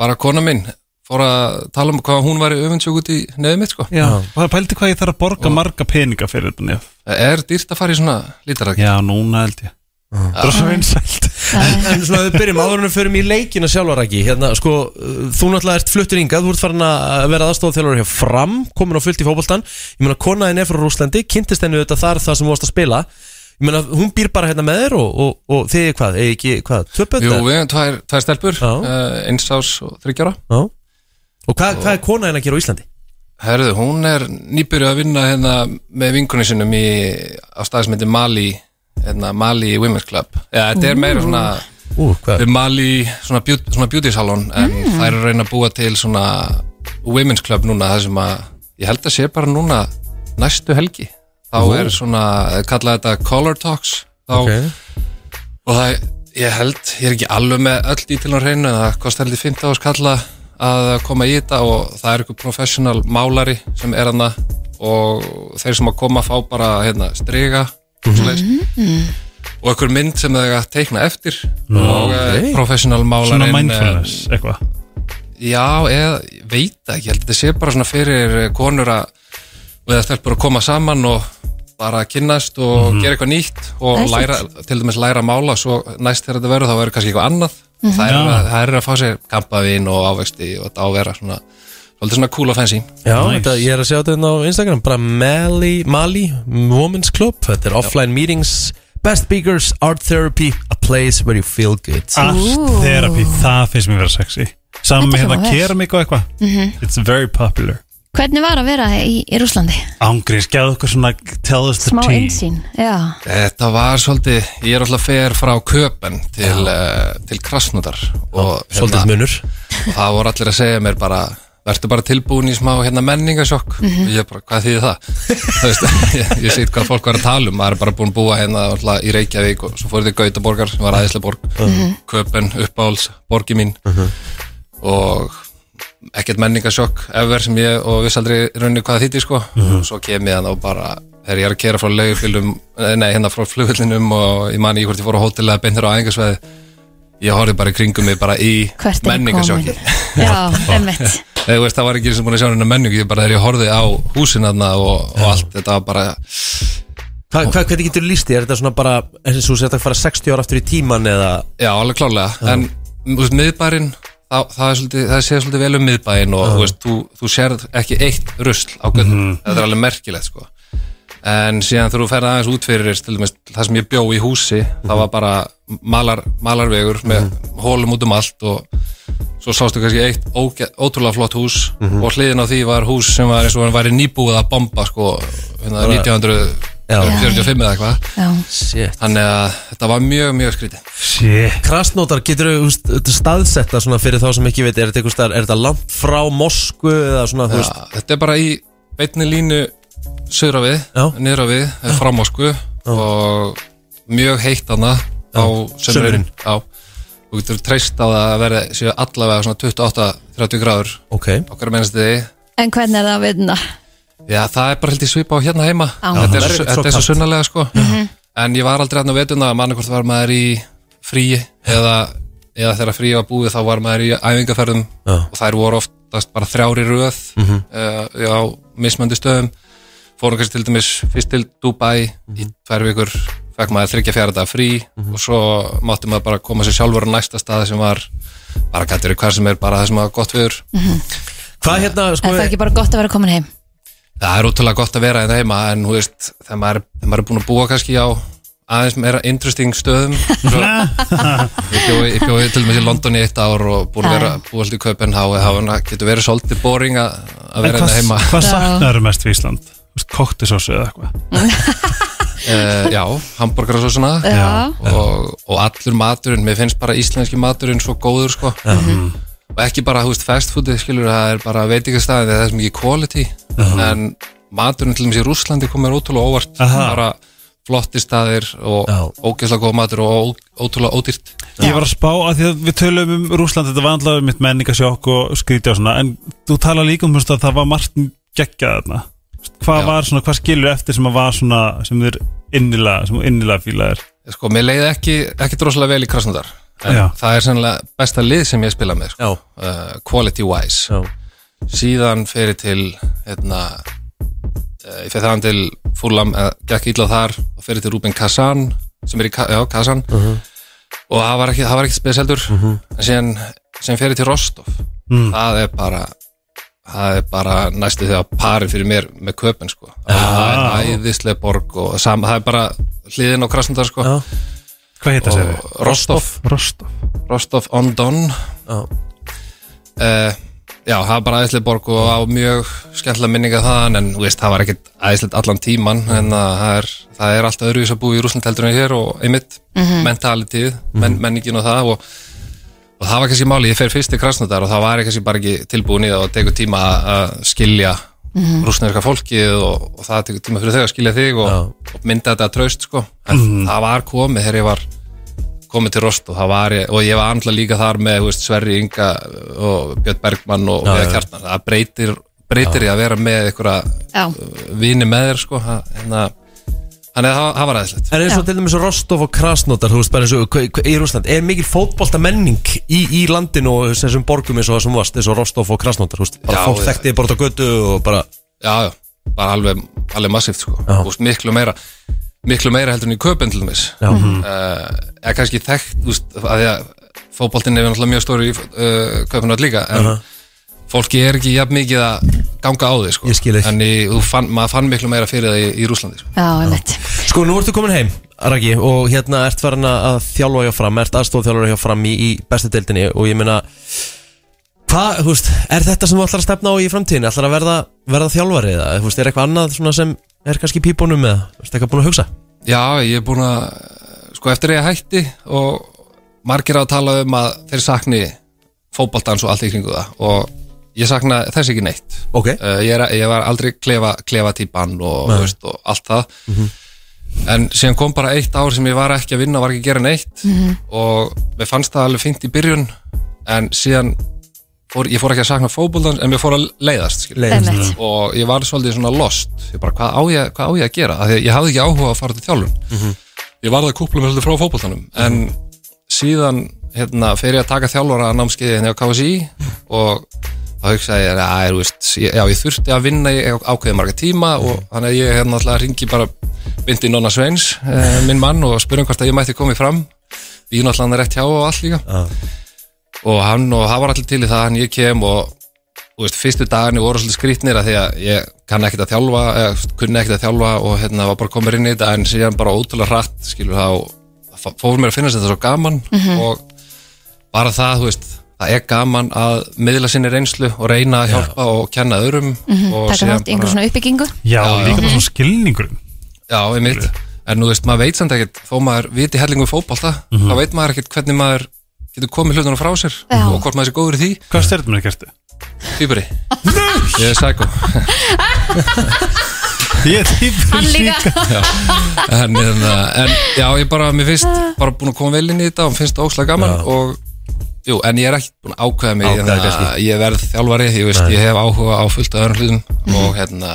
Speaker 12: bara kona mín fór að tala um hvað hún væri öfundsjók út í nefið mitt sko.
Speaker 3: Já, bara pældi hvað ég þarf að borga marga peninga fyrir þetta nef
Speaker 12: Er dýrt að fara í svona lítaræk?
Speaker 3: Já, núna held ég Það er svo vinsælt
Speaker 2: En, en svona við byrjum áður en við förum í leikina sjálfar ekki hérna, sko, uh, þú náttúrulega ert fluttur yngað þú ert farin að vera aðstofþjálfur hjá fram komin á fullt í fótboltan ég meina konaðin er frá Rúslandi, kynntist henni auðvitað þar þar sem þú varst að spila ég meina hún býr bara hérna með þér og, og, og þið er hvað, eða ekki hvað, töpönd
Speaker 12: Jú, við hefum tvær, tvær stelpur, uh, eins ás og þryggjara
Speaker 2: Já. Og hvað, hvað er kona henni að gera á Íslandi?
Speaker 12: Herðu, hún er nýbyrjuð að vinna hérna með vinkunni sinum í, á staði sem heitir Mali hérna, Mali Women's Club Já, þetta er meira svona
Speaker 2: Ú, hvað?
Speaker 12: við Mali, svona, beauty, svona beauty salon en
Speaker 2: Mm.
Speaker 12: það er að reyna að búa til svona Women's Club núna, það sem að ég held að sé bara núna næstu helgi þá
Speaker 2: Ú.
Speaker 12: er svona, kalla þetta Color Talks þá,
Speaker 2: Ok.
Speaker 12: og það, ég held ég er ekki alveg með öll dítilum hreinu en það kosti heldur 15 áskalla að koma í þetta og það er einhver professional málari sem er hana og þeir sem að koma fá bara hérna, striga
Speaker 3: Mhm.
Speaker 12: mm og einhver mynd sem þeir eiga að teikna eftir
Speaker 3: Nú,
Speaker 12: og okay.
Speaker 3: ok.
Speaker 12: professional málarinn eh,
Speaker 3: Svona mindfulness, eitthvað
Speaker 12: Já, eða ég veit það ekki, ég held að þetta sé bara svona fyrir konur að við að stelpur að koma saman og bara kynnast og
Speaker 3: Mhm.
Speaker 12: gera eitthvað nýtt og
Speaker 3: Það er
Speaker 12: læra, til dæmis læra að mála svo næst þegar þetta verður þá verður kannski eitthvað annað mm
Speaker 3: Mhm.
Speaker 12: það, er
Speaker 3: Já.
Speaker 12: að, það er að fá sér kampavín og ávexti og þetta á að vera svona svolítið svona cool og fancy
Speaker 2: Já, þetta, ég er að sjá þetta hérna á Instagram bara Mali, Mali Women's Club, þetta er offline meetings best speakers, art therapy a place where you feel good
Speaker 3: Art therapy, það finnst mér vera sexy Saman
Speaker 4: Þetta
Speaker 3: með hérna
Speaker 4: hljómar vel.
Speaker 3: keramik og eitthvað
Speaker 4: Mhm.
Speaker 3: It's very popular
Speaker 4: Hvernig var að vera í, í Rúslandi?
Speaker 3: Ángriðs, gæðu okkur svona tell us the
Speaker 4: Smá
Speaker 3: tea
Speaker 4: einsýn Já,
Speaker 12: Þetta var svolítið, ég er alltaf fer frá Köpen til, uh, til Krasnodar og
Speaker 2: svolítið munur
Speaker 12: og það voru allir að segja mér bara verður bara tilbúin í smá hérna menningasjokk
Speaker 2: Mhm.
Speaker 12: og ég bara, hvað þýðir það? það veist, ég, ég sé hvað fólk var að tala um maður er bara búin að búa hérna alltaf, í Reykjavík og svo fóruð þið Gautaborgar sem var aðeinslega borg
Speaker 2: Mhm.
Speaker 12: Köpen, uppáhalds, borgi mín og ekkert menningasjokk ever sem ég og viss aldrei í rauninni hvað það þýtti sko
Speaker 4: Mhm.
Speaker 12: og svo kem ég hann og bara þegar ég er að kera frá laugfylgum nei, hérna frá flugullinum og ég mani í hvort ég fór á hótelega beintur á æfingasveði ég horfði bara í kringum mig bara í
Speaker 4: hvert er
Speaker 12: menningasjokki
Speaker 4: Já, emmitt
Speaker 12: Nei, þú veist, það var ekki sem búin að sjá hennar menningu, ég bara þegar ég horfið á húsin húsinaðna og, og allt, þetta var bara
Speaker 2: Hva, hva, Hvernig getur líst því? Er þetta svona bara eins og þú sér þetta að fara 60 ára aftur í tíman eða
Speaker 12: Já, alveg klárlega, en þú veist, miðbærin, það, það, er svolítið, það sé svolítið vel um miðbærin og
Speaker 2: Já. Mhm.
Speaker 12: þú veist, þú, þú sérð ekki eitt rusl á göttum, þetta er alveg merkilegt, sko en síðan þegar þú ferð aðeins út fyrir til dæmis, það sem ég bjó í húsi
Speaker 2: Mhm.
Speaker 12: það var bara malar, malarvegur með hólum út um allt og svo sástu kannski eitt óge, ótrúlega flott hús
Speaker 2: Mhm.
Speaker 12: og hliðin á því var hús sem var eins og hann væri nýbúið að bomba sko, hérna,
Speaker 2: Bara-
Speaker 12: 1945 eða eitthvað
Speaker 2: Shit.
Speaker 12: þannig að þetta var mjög, mjög skrítið
Speaker 3: Shit.
Speaker 2: Krasnótar, getur þú staðsetta svona fyrir þá sem ekki veit, er þetta einhvers staðar, er þetta langt frá Mosku eða svona, þú
Speaker 12: Já,
Speaker 2: veist
Speaker 12: Hérna, þetta er bara í beinni línu söðra við, niðra við, frá Moskvu sko, og mjög heitt hana á
Speaker 2: sumrin.
Speaker 12: sömurinn. Já, þú getur treyst á það að verða séu allavega svona 28-30 gráður
Speaker 2: okay.
Speaker 12: okkar mennstu þig.
Speaker 4: En hvernig er það að vinna?
Speaker 12: Já, það er bara hildið svipa á hérna heima.
Speaker 4: Já.
Speaker 12: Þetta
Speaker 2: Það
Speaker 12: er,
Speaker 2: er
Speaker 12: svo-
Speaker 2: ekkert svo
Speaker 12: þetta er svo
Speaker 2: kalt.
Speaker 12: sunnalega sko. En ég var aldrei hann á vetuna að manna hvort var maður í fríi eða, eða þegar fríi var búið þá var maður í æfingaferðum
Speaker 2: Já.
Speaker 12: og þær voru oftast bara þrjári röð mm
Speaker 2: Mhm.
Speaker 12: á mismöndi stöðum fórum kannski til dæmis fyrst til Dubai í
Speaker 2: Mhm.
Speaker 12: tvær vikur fekk maður þryggja fjara dag frí og svo mátti maður bara koma sér sjálfur á næsta stað sem var bara gættur í hver sem er bara það sem var gott viður
Speaker 2: Hvað hérna,
Speaker 4: Er það ekki bara gott að vera komin heim?
Speaker 12: Það er ótrúlega gott að vera hérna heima en þú veist, þegar maður, þegar maður er búin að búa kannski á aðeins meira interesting stöðum svo, ég bjóði ég bjó, til og með í London í eitt ár og búin að vera búið alltaf í Köpenhá og það getur verið svolítið boring að að
Speaker 3: En
Speaker 12: vera
Speaker 3: hvað,
Speaker 12: hérna heima
Speaker 3: hvað saknaður mest við Ísland? Koktisósu eða eitthvað
Speaker 12: Uh, já, hambúrgarasósuna
Speaker 4: Já.
Speaker 12: og, og allur maturinn mér finnst bara íslenski maturinn svo góður sko.
Speaker 4: Mhm.
Speaker 12: og ekki bara þú veist, fast foodið skilur það er bara veitingastæðin það er sem ekki quality
Speaker 3: Mhm.
Speaker 12: en maturinn til dæmis í Rúslandi komir ótrúlega óvart
Speaker 3: Aha.
Speaker 12: bara flotti staðir og ógeðslega góð matur og ó- ótrúlega ódýrt
Speaker 3: Ég var að spá að því að við töluðum um Rúsland þetta var alltaf mitt menningasjokk og skrítja og svona en þú tala líka um þú veist, að það var margt geggjað þarna hvað var svona, hvað skilur eftir sem að var svona sem þér innilega, sem þú innilega fílaðir
Speaker 12: sko, mér leiði ekki, ekki droslega vel í Krasnodar en
Speaker 3: Já.
Speaker 12: það er sannlega besta lið sem ég spila með sko. uh, quality wise
Speaker 2: Já.
Speaker 12: síðan fyrir til hérna uh, ég fyrir þaðan til Fúrlam uh, gekk illa þar og fyrir til Ruben Kazan sem er í Ka já, Kazan
Speaker 2: Mhm.
Speaker 12: og það var ekki, það var ekki speseldur en síðan sem fyrir til Rostov
Speaker 3: Mm.
Speaker 12: það er bara það er bara næstu þegar pari fyrir mér með köpun sko
Speaker 3: Ah.
Speaker 12: það er æðislega borg og sama, það er bara hliðin á Krasnodar sko
Speaker 2: Já.
Speaker 3: Hvað heita
Speaker 12: Og
Speaker 3: þessi?
Speaker 12: Rostov
Speaker 3: Rostov
Speaker 12: Rostov on Don Eh,
Speaker 2: Já
Speaker 12: Já, það var bara æðislega borg og á mjög skemmtilega minninga þaðan en þú veist, það var ekkit æðislegt allan tíman
Speaker 3: Mm.
Speaker 12: en að það er, það er alltaf öðruvis að búa í Rússland heldur en hér og einmitt
Speaker 3: Mhm.
Speaker 12: mentalityð, men, menningin og það og, og það var kannski máli, ég fer fyrst til Krasnodar og það var ég kannski bara ekki tilbúin í það og tekur tíma að- að skilja
Speaker 3: Mhm.
Speaker 12: rússneska fólkið og, og það tekur tíma fyrir þau að skilja þig og, og mynda þetta traust sko en
Speaker 3: Mhm.
Speaker 12: það var komið þegar ég var komið til Rost og það var ég og ég var andla líka þar með þú veist, Sverri Inga og Björn Bergmann og
Speaker 2: Já,
Speaker 12: Viðar
Speaker 2: já.
Speaker 12: Kjartan það breytir, breytir
Speaker 2: Já.
Speaker 12: ég að vera með einhverja uh,
Speaker 4: Já.
Speaker 12: vini með þér sko Það- þannig að þannig að það- það var aðeinslegt
Speaker 2: En eins og til dæmis Rostov og Krasnodar, þú veist bara eins og hva- hva- í Rúsland, er mikil fótbolta menning í, í landinu og þessum borgum eins og það sem þú varst, eins og Rostov og Krasnodar, þú veist, bara
Speaker 12: Já,
Speaker 2: fólk
Speaker 12: já.
Speaker 2: þekkti þig bara út á götu og bara,
Speaker 12: já, já, bara alveg, alveg massíft sko. Þú veist, miklu meira miklu meira heldur en í köpun til dæmis
Speaker 2: Já. Mhm.
Speaker 12: Eh, eða kannski þekkt þú veist, að því að fótboltinn er náttúrulega mjög stóri í uh, köpunat líka en
Speaker 2: Aha.
Speaker 12: fólki er ekki jafn mikið að ganga á því sko.
Speaker 2: Ég skil þig.
Speaker 12: en í, þú fann, maður fann miklu meira fyrir það í, í Rúslandi sko.
Speaker 4: Já, einmitt
Speaker 2: Sko, nú ertu komin heim, Raki, og hérna ert farin að að þjálfa hjá fram, ert aðstofþjálfur hjá fram í, í bestu deildinni og ég meina, hvað, þú veist, er þetta sem þú ætlar að stefna á í framtíðinni, ætlar að verða, verða þjálfari eða, þú veist, er eitthvað annað svona sem er kannski í pípunum eða, þú veist, eitthvað búin að hugsa?
Speaker 12: Já, ég er búin að sko eftir að ég hætti og margir að tala um að þeir sakni fótboltans og allt í kringu það og ég sakna þess ekki neitt
Speaker 2: okay.
Speaker 12: Eh, ég, er, ég var aldrei klefa, klefa típan og,
Speaker 2: Nei.
Speaker 12: þú veist, og allt það
Speaker 2: Mhm.
Speaker 12: en síðan kom bara eitt ár sem ég var ekki að vinna var ekki að gera neitt
Speaker 2: Mhm.
Speaker 12: og mér fannst það alveg fínt í byrjun en síðan fór, ég fór ekki að sakna fótboltans en mér fór að leiðast skilur.
Speaker 2: Leiðast. Einmitt.
Speaker 12: og ég var svolítið svona lost ég bara hvað á ég, hvað á ég að gera Af því að ég hafði ekki áhuga að fara til þjálfun
Speaker 2: Mhm.
Speaker 12: ég varði að kúpla mér svolítið frá fótboltanum en síðan hérna, fer ég að taka þjálfara námskeiði hérna á KSI og þá hugsaði ég, að, þú veist, ég, já, ég þurfti að vinna í ákveðið marga tíma og
Speaker 2: Mhm.
Speaker 12: þannig að ég hérna alltaf ringi bara bindi Nonna Sveins, eh, minn mann og spurum hvort að ég mætti komið fram við erum alltaf hann rétt hjá og allt líka og hann og það var allir til í það hann ég kem og þú veist, fyrstu dagarni voru svolítið skrýtnir að því að ég kann ekkert að þjálfa, eða, þú veist, kunni ekkert að þjálfa og hérna var bara komið inn í þetta en síðan bara ótrúlega hratt skilur það og það fór mér að finna þetta svo gaman
Speaker 3: Mhm.
Speaker 12: og bara það, þú veist, það er gaman að miðla sinni reynslu og reyna að hjálpa og kenna öðrum og
Speaker 4: Takk að
Speaker 12: síðan
Speaker 4: Mhm. þátt í einhver
Speaker 12: bara-
Speaker 4: svona uppbyggingu
Speaker 3: Já, líka bara
Speaker 4: Mhm.
Speaker 3: svona skilningur
Speaker 12: Já, einmitt En nú veist, maður veit samt ekkert Þó maður viti hellingu fótbolta
Speaker 3: Mhm.
Speaker 12: Þá veit maður ekkert hvernig maður getur komið hlutunum frá sér
Speaker 4: Já.
Speaker 12: Og hvort maður sé góður í því
Speaker 3: Hvað stjörnum er kertu?
Speaker 12: Týpuri Ég er sækó
Speaker 3: Ég er týpur
Speaker 4: Hann líka
Speaker 12: Já, en, en, en já, ég bara, mér finnst bara búin að koma vel inn í þetta og finnst það óslega gaman og, jú, en ég er ekki búin að ákveða mig
Speaker 2: Ákveða
Speaker 12: hérna,
Speaker 2: kannski.
Speaker 12: ég verð þjálfari, ég veist,
Speaker 3: Nei.
Speaker 12: ég hef áhuga á fullt af öðrum hlutum og hérna,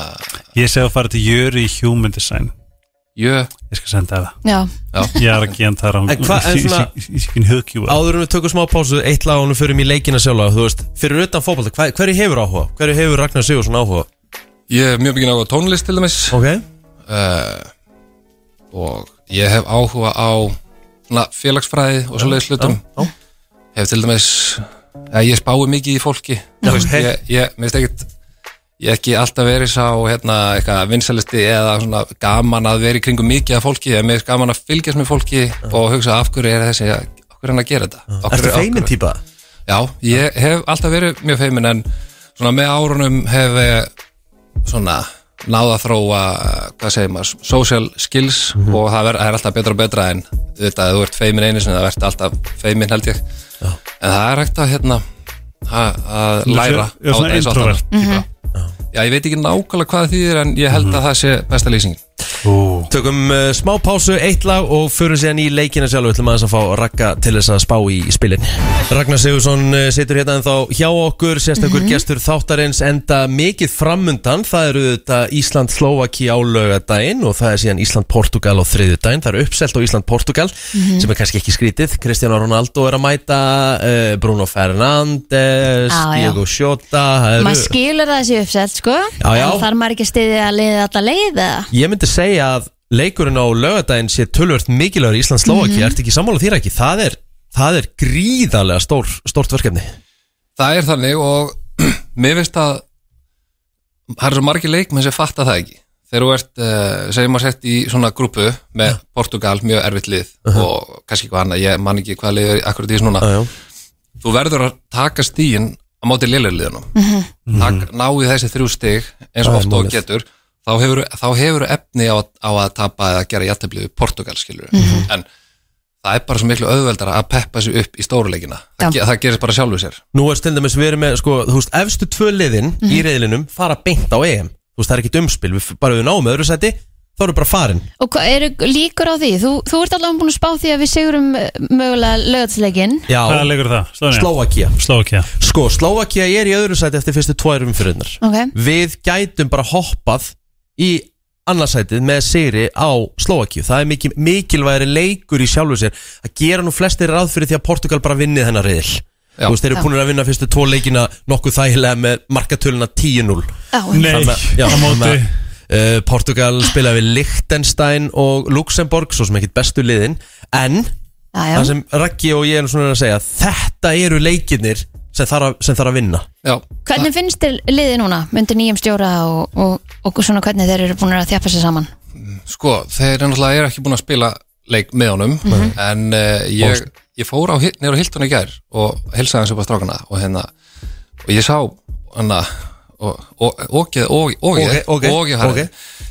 Speaker 3: Ég segi að fara til Jöri í Human Design
Speaker 12: Jö
Speaker 3: Ég skal senda það
Speaker 4: Já.
Speaker 12: Já.
Speaker 3: Ég er ekki hann þar á
Speaker 2: En hvað- en svona-
Speaker 3: Ískinn hugkjúa
Speaker 2: Áður en við tökum smá pásu, eitt lag og nú förum í leikina sjálfa Þú veist, fyrir utan fótbolta, hver, hverju hefur áhuga? Hverju hefur Ragnar Sigursson áhuga?
Speaker 12: ég hef mjög mikið áhuga á tónlist til dæmis
Speaker 2: Ok
Speaker 12: uh, og ég hef áhuga á svona, félagsfræði og svoleiðis hlutum hef til dæmis að ég spái mikið í fólki Þú veist,
Speaker 2: ok.
Speaker 12: ég, ég, mér veist ekkert ég hef ekki alltaf verið sá hérna, eitthvað vinsalisti eða svona gaman að vera í kringum mikið af fólki en mér er gaman að fylgjast með fólki og hugsa af hverju er þessi af hverju er hann að gera þetta Af hverju-
Speaker 2: Ertu
Speaker 12: af hverju-
Speaker 2: feimin típa?
Speaker 12: Já, ég hef alltaf verið mjög feimin en svona með árunum hef ég svona náða að þróa, hvað segir maður, social skills og það, ver, það er alltaf betra og betra en auðvitað, ef þú ert feimin einu sinni, það verður alltaf feimin held ég en það er hægt að hérna að- að
Speaker 3: Svona
Speaker 12: læra
Speaker 3: fjö- já, svona
Speaker 12: eins og
Speaker 3: introvert
Speaker 12: átta ára.
Speaker 3: Mhm.
Speaker 12: Já, ég veit ekki nákvæmlega hvað það þýðir en ég held að það sé besta lýsingin
Speaker 2: Tökum uh, smá pásu, eitt lag og förum síðan í leikina sjálf Við ætlum aðeins að fá Ragga til þess að spá í spilin Ragnar Sigursson uh, situr hérna en þá hjá okkur Sérstakur
Speaker 4: Mhm.
Speaker 2: gestur þáttarins enda mikið framundan Það eru þetta Ísland-Slóvaki á lögadaginn Og það er síðan Ísland-Portugal á þriðjudaginn Það eru uppselt á Ísland-Portugal
Speaker 14: Mhm.
Speaker 2: Sem er kannski ekki skrítið Kristján Ronaldo er að mæta uh, Bruno Fernandes
Speaker 4: Á, já.
Speaker 2: Diego Jota það eru-
Speaker 4: Maður skilur það þessi uppsett sko
Speaker 2: Já, já.
Speaker 4: En þarf maður ekki að stiðja að liða alltaf leið eða?
Speaker 2: Ég myndi segja að leikurinn á lögadaginn sé tölvört mikilvægur í Íslands-Slóvaki mm
Speaker 4: Mhm.
Speaker 2: Ertu ekki sammála þýra ekki? Það er, það er gríðarlega stór, stórt verkefni
Speaker 12: Það er þannig og mér finnst að það er svo margir leikmenn sem fatta það ekki þegar þú ert, uh, segjum að sett í svona grúpu með Portugal, mjög erfitt lið
Speaker 15: Uh-huh.
Speaker 12: og kannski eitthvað annað, ég man ekki hvað lið er akkurat í þessu núna þú verður að taka stíin á móti liðleirliðunum
Speaker 15: Mhm.
Speaker 12: tak, náðu þessi þrjú stig eins
Speaker 15: Það
Speaker 12: og
Speaker 15: er
Speaker 12: oft og
Speaker 15: málið.
Speaker 12: getur þá hefur, þá hefur efni á, á að tapa eða gera jættibliðu Portugal skilur
Speaker 15: Mhm.
Speaker 12: en það er bara svo miklu auðveldara að peppa sig upp í stóruleikina það,
Speaker 2: Já.
Speaker 12: ge- það gerist bara sjálfu sér
Speaker 2: Nú er stundumis við erum með, sko, þú veist, efstu tvö liðin
Speaker 3: Mhm.
Speaker 2: í reyðlinum fara beint á EM Þú veist, það er ekkit umspil, við bara við náum öðru seti Þá erum við bara farin
Speaker 4: Og hvað eru líkur á því? Þú, þú ert allavega búin að spá því að við sigurum eh, mögulega lögatsleikin
Speaker 2: Já.
Speaker 3: Hvaða leikur er það? Slóvenía?
Speaker 2: Slóvakia
Speaker 3: Slóvakia
Speaker 2: Sko, Slóvakia er í öðru sæti eftir fyrstu tværum fyrirnar
Speaker 4: Ok.
Speaker 2: Við gætum bara hoppað í annarsætið með sigri á Slóvakiu Það er mikil, mikilværi leikur í sjálfu sér að gera nú flestir ráð fyrir því að Portugal bara vinni þennan reyðil Þú veist, þeir eru
Speaker 3: Já.
Speaker 2: búinir að vinna fyrstu tvo leikina nokkuð þægilega með markatöluna 10-0
Speaker 3: Já, Nei,
Speaker 2: Þannig að- já,
Speaker 3: á móti.
Speaker 2: þannig að, Uh, Portugal spilaði við Liechtenstein og Luxemburg, svo sem ekkit bestu liðin en
Speaker 4: já.
Speaker 2: það sem Raggi og ég erum svona að segja þetta eru leikinir sem þarf að, sem þarf að vinna
Speaker 12: já.
Speaker 4: Hvernig finnst þér liðið núna? Myndir nýjum stjóra og, og, og svona hvernig þeir eru búin að þjappa sér saman?
Speaker 12: sko, þeir eru náttúrulega er ekki búin að spila leik með honum en uh, ég, ég fór á, nefnir á Hilton í gær og helsaði hans upp á strákana og hérna, og ég sá hana, og, og, og, og, og,
Speaker 2: Ok, ok,
Speaker 12: og ég hann
Speaker 2: ok.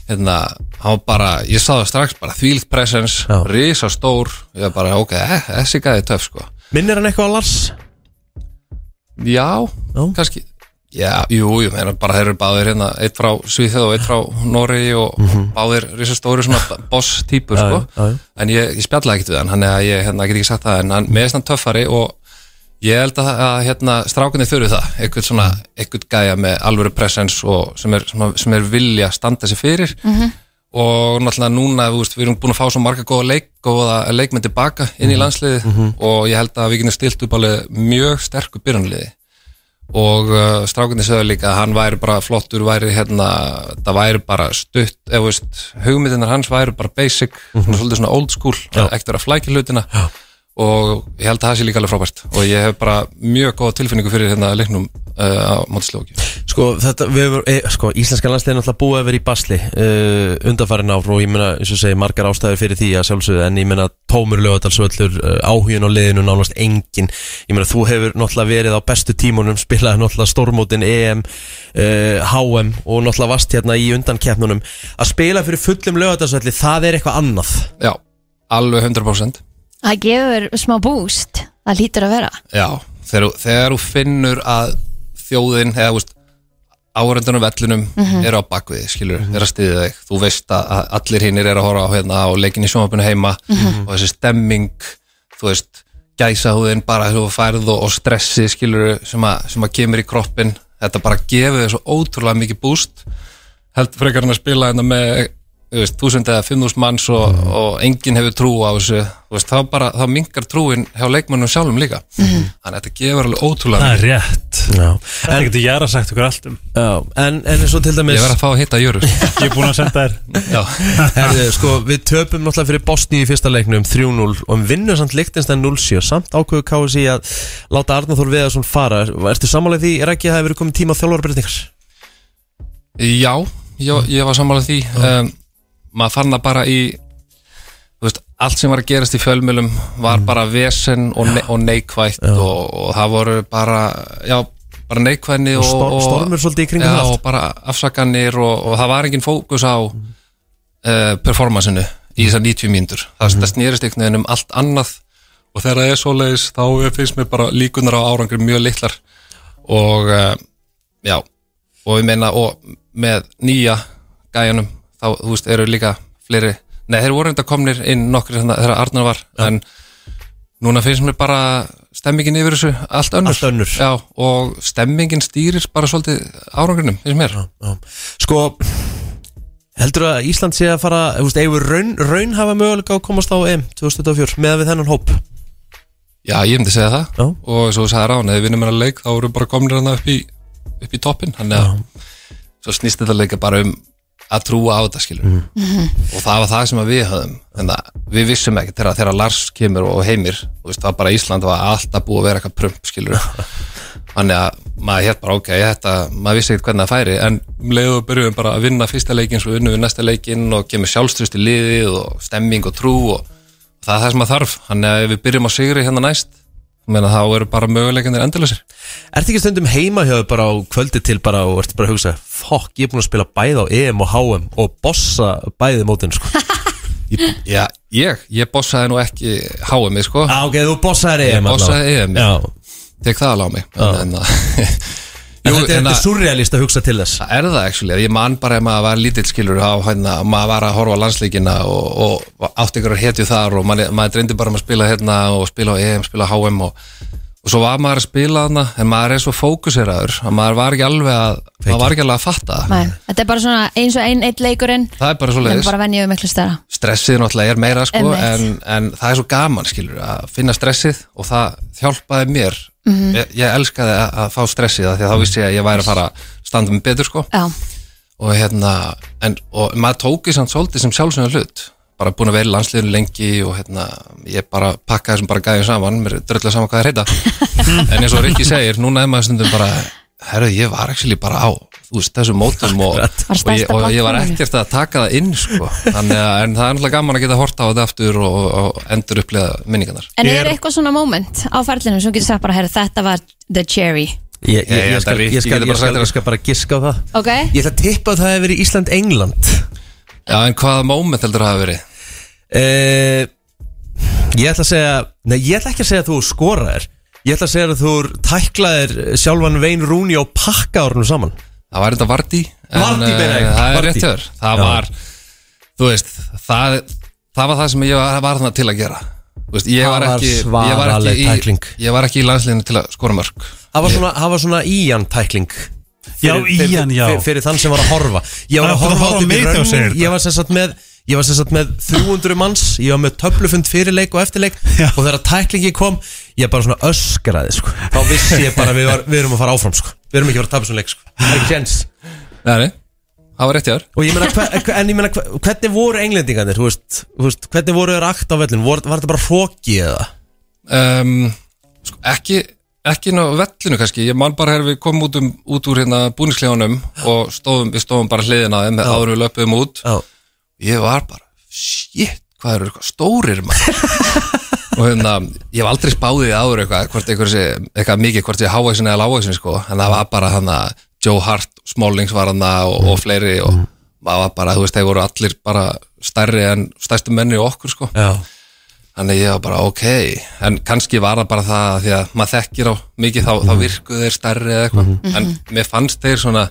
Speaker 12: hérna, hann var bara, ég sá það strax bara þvílikt presens, risastór ég var bara, ok, eh, þessi gæði er töff sko
Speaker 2: Minnir hann eitthvað á Lars?
Speaker 12: Já, kannski Já, jú, jú, hérna bara þeir eru báðir hérna, eitt frá Svíþjóð og eitt frá Noregi og báðir risastóri svona boss típur,
Speaker 2: Mhm. Já,
Speaker 12: sko
Speaker 2: já, já.
Speaker 12: en ég, ég spjallaði ekkert við hann, hann að ég hérna, get ekki sagt það, en hann meðist hann töffari og ég held að, að hérna, strákunni þurfi það, eitthvað svona eitthvað gæja með alvöru presens og sem er, sem, að- sem er vilja að standa sér fyrir
Speaker 15: Mhm.
Speaker 12: og náttúrulega núna, þú veist, við erum búin að fá svo marga góða leik, góða leikmenn tilbaka inn í
Speaker 15: Mhm.
Speaker 12: landsliðið
Speaker 15: Mhm.
Speaker 12: og ég held að við getum stilt upp alveg mjög sterku byrjanliði og uh, strákunni sögðu líka að hann væri bara flottur, væri hérna það væri bara stutt, eða veist hugmyndinar hans væri bara basic
Speaker 15: Mhm.
Speaker 12: svona, svolítið svona old school, ekkert vera að flækja hlutina og ég held að það sé líka alveg frábært og ég hef bara mjög góða tilfinningu fyrir hérna leiknum uh, á mótislóki
Speaker 2: Sko, þetta, við, hefur- e, sko íslenska landsliðin alltaf búið að vera í basli uh, undanfærin ár og ég meina, eins og segi, margar ástæður fyrir því að sjálfsögðu en ég meina tómur lögadalsvöllur, uh, áhugin á liðinu nánast engin, ég meina þú hefur náttúrulega verið á bestu tímunum, spilaði náttúrulega stórmótin E EM, uh, HM og náttúrulega vast hérna í undankeppnunum að spila fyrir fullum lögadalsvölli það er eitthvað annað
Speaker 12: Já, alveg 100%
Speaker 4: Það gefur smá búst, það lítur að vera
Speaker 12: Já, þegar, þú- þegar þú finnur að þjóðin, eða þú veist áhverjandunum vellunum
Speaker 4: Mhm.
Speaker 12: eru á bakvið skilur, eru að styðja þig, þú veist að að allir hinnir eru að horfa á hérna og leikin í sjónvapinu heima
Speaker 15: Mhm.
Speaker 12: og þessi stemming þú veist, gæsahúðin bara þessu færð og, og stressi skilur sem, að, sem að kemur í kroppin þetta bara gefur þér svo ótrúlega mikið búst held frekar hann að spila hérna með þú veist, þúsund eða fimm þúsund manns og,
Speaker 3: Mhm.
Speaker 12: og enginn hefur trú á þessu þú veist, þá bara, þá mingar trúin hjá leikmönnum sjálfum líka
Speaker 3: Mhm.
Speaker 12: þannig að þetta gefur alveg ótrúlega
Speaker 3: Það er
Speaker 12: mikið.
Speaker 3: rétt
Speaker 2: Já.
Speaker 3: Þetta getur Jara sagt okkur allt um
Speaker 2: Já, en, en eins og til dæmis
Speaker 12: Ég verð að fá að hitta Jöru
Speaker 3: Ég er búin að senda þér
Speaker 2: Herðu, sko, við töpum náttúrulega fyrir Bosni í fyrsta leiknum 3-0 og við vinnum samt Lichtenstein 0-7 samt ákveðu KSI að láta Arnar Þór Veðarsson fara Ertu sammálega því, er ekki að það hefur komið tíma þjálfarbreytingar?
Speaker 12: Já, ég, ég var sammála því um, maður fann það bara í þú veist, allt sem var að gerast í fjölmjölum
Speaker 2: Mm.
Speaker 12: var bara vesen og, ne og neikvætt og, og það voru bara já, bara neikvæðni
Speaker 2: Og
Speaker 12: og,
Speaker 2: stor- stormur svolítið í kringum
Speaker 12: já,
Speaker 2: allt. Mm.
Speaker 12: og bara afsakanir og, og það var engin fókus á uh, performansinu í þessar 90 mínútur það,
Speaker 2: Mhm.
Speaker 12: það snýrist einhvern veginn um allt annað og þegar það er svoleiðis þá er- finnst mér bara líkunar á árangri mjög litlar og uh, já og ég meina og með nýja gæjanum þá þú veist eru líka fleiri nei þeir voru enda komnir inn nokkri þarna þegar Arnar var en núna finnst mér bara stemmingin yfir þessu allt önnur, allt önnur. Já, og stemmingin stýrir bara svolítið árangrinum finnst mér já,
Speaker 2: já. Sko Heldur að Ísland sé að fara, þú veist, eigum við raun, raun hafa möguleika á að komast á EM 2024 með við þennan hóp?
Speaker 12: ég myndi segja það já. og eins og þú sagði ráðan, ef við vinnum hennar leik þá eru bara komnir hann upp í, upp í toppin þannig að svo snýst þetta leika bara um að trúa á þetta skilur
Speaker 15: Mhm.
Speaker 12: og það var það sem að við höfum en það, við vissum ekki þegar, þegar Lars kemur og heimir þú veist, það var bara Ísland var alltaf búið að vera eitthvað prump skilur þannig að maður hér bara ok, þetta, maður vissi ekkert hvernig það færi en um leiðu og byrjuðum bara að vinna fyrsta leikin svo vinnum við næsta leikin og kemur sjálfstrust í liðið og stemming og trú og það er það sem maður þarf þannig að ef við byrjum á sigri hérna næst ég meina, þá eru bara möguleikandir endalusir
Speaker 2: Ertu ekki stundum heima hjá þér bara á kvöldi til bara og ert bara að hugsa Fokk, ég er búin að spila bæði á EM og HM og bossa bæði mótin sko
Speaker 12: Já, ég, ég bossaði nú ekki háið mig sko
Speaker 2: ah, Ok, þú bossaði EM
Speaker 12: Ég bossaði
Speaker 2: allavega.
Speaker 12: EM Tek það alveg á mig en, hérna. en,
Speaker 2: En þetta er- þetta er surrealist að hugsa til þess
Speaker 12: Það er það actually, ég man bara ef maður var lítill skilur á hérna, maður var að horfa á landsleikina og, og átti ykkur hetju þar og maður, maður dreyndi bara um að spila hérna og spila á EM, spila á HM og, og svo var maður að spila þarna en maður er svo fókuseraður að maður var ekki alveg að, maður var ekki alveg að fatta það.
Speaker 4: Nei, þetta er bara svona eins og einn eitt leikurinn
Speaker 12: það er bara svo
Speaker 4: en
Speaker 12: leiðis
Speaker 4: bara venjuðu miklu stærra
Speaker 12: stressið náttúrulega er meira sko,
Speaker 4: Einmitt.
Speaker 12: en, en það er svo gaman skilur að finna stressið og það þjálpaði mér
Speaker 4: Mhm.
Speaker 12: ég, ég elskaði að, að fá stressið af því að þá vissi ég að ég væri að fara að standa mig betur sko.
Speaker 4: Já,
Speaker 12: og hérna en, og maður tók í samt svolítið sem sjálfsögum hlut bara búin að vera í landsliðinu lengi og hérna ég bara pakkaði þessum bara gæðum saman mér er drölla saman hvað það heita en eins og Rikki segir, núna er maður stundum bara herru, ég var actually bara á þú veist, þessum mótum og, og, ég, og ég var
Speaker 6: platforminu.
Speaker 12: ekkert að taka það inn sko. Þannig, að- en það er náttúrulega gaman að geta horta á þetta aftur og, og endur upplega minningarnar
Speaker 4: en er eitthvað svona moment á ferlinum sem þú getur sagt bara, herru, þetta var the cherry
Speaker 2: Ég, ég,
Speaker 12: Ég-
Speaker 2: ég,
Speaker 12: ég
Speaker 2: skal,
Speaker 12: held að
Speaker 2: ég,
Speaker 12: Rikki
Speaker 2: skal,
Speaker 12: geti
Speaker 2: ég,
Speaker 12: bara
Speaker 2: skal,
Speaker 12: sagt þér-
Speaker 2: ég skal bara giska á það
Speaker 4: Ok,
Speaker 2: Ég ætla að tippa að það hefur verið Ísland-England
Speaker 12: Já, en hvaða moment heldur það hafi verið?
Speaker 2: Eh, ég ætla að segja Nei, ég ætla ekki að segja að þú skoraðir Ég ætla að segja að þú tæklaðir sjálfan Vein Rúni og pakka árunum saman
Speaker 12: Það var þetta Vardí En,
Speaker 2: Vardí
Speaker 12: eh,
Speaker 2: meina ég,
Speaker 12: Það er
Speaker 2: Vardí.
Speaker 12: rétt hjá þér. Það
Speaker 2: Já.
Speaker 12: var, þú veist það, það var það sem ég var, var þarna til að gera Þú veist, ég
Speaker 2: Það
Speaker 12: var
Speaker 2: var
Speaker 12: ekki, ég var
Speaker 2: svaraleg
Speaker 12: ekki í,
Speaker 2: tækling.
Speaker 12: ég var ekki í landsliðinu til að skora mörg
Speaker 2: Það var svona, það var svona ían tækling
Speaker 12: Já,
Speaker 2: Fyrir-
Speaker 12: Ían, já.
Speaker 2: fyrir, fyrir þann sem var að horfa Ég var að
Speaker 12: Það er bara að
Speaker 2: horfa á
Speaker 12: horfa á
Speaker 2: þetta í
Speaker 12: mig þegar þú
Speaker 2: raun-
Speaker 12: segir þetta.
Speaker 2: Ég var sem sagt með Ég var sem sagt með 300 manns Ég var með töflufund fyrir leik og eftir leik Og þegar tæklingi kom Ég bara svona öskraði sko. Þá vissi ég bara að við, var, við erum að fara áfram sko. Við erum ekki að fara að tapa svona leik sko. Það er ekki sjens
Speaker 12: Nei, það var rétt hjá þér.
Speaker 2: Og ég meina, hver, En ég meina, hver, hvernig voru englendingarnir? Þú veist, þú veist, hvernig voru þeir akt á vellin? Var, var þetta bara hróki eða?
Speaker 12: um, sko, ekki ekki ná vellinu kannski, ég man bara hér við komum út, um, út úr hérna búningsleganum og stóðum, við stóðum bara hliðina á þeim áður en við löpum út
Speaker 2: Já.
Speaker 12: ég var bara, shit, hvað eru eitthvað stórir maður og hérna, ég hef aldrei spáðið áður eitthvað, hvort eitthvað, sé, eitthvað mikið, hvort ég háa sinni eða láa sinni sko, en það var bara hann að Joe Hart, Smallings var hann og, og fleiri og það var bara, þú veist, þeir voru allir bara stærri en stærstu menni og okkur sko
Speaker 2: Já.
Speaker 12: þannig ég var bara ok en kannski var það bara það að því að maður þekkir á mikið þá, þá virkuðu þeir stærri eða eitthvað
Speaker 15: Mhm.
Speaker 12: en mér fannst þeir svona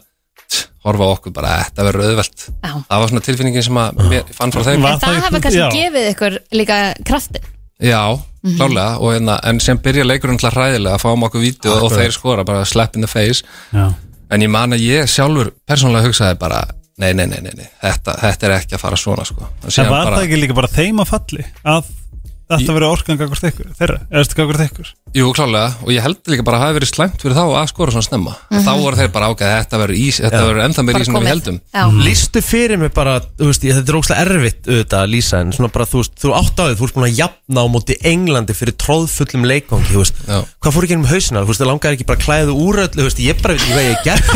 Speaker 12: tch, horfa á okkur bara, þetta verður auðvelt
Speaker 4: Já.
Speaker 12: það var svona tilfinningin sem að mér ég fann frá þeim
Speaker 4: en það hafa kannski gefið ykkur líka kraftin
Speaker 12: Já,
Speaker 4: Mhm.
Speaker 12: klálega, og hérna, en sem byrja leikurinn alltaf hræðilega að fáum okkur vítu og
Speaker 6: Akkurat.
Speaker 12: þeir skora bara slap in the face
Speaker 6: Já.
Speaker 12: en ég man að ég sjálfur persónulega hugsaði bara, nei, nei, nei, nei, nei þetta, þetta er ekki að fara svona sko. Og
Speaker 3: En
Speaker 12: síðan
Speaker 3: var það ekki líka bara þeim að falli að þetta verið orkan gagvart ykkur þeirra, eða þetta gagvart ykkur
Speaker 12: Jú, klálega, og ég held líka bara að það hafi verið slæmt fyrir þá að skora svona snemma
Speaker 3: Mhm.
Speaker 12: þá voru þeir bara ágæð, þetta verður ís þetta verður ennþá meir ís en við heldum
Speaker 4: Mhm.
Speaker 2: Lýstu fyrir mig bara, þú veist, ég- þetta er ógslag erfitt auðvitað að lýsa en svona bara, þú veist, þú átt á þig, þú ert búin að jafna á móti Englandi fyrir tróðfullum leikvangi, þú veist,
Speaker 12: Já.
Speaker 2: hvað fór í gegnum hausina, þú veist, það langar ekki bara að klæða þú úr öllu, þú veist, ég bara veit ekki hvað ég hef gert,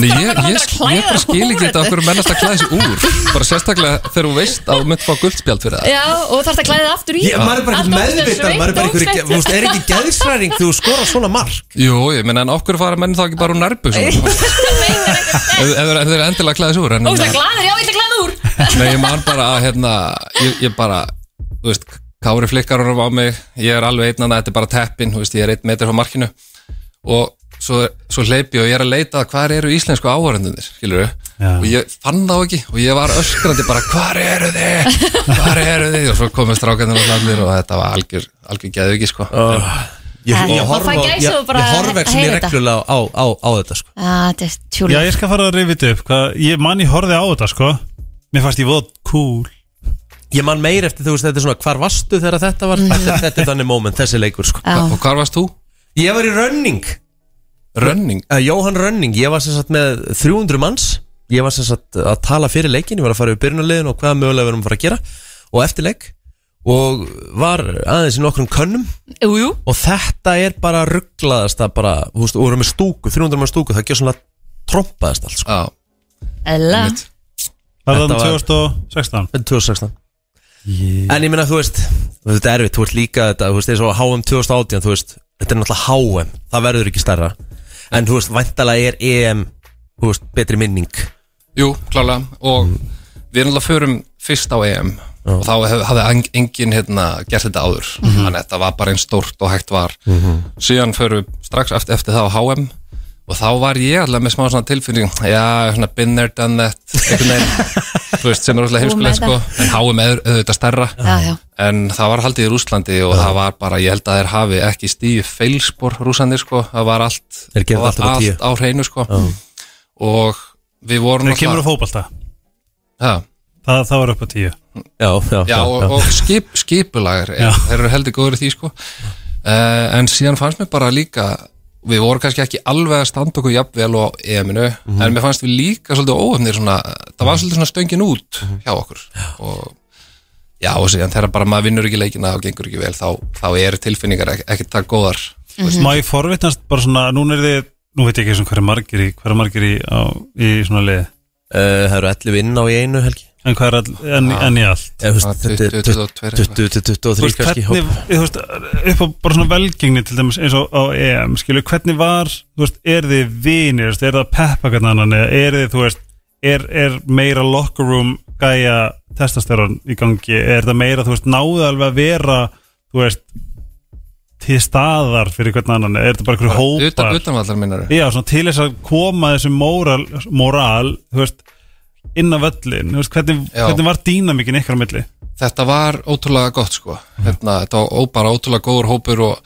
Speaker 12: Nei, ég, ég, ég bara skil ekki þetta okkur mennast að klæða þessi úr bara sérstaklega þegar þú veist að þú mynd fá guldspjald fyrir það
Speaker 4: Já, og þarf að klæða aftur í
Speaker 2: Ég,
Speaker 12: Já.
Speaker 2: maður er bara
Speaker 4: Alltaf
Speaker 2: ekkert meðvitað maður er bara
Speaker 4: ósveitt,
Speaker 2: ekkert,
Speaker 4: ósveitt.
Speaker 2: þú veist, er ekki geðsræring þú skora svona mark
Speaker 12: Jú, ég menna en okkur fara menn þá ekki bara úr nærbuksunum ef ef þeir ef þeir eru endilega klæðis úr en,
Speaker 4: Óslega glaður, já, ég ætla glaður úr
Speaker 12: Nei, ég man bara að hérna, ég, ég bara, þú veist, Kári flikkar honum á mig, ég er alveg einan að þetta er bara teppin, þú veist, ég er einn metri frá markinu og svo, svo hleyp ég og ég er að leita að hvað eru íslensku áhörendunir, skilur og ég fann þá ekki og ég var öskrandi bara, hvað eru þið, hvað eru þið og svo komið strákanum og hlandir og þetta var algjör, algjör geðviki, sko oh,
Speaker 2: ég,
Speaker 4: Æ,
Speaker 2: ég
Speaker 4: maður
Speaker 2: horfa
Speaker 4: fær
Speaker 2: á-
Speaker 4: gæsahúð
Speaker 2: ég,
Speaker 4: bara
Speaker 2: ég horfa ekki
Speaker 4: að heyra
Speaker 2: svona
Speaker 4: þetta.
Speaker 2: reglulega á, á, á þetta sko.
Speaker 4: Já, Ah, þetta er
Speaker 3: Já,
Speaker 4: tjúlega
Speaker 3: ég skal fara að rifið upp hvað, Ég mann ég horfið á þetta sko Mér fannst ég voð cool
Speaker 2: ég man meir eftir þú veist þetta er svona hvar varstu þegar þetta var
Speaker 4: Mm.
Speaker 2: þetta, þetta er þannig moment, þessi leikur sko.
Speaker 4: Já.
Speaker 12: Og hvar varst þú?
Speaker 2: ég var í Rönning
Speaker 12: Rönning?
Speaker 2: Uh, Jóhann Rönning, ég var sem sagt með 300 manns ég var sem sagt að tala fyrir leikin ég var að fara yfir byrjunarliðin og hvaða mögulega við erum að fara að gera og eftir leik og var aðeins í nokkrum könnum
Speaker 4: Jú, jú.
Speaker 2: og þetta er bara rugglaðast að bara, þú veist, og við erum með stúku 300 mann stúku, það gjör svona trompaðast allt sko.
Speaker 4: Ella
Speaker 3: Var það
Speaker 2: Þetta var-
Speaker 3: 2016?
Speaker 2: 2016 En ég minna, þú veist, þetta er erfitt, þú veist líka þetta, þú veist, eins og HM 2018, þú veist, þetta er náttúrulega HM, það verður ekki stærra. En þú veist, væntalega er EM, þú veist, betri minning.
Speaker 12: Jú, klálega og
Speaker 16: Mm.
Speaker 12: við erum alltaf förum fyrst á EM og þá hef- hafði eng- enginn hérna, gert þetta áður þannig að þetta var bara einn stórt og hægt var
Speaker 16: Mhm.
Speaker 12: síðan förum við strax eftir, eftir það á HM og þá var ég alltaf með smá svona tilfinning já, svona been there, done that einhvern veginn, þú veist, sem er alltaf
Speaker 16: Þú með
Speaker 12: heimskulegt sko, en HM er auðvitað stærra
Speaker 16: Já, já.
Speaker 12: en það var haldið í Rúslandi og það var bara, ég held að þeir hafi ekki stíu feilspor rúsandir sko, það var allt,
Speaker 2: Þeir gerðu
Speaker 12: það var
Speaker 2: allt upp á tíu.
Speaker 12: allt á hreinu sko og við vorum
Speaker 3: Þegar kemur á fótbalta
Speaker 12: Já.
Speaker 3: Það, það var upp á tíu
Speaker 2: Já, já,
Speaker 12: já, og, og skip, skipulagar
Speaker 3: Já.
Speaker 12: er, þeir eru heldur góður í því sko. uh, en síðan fannst mér bara líka við vorum kannski ekki alveg að standa okkur jafnvel á EM-inu, en mér fannst við líka svolítið óöfnir svona, það var svolítið svona stöngin út hjá okkur og já, og síðan þegar bara maður vinnur ekki leikina og gengur ekki vel, þá, þá eru tilfinningar ek ekkert það góðar
Speaker 3: mm -hmm. Má ég forvitnast bara svona Núna er þið, nú veit ég ekki svona hver er margir í Hver er margir í, á, í svona liði
Speaker 2: Uh, það eru 11 inn á í einu helgi.
Speaker 3: En hvað er all, en, en í allt?
Speaker 2: Eða, þú veist, þetta er
Speaker 3: Þú
Speaker 2: 20-23
Speaker 3: veist,
Speaker 2: kannski.
Speaker 3: hvernig, þú veist, upp á bara svona velgengni til dæmis eins og á EM, skilur, hvernig var, þú veist, er þið vinir, þú veist, er það peppa hvernig annan, eða er þið, þú veist, er, er meira locker room gæja testasteron í gangi, er það meira, þú veist, náðu alveg að vera, þú veist, til staðar fyrir hvernig annan, er þetta bara einhverju hópar?
Speaker 12: utan, utanvallar minnar
Speaker 3: Já, svona til þess að koma þessu móral, móral þú veist, inn á völlin, þú veist, hvernig,
Speaker 12: Já.
Speaker 3: hvernig var dýnamikinn ykkar á milli?
Speaker 12: þetta var ótrúlega gott sko hérna, þetta var ó- bara ótrúlega góður hópur og,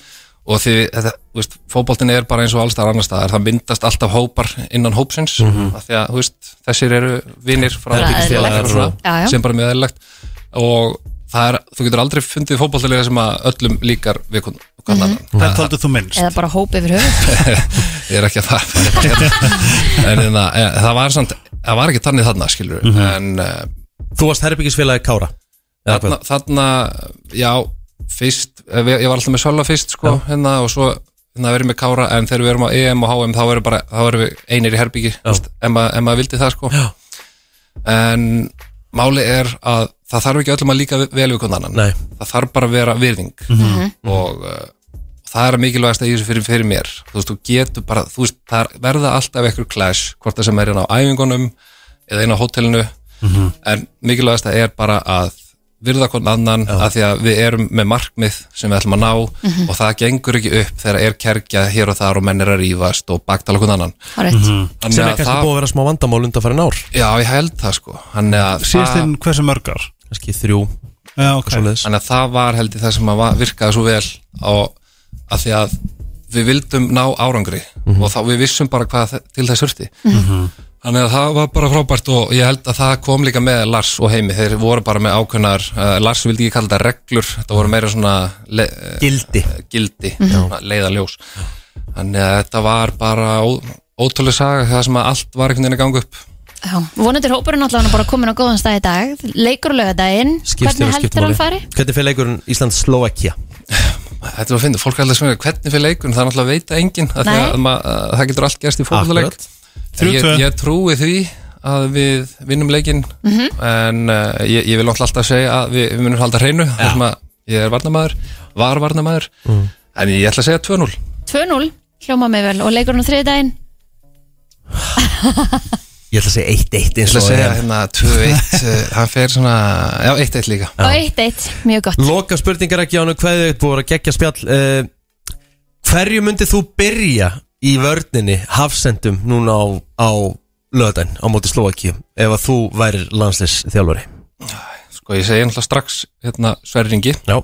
Speaker 12: og því, þetta, þú veist, fótboltin er bara eins og allstar annar staðar, það myndast alltaf hópar innan hópsins mm
Speaker 16: Mhm.
Speaker 12: því að, þú veist, þessir eru vinnir frá
Speaker 16: Það er
Speaker 12: byggjum
Speaker 16: eðlilegt.
Speaker 12: félagar og svona,
Speaker 16: Já, já.
Speaker 12: sem bara mjög eðlilegt og það er, þú getur aldrei fundið fótboltilega sem að öllum líkar við hvern hvern annan
Speaker 16: Mhm.
Speaker 3: Hvern töldu þú minnst?
Speaker 4: Eða bara hóp yfir höfuð
Speaker 12: ég er ekki að fara fara upp hérna. en hérna, eh, það var samt það var ekki þannig þarna skilur mm
Speaker 2: Mhm.
Speaker 12: en,
Speaker 2: Þú varst herbyggisfélagi Kára
Speaker 12: þarna, þarna, já fyrst, eh, við- ég var alltaf með Sölva fyrst sko, hérna, og svo hérna, verið með Kára en þegar við erum á EM og HM þá erum, bara, þá erum við einir í herbyggi veist, ef ma- ef maður vildi það sko já. en máli er að það þarf ekki öllum að líka vi- vel við hvernig annan
Speaker 2: Nei.
Speaker 12: það þarf bara að vera virðing
Speaker 16: Mhm.
Speaker 12: og uh, og það er mikilvægast að í þessu fyrir, fyrir mér þú veist, þú getur bara, þú veist, það er- verða alltaf ekkur clash, hvort það sem er inn á æfingunum eða inn á hótelinu
Speaker 16: Mhm.
Speaker 12: en mikilvægast að er bara að virða hvern annan að því að við erum með markmið sem við ætlum að ná
Speaker 16: Mhm.
Speaker 12: og það gengur ekki upp þegar er kergja hér og þar og menn er að rífast og baktala hvern annan
Speaker 4: Hárrétt. Mhm.
Speaker 12: Þannig
Speaker 2: Sem er
Speaker 12: að
Speaker 2: kannski
Speaker 12: það-
Speaker 2: búið að vera smá vandamál undanfærin ár.
Speaker 12: Já, ég held það sko Þannig að
Speaker 3: Síðast inn hversu mörg ár?
Speaker 2: Kannski þrjú
Speaker 3: Já, ok
Speaker 12: Þannig að það var held ég það sem að va- virkaði svo vel á, að því að við vildum ná árangri og þá við vissum bara hvað þe- til þess hurti
Speaker 16: Mhm.
Speaker 12: Þannig að það var bara frábært og ég held að það kom líka með Lars og Heimi þeir voru bara með ákveðnar uh, Lars vildi ekki kalla þetta reglur þetta voru meira svona le, uh,
Speaker 2: Gildi,
Speaker 12: gildi
Speaker 2: Mhm.
Speaker 12: svona leiðarljós Þannig að þetta var bara ó, ótrúlega saga það sem að allt var einhvern veginn að ganga upp
Speaker 4: Já, vonandi er hópurinn allavega bara komin á góðan stað í dag Leikur og lögadaginn
Speaker 2: Skiptir
Speaker 4: Hvernig
Speaker 2: og skiptir
Speaker 4: heldur hann
Speaker 2: máli.
Speaker 4: fari?
Speaker 2: Hvernig fyrir leikurinn Ísland-Slovakia?
Speaker 12: Þetta var að finna, fólk er alltaf sem er hvernig fyrir leikun, það er alltaf að veita enginn að því
Speaker 4: Nei.
Speaker 12: að mað, að það getur allt gerst í fólkuleik
Speaker 2: Akkurat.
Speaker 12: ég,
Speaker 2: 3-2.
Speaker 12: ég trúi því að við vinnum leikinn eh,
Speaker 4: Mhm.
Speaker 12: en uh, ég, ég vil náttúrulega alltaf segja að við, við munum halda hreinu þar sem að ég er varnamæður, var varnamæður
Speaker 2: Mm.
Speaker 12: en ég ætla að segja 2-0
Speaker 4: 2-0, hljóma mig vel og leikur hún á þriði daginn
Speaker 2: Ég ætla að segja 1-1
Speaker 12: Ég
Speaker 2: eins
Speaker 12: ætla
Speaker 2: og
Speaker 12: að segja
Speaker 2: er.
Speaker 12: hérna 2-1 eh, Hann fer svona, já 1-1 líka
Speaker 4: og 1-1, mjög gott
Speaker 2: Loka spurningar ekki ánu hvað þau búið að gegja spjall uh, Hverju myndið þú byrja í vörninni hafsendum núna á, á löðan á móti Slovakíu ef að þú værir landslis þjálfari
Speaker 12: Sko ég segi náttúrulega strax hérna sverringi
Speaker 2: Já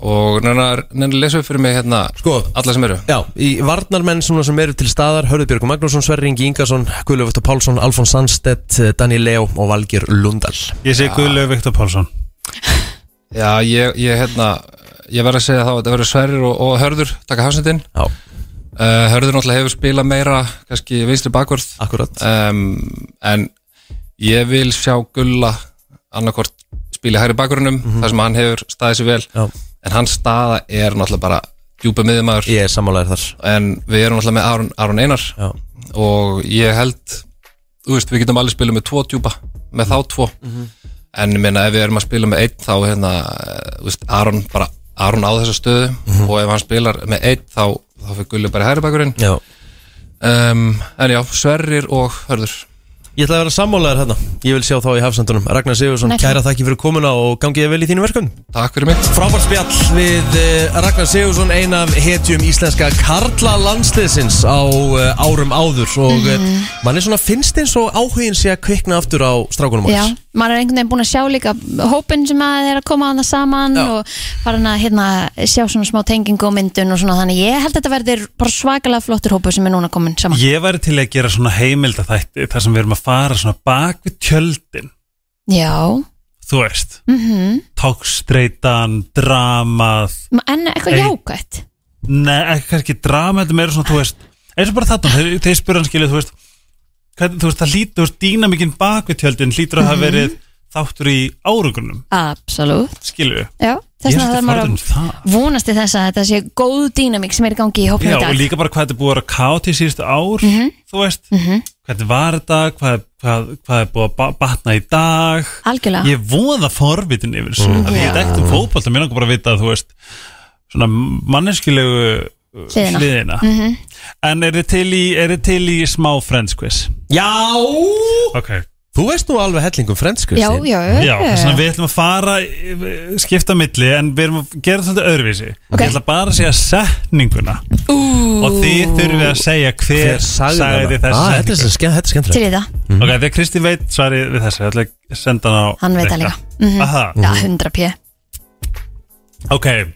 Speaker 12: Og nennar, nennar lesa upp fyrir mig hérna
Speaker 2: Sko
Speaker 12: Alla sem eru
Speaker 2: Já, í varnarmenn svona sem eru til staðar Hörður Björg Magnússon, Sverring Ingarsson Guðlaug Viktor Pálsson, Alfons Sandstedt eh, Daniel Leo og Valgir Lundal
Speaker 3: Ég segi Guðlaug Viktor Pálsson
Speaker 12: Já, ég, ég hérna Ég verð að segja þá að þetta verður sverrir og, og hörður Takka hafsendinn
Speaker 2: Já
Speaker 12: Hörður náttúrulega hefur spilað meira kannski vinstri bakvörð
Speaker 2: Akkurat
Speaker 12: Um, En ég vil sjá Gulla annarkvort spila í hægri bakvörðunum þar sem hann hefur staðið sér vel
Speaker 2: Mhm. Já.
Speaker 12: En hans staða er náttúrulega bara djúpa miðumæður
Speaker 2: Ég er sammálaður þar
Speaker 12: En við erum náttúrulega með Aron, Aron Einar
Speaker 2: Já.
Speaker 12: Og ég held Þú veist, við getum alveg spilað með tvo djúpa Með þá tvo
Speaker 2: Mhm.
Speaker 12: En ég meina, ef við erum að spila með einn þá hérna, eh, þú veist, Aron bara Aron á þessa stöðu
Speaker 2: Mhm.
Speaker 12: og ef hann spilar með einn þá, þá fyrir Gulli bara hægri bakurinn
Speaker 2: Já
Speaker 12: um, En já, Sverrir og Hörður
Speaker 2: Ég ætla að vera sammálaður hérna Ég vil sjá þá í hafsendunum Ragnar Sigursson,
Speaker 12: Nei, fyrir.
Speaker 2: kæra þakki fyrir komuna og gangið vel í þínu verkum
Speaker 12: Takk fyrir mig
Speaker 2: Frábært spjall við eh, Ragnar Sigursson ein af hetjum íslenska Karla landsliðsins á eh, árum áður og mm
Speaker 4: Mhm.
Speaker 2: mann er svona finnst eins og áhugin sé að kvikna aftur á strákunum
Speaker 4: Já,
Speaker 2: hans
Speaker 4: maður er einhvern veginn búin að sjá líka hópin sem að er að koma á það saman og farin að hérna, sjá svona smá tengingu og myndun og svona þannig ég held að þetta verður bara svakalega flottur hópu sem er núna komin saman
Speaker 3: Ég væri til að gera svona heimildaþætti þar sem við erum að fara svona bak við tjöldin
Speaker 4: Já,
Speaker 3: Þú veist,
Speaker 4: mhm
Speaker 3: tókstreitan, dramað
Speaker 4: en eitthvað
Speaker 3: Ei.
Speaker 4: jákvætt
Speaker 3: Nei, ekki kannski drama, þetta er meira svona, þú veist eins og bara þarna, þeir, þeir spurðan skilja, þú veist hvað, þú veist, það lít, þú veist, dýna mikinn bak við tjöldin hlýtur að hafa
Speaker 4: Mhm.
Speaker 3: verið þáttur í árugunum
Speaker 4: Absolutt
Speaker 3: skilju
Speaker 4: Já,
Speaker 3: Ég
Speaker 4: þess
Speaker 3: er
Speaker 4: vegna
Speaker 3: svolítið
Speaker 4: þarf maður
Speaker 3: forvitin um það.
Speaker 4: að vonast til þess að þetta sé góð dýnamík sem er í gangi í hópum
Speaker 3: Já,
Speaker 4: í dag
Speaker 3: og líka bara hvað þetta er búið að vera kátt í síðustu ár þú veist,
Speaker 4: Mhm.
Speaker 3: hvernig var þetta hvað, hvað, hvað er búið að ba- batna í dag
Speaker 4: Algjörlega.
Speaker 3: ég er voða forvitin yfir þessu
Speaker 4: Mm.
Speaker 3: mm. ég er
Speaker 4: Já.
Speaker 3: ekkert um fótbolta, mér langar bara að vita að þú veist svona manneskilegu uh,
Speaker 4: Hliðina.
Speaker 3: hliðina.
Speaker 4: Mhm.
Speaker 3: en er þið til í, er þið til í smá friends quiz?
Speaker 2: Já
Speaker 3: okay.
Speaker 2: Þú veist nú alveg hellingum frendskurs
Speaker 4: Já, já, já.
Speaker 3: Já, þess vegna við ætlum að fara eh, skipta á milli en við erum að gera þetta öðruvísi
Speaker 4: Ok.
Speaker 3: Ég ætla bara að segja setninguna
Speaker 4: Ú,
Speaker 3: og þið þurfið að segja
Speaker 2: Hver
Speaker 3: hver,
Speaker 2: sagði hana?
Speaker 3: þessa
Speaker 2: Ah, þetta er
Speaker 3: setningu.
Speaker 2: svo skemmt- þetta er skemmtilegt.
Speaker 4: Til í það.
Speaker 3: Ok, þegar Kristi veit svarið við þessu, ég ætla að senda hann á
Speaker 4: Hann veit það
Speaker 3: Rikka.
Speaker 4: líka Mhm.
Speaker 3: Aha.
Speaker 4: Já, 100 p
Speaker 3: Ok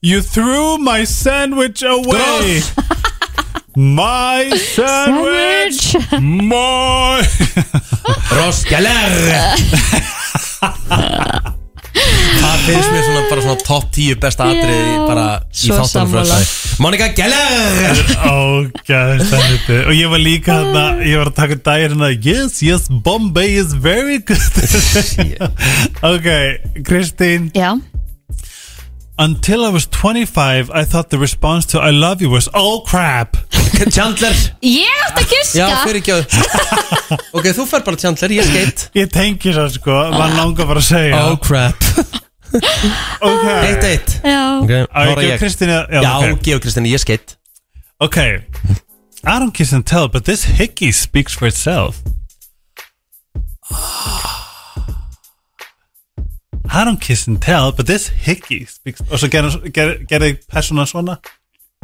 Speaker 3: You threw my sandwich away My sandwich My
Speaker 2: Roskjæler Það finnst mér svona bara svona topp 10 besta atrið í, bara í
Speaker 3: svo
Speaker 2: þáttunum
Speaker 3: sammála.
Speaker 2: frá Monika Gjeller
Speaker 3: Ógæðist að þetta Og ég var líka þarna, ég var að taka dagir hérna Yes, yes, Bombay is very good Ok, Kristín
Speaker 4: Já
Speaker 3: Until I was 25 I thought the response to I love you was Oh crap
Speaker 2: Chandler
Speaker 4: Ég átt að giska
Speaker 2: Já, fyrir ekki Ok, þú fær bara Chandler, ég skeitt
Speaker 3: Ég tengi svo sko, maður langar bara að segja
Speaker 2: Oh crap
Speaker 3: Ok
Speaker 2: Eitt, eitt
Speaker 4: Já
Speaker 2: Ok,
Speaker 3: Á, ég
Speaker 2: þá er
Speaker 3: gef
Speaker 2: ég.
Speaker 3: Kristínu- já,
Speaker 2: Já,
Speaker 3: ok.
Speaker 2: gef Kristínu, ég skeitt
Speaker 3: Okay. I don't kiss and tell, but this hickey speaks for itself. I don't kiss and tell, but this hickey speaks... Og svo gerði ger, ger persóna svona.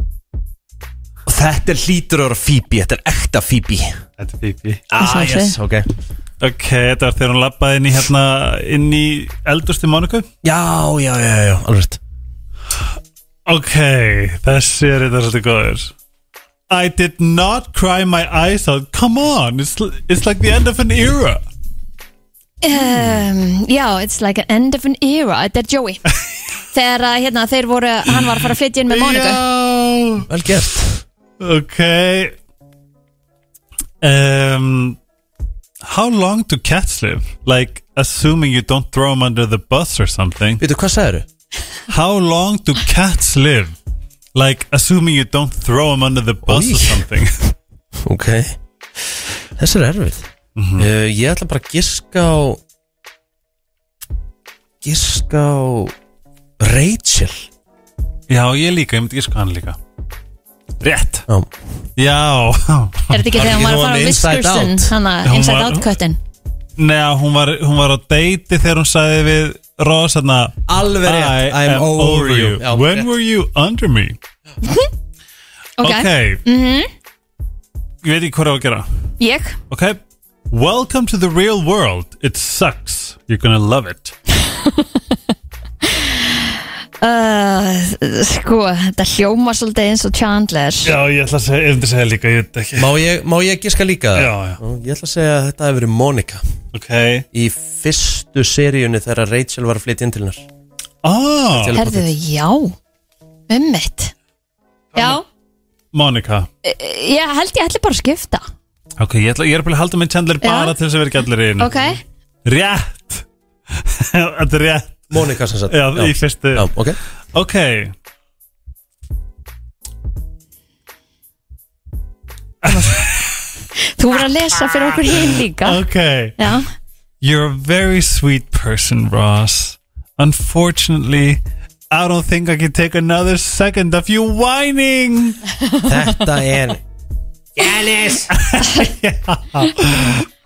Speaker 2: Og Þetta er hlýtur ára Phoebe, þetta er ekta Phoebe
Speaker 3: Þetta er Phoebe
Speaker 2: Ah,
Speaker 3: Þessi
Speaker 2: yes, ok
Speaker 3: Ok, þetta var þegar hún lappaði inn í hérna, inn í eldustu Monaco.
Speaker 2: Já, já, já, já, alveg rétt.
Speaker 3: Ok, þessi er þetta svolítið góður. I did not cry my eyes out, come on, it's, it's like the end of an era.
Speaker 4: Um, já, it's like an end of an era Þetta er Joey Þegar að, hérna, þeir voru, hann var að fara að flytja inn með Monika
Speaker 3: Já
Speaker 2: Vel gert
Speaker 3: Ok um, How long do cats live? Like assuming you don't throw them under the bus or something
Speaker 2: Veitu, hvað sagður?
Speaker 3: How long do cats live? Like assuming you don't throw them under the bus or something
Speaker 2: Ok Þessi er erfið
Speaker 3: Mhm.
Speaker 2: uh, Ég ætla bara að giska á Giska á Rachel
Speaker 3: Já, ég líka, ég myndi ekki sko hann líka Rétt
Speaker 2: Já,
Speaker 4: Er þetta ekki þegar hún
Speaker 3: hérna
Speaker 4: var að fara á Whiskerson Hanna,
Speaker 3: Hún
Speaker 4: Inside
Speaker 3: var-
Speaker 4: Out köttin
Speaker 3: Nei, hún var, hún var á deiti þegar hún sagði við Ross hérna
Speaker 2: Alveg rétt,
Speaker 3: I am over you
Speaker 2: Já,
Speaker 3: When
Speaker 2: rétt.
Speaker 3: were you under me?
Speaker 4: Ok,
Speaker 3: Ok.
Speaker 4: Mhm.
Speaker 3: Ég veit ekki hvað er að gera
Speaker 4: Ég
Speaker 3: Ok Welcome to the real world It sucks You're gonna love it
Speaker 4: uh, Sko, þetta hljóma svolítið eins og Chandler
Speaker 3: Já, ég ætla að segja, ég ætla að segja líka, ég veit ekki
Speaker 2: Má ég, má ég giska líka það?
Speaker 3: Já, já.
Speaker 2: Ég ætla að segja að þetta hefur verið Monica
Speaker 3: okay.
Speaker 2: Í fyrstu seríunni þegar Rachel var að flytja inn til hennar
Speaker 3: Ah
Speaker 4: Herðu, já Ummitt Já,
Speaker 3: Monica
Speaker 4: e- e- ég held ég ætli bara að skipta
Speaker 3: Ok, ég, ætla, ég er bara að halda með Chandler
Speaker 4: Já.
Speaker 3: bara til þess að vera ekki allir einu
Speaker 4: Ok,
Speaker 3: Rétt Þetta er rétt
Speaker 2: Monika sem sagt
Speaker 3: Já, í fyrstu
Speaker 2: Já, ok
Speaker 3: Ok
Speaker 4: þú voru að lesa fyrir okkur hinn líka
Speaker 3: Ok
Speaker 4: Já,
Speaker 3: You're a very sweet person, Ross Unfortunately I don't think I can take another second of you whining
Speaker 2: Þetta er
Speaker 3: Janis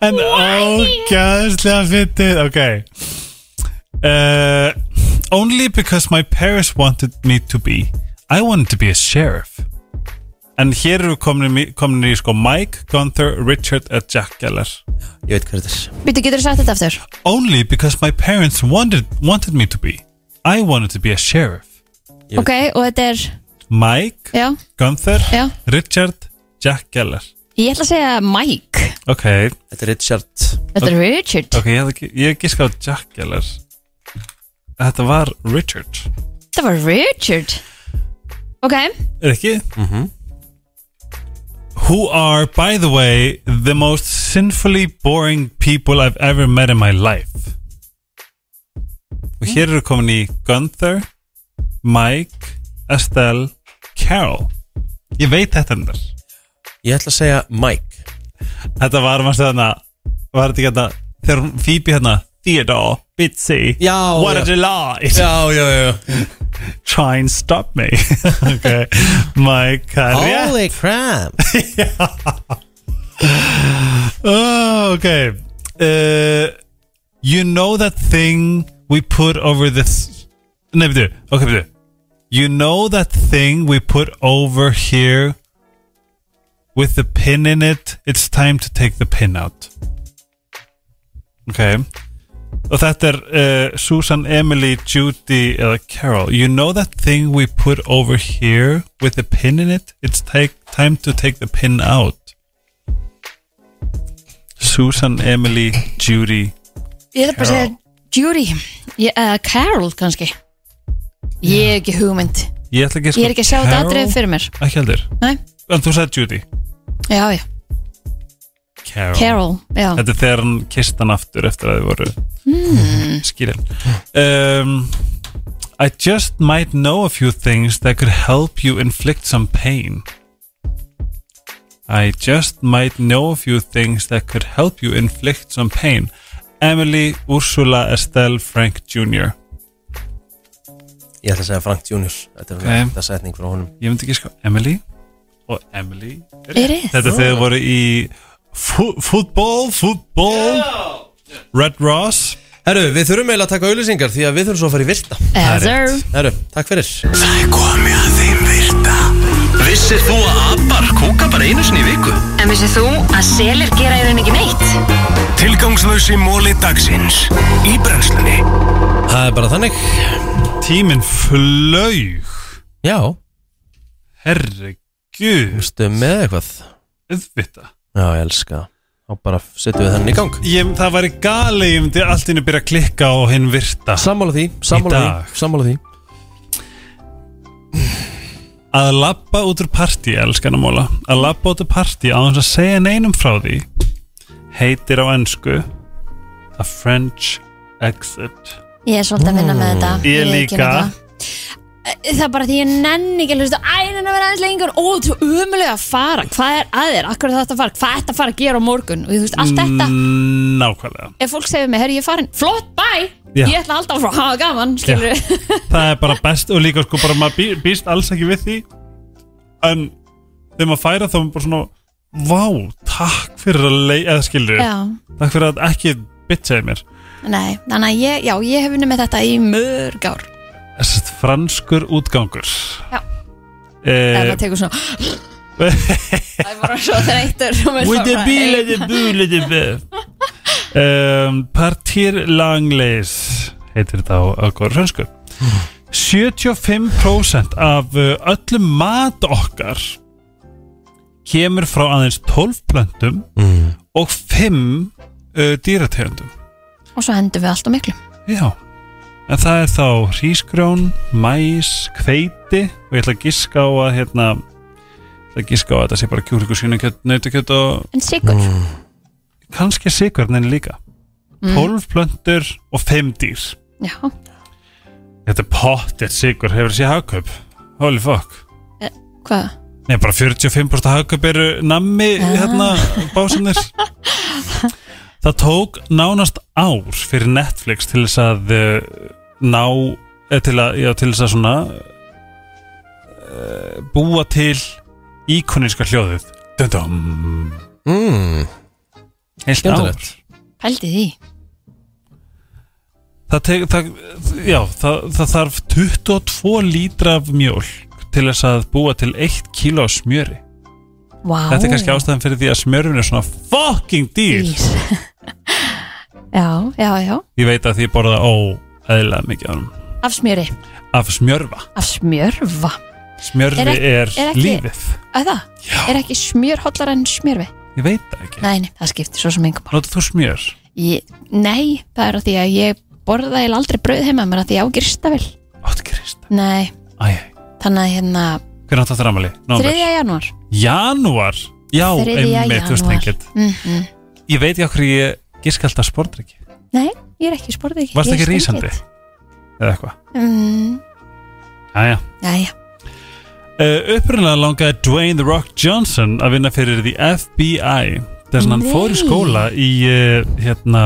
Speaker 3: En ógæðslega fyndið Ok uh, Only because my parents wanted me to be I wanted to be a sheriff er En hér eru komin, komin í sko Mike, Gunther, Richard og Jack Geller
Speaker 2: Ég veit hvað þetta er
Speaker 4: býttu getur sagt þetta aftur
Speaker 3: Only because my parents wanted, wanted me to be I wanted to be a sheriff
Speaker 4: Ok, og þetta er,
Speaker 3: Mike,
Speaker 4: já,
Speaker 3: Gunther,
Speaker 4: Já.
Speaker 3: Richard, Jack Geller
Speaker 4: ég ætla að segja Mike
Speaker 3: Ok
Speaker 2: Þetta er Richard
Speaker 4: Þetta er Richard
Speaker 3: Ok, ég, hefði ekki- ég gíska á Jack Geller Þetta var Richard
Speaker 4: Þetta var Richard Ok,
Speaker 3: Er ekki? Mm -hmm. Who are, by the way, the most sinfully boring people I've ever met in my life Og hér eru komin í Gunther, Mike, Estelle, Carol Ég veit þetta endar
Speaker 2: Ég ætla að segja Mike
Speaker 3: Þetta var maður þarna Var þetta ekki þarna Þegar hún Phoebe hérna Theodore, Bitsy
Speaker 2: Já,
Speaker 3: What a
Speaker 2: já.
Speaker 3: delight
Speaker 2: Já, já, já
Speaker 3: Try and stop me Ok Mike það er rétt.
Speaker 2: Holy crap
Speaker 3: oh, Okay uh, You know that thing We put over this Nei, byrju Ok, byrju You know that thing we put over here With the pin in it It's time to take the pin out Ok Og þetta er uh, Susan, Emily, Judy eða Carol You know that thing we put over here with the pin in it It's take, time to take the pin out Susan, Emily, Judy
Speaker 4: ég ætla bara að segja Judy ég, uh, Carol kannski Ég hef ekki hugmynd
Speaker 3: Ég ætla ekki að
Speaker 4: Ég er ekki að sjá þetta atrið fyrir mér
Speaker 3: Ekki heldur
Speaker 4: Nei,
Speaker 3: En þú sagði Judy
Speaker 4: já, já,
Speaker 3: Carol,
Speaker 4: Carol, já
Speaker 3: Þetta er þegar hann kist hann aftur eftir að þið voru
Speaker 4: Hmm.
Speaker 3: skilin um, I just might know a few things that could help you inflict some pain I just might know a few things that could help you inflict some pain Emily, Ursula, Estelle, Frank Jr.
Speaker 2: Ég ætla að segja Frank Junior Þetta er
Speaker 3: Ok.
Speaker 2: þetta setning frá honum
Speaker 3: Ég myndi ekki sko Emily og Emily
Speaker 4: Er rétt.
Speaker 3: Þetta er þegar þau voru í fú- Fútból, fútból Red Ross
Speaker 2: Herru, við þurfum eiginlega að taka auðlýsingar því að við þurfum svo að fara í virta
Speaker 4: Yes, sir.
Speaker 2: Herru, takk fyrir
Speaker 1: Það er komið að þeim virta Vissir þú að abar kúka bara einu sinni í viku?
Speaker 17: En vissið þú að selir gera í raun ekki neitt?
Speaker 1: Tilgangslösi móli dagsins Í brennslunni
Speaker 2: Það er bara þannig
Speaker 3: Tíminn flög
Speaker 2: Já,
Speaker 3: Herregud
Speaker 2: veistu með eitthvað
Speaker 3: Auðvitað
Speaker 2: Já, ég elska það. Þá bara setjum við þannig í gang
Speaker 3: ég, Það væri gali, ég myndi allt inni byrja að klikka á hinn virta
Speaker 2: Sammála því, sammála
Speaker 3: Í dag.
Speaker 2: því, sammála því
Speaker 3: Að labba út úr partí, elskana móla Að labba út úr partí á þess að segja neinum frá því Heitir á ennsku A French Exit
Speaker 4: Ég er svolítið að vinna með þetta
Speaker 3: Ég
Speaker 4: viðurkenni
Speaker 3: líka.
Speaker 4: það. það er bara því ég nenni ekki að hlusta Æ, nenni að vera aðeins lengur Ó, þú umulega að fara Hvað er að þér? Akkur þetta að fara? Hvað þetta að fara að gera á morgun? Og þú veist,
Speaker 3: Mm.
Speaker 4: allt þetta
Speaker 3: Nákvæmlega
Speaker 4: Ef fólk segir mig, herri, ég er farin Flott, bæ!
Speaker 3: Já.
Speaker 4: Ég ætla alltaf að hafa gaman, skilur
Speaker 3: það er bara best og líka sko bara maður bý- býst alls ekki við því en þegar maður færa þá er maður bara svona vá, takk fyrir að leið eða skilur,
Speaker 4: Já.
Speaker 3: takk fyrir að ekki bitchaði mér,
Speaker 4: Nei, þannig að ég, já, ég hef unnið með þetta í mörg ár
Speaker 3: þessast franskur útgangur
Speaker 4: Já.
Speaker 3: Eh,
Speaker 4: Ef það tekur svona Það er bara svo þreytur og maður
Speaker 3: With
Speaker 4: bara
Speaker 3: the
Speaker 4: svona,
Speaker 3: bee,
Speaker 4: "Ey."
Speaker 3: let the boo, let the boo um, Partir langleis heitir þetta á okkur fransku 75% af uh, öllum mat okkar kemur frá aðeins 12 plöntum og 5 uh, dýrategundum
Speaker 4: Og svo hendum við allt og miklu
Speaker 3: Já En það er þá hrísgrjón, mæs, hveiti og ég ætla að giska á að hérna ég ætla að giska á að þetta sé bara kjúlingu, svínakjöt, nautakjöt og
Speaker 4: En sigur mm.
Speaker 3: kannski sigurnin líka
Speaker 4: Mm.
Speaker 3: 12 plöntur og 5 dýr
Speaker 4: Já,
Speaker 3: Þetta er pottet sigur, hefur þessi hagkaup Holy fuck
Speaker 4: e, hvað?
Speaker 3: Nei, bara 45% hagkaup eru nammi hérna, básanir Það tók nánast ár fyrir Netflix til þess að eh, ná, eða til að, já, til þess að svona eh, búa til íkoníska hljóðið Döndum
Speaker 2: mm.
Speaker 3: Heilt ár
Speaker 2: Skemmtilegt.
Speaker 4: Pældi því
Speaker 3: það, teg, það, já, það, það þarf 22 lítra af mjólk til þess að búa til 1 kíló af smjöri
Speaker 4: Vá
Speaker 3: Þetta er kannski ástæðan fyrir því að smjörfin er svona fucking dýr
Speaker 4: Já, já, já
Speaker 3: Ég veit að því ég borða óæðilega mikið af honum.
Speaker 4: Af smjöri
Speaker 3: af smjörfa
Speaker 4: Af smjörva
Speaker 3: Smjörfi er,
Speaker 4: ekki-
Speaker 3: lífið
Speaker 4: Að það? Já. Er ekki smjör hollar en smjörfi?
Speaker 3: Ég veit það ekki
Speaker 4: Nei, nei, það skiptir svo sem engum
Speaker 3: Notar þú smjör?
Speaker 4: ég, Nei, það er að því að ég borða eða aldrei brauð heima mér að því ég á gristavel
Speaker 3: Áttu grista?
Speaker 4: Nei,
Speaker 3: Æj,
Speaker 4: þannig að hérna
Speaker 3: hvernig átt þetta ramali?
Speaker 4: 3. janúar
Speaker 3: Janúar? Já,
Speaker 4: 3.
Speaker 3: einmitt, þú veist
Speaker 4: janúar.
Speaker 3: engið
Speaker 4: Mhm.
Speaker 3: Ég veit ekki okkur ég gíska alltaf sportryggi
Speaker 4: Nei, ég er ekki sporðið ekki
Speaker 3: Varst
Speaker 4: ég
Speaker 3: ekki
Speaker 4: er
Speaker 3: rísandi?
Speaker 4: steinheitt.
Speaker 3: Eða eitthvað
Speaker 4: mm,
Speaker 3: Jæja
Speaker 4: Jæja,
Speaker 3: Uh, upprunalega langaði Dwayne The Rock Johnson að vinna fyrir því FBI þess að hann
Speaker 4: Nei.
Speaker 3: fór í skóla í uh, hérna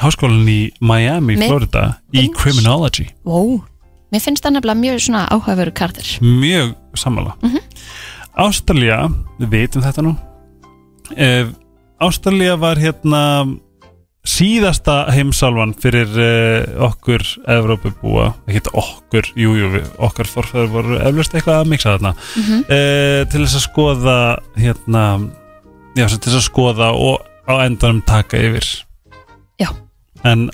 Speaker 3: háskólan í Miami,
Speaker 4: Mér
Speaker 3: Florida í
Speaker 4: finnst-
Speaker 3: Criminology
Speaker 4: wow Mér finnst það nefnilega mjög svona áhugaveru kardir
Speaker 3: mjög sammála Ástralía, við vitum þetta nú uh, Ástralía var hérna síðasta heimsálfan fyrir uh, okkur Evrópubúa, ekki okkur jújú, jú, við- okkar forfæður voru eflust eitthvað að miksa þarna
Speaker 16: Mhm.
Speaker 3: uh, til þess að skoða hérna, já, sem til þess að skoða og á endanum taka yfir
Speaker 4: Já.
Speaker 3: en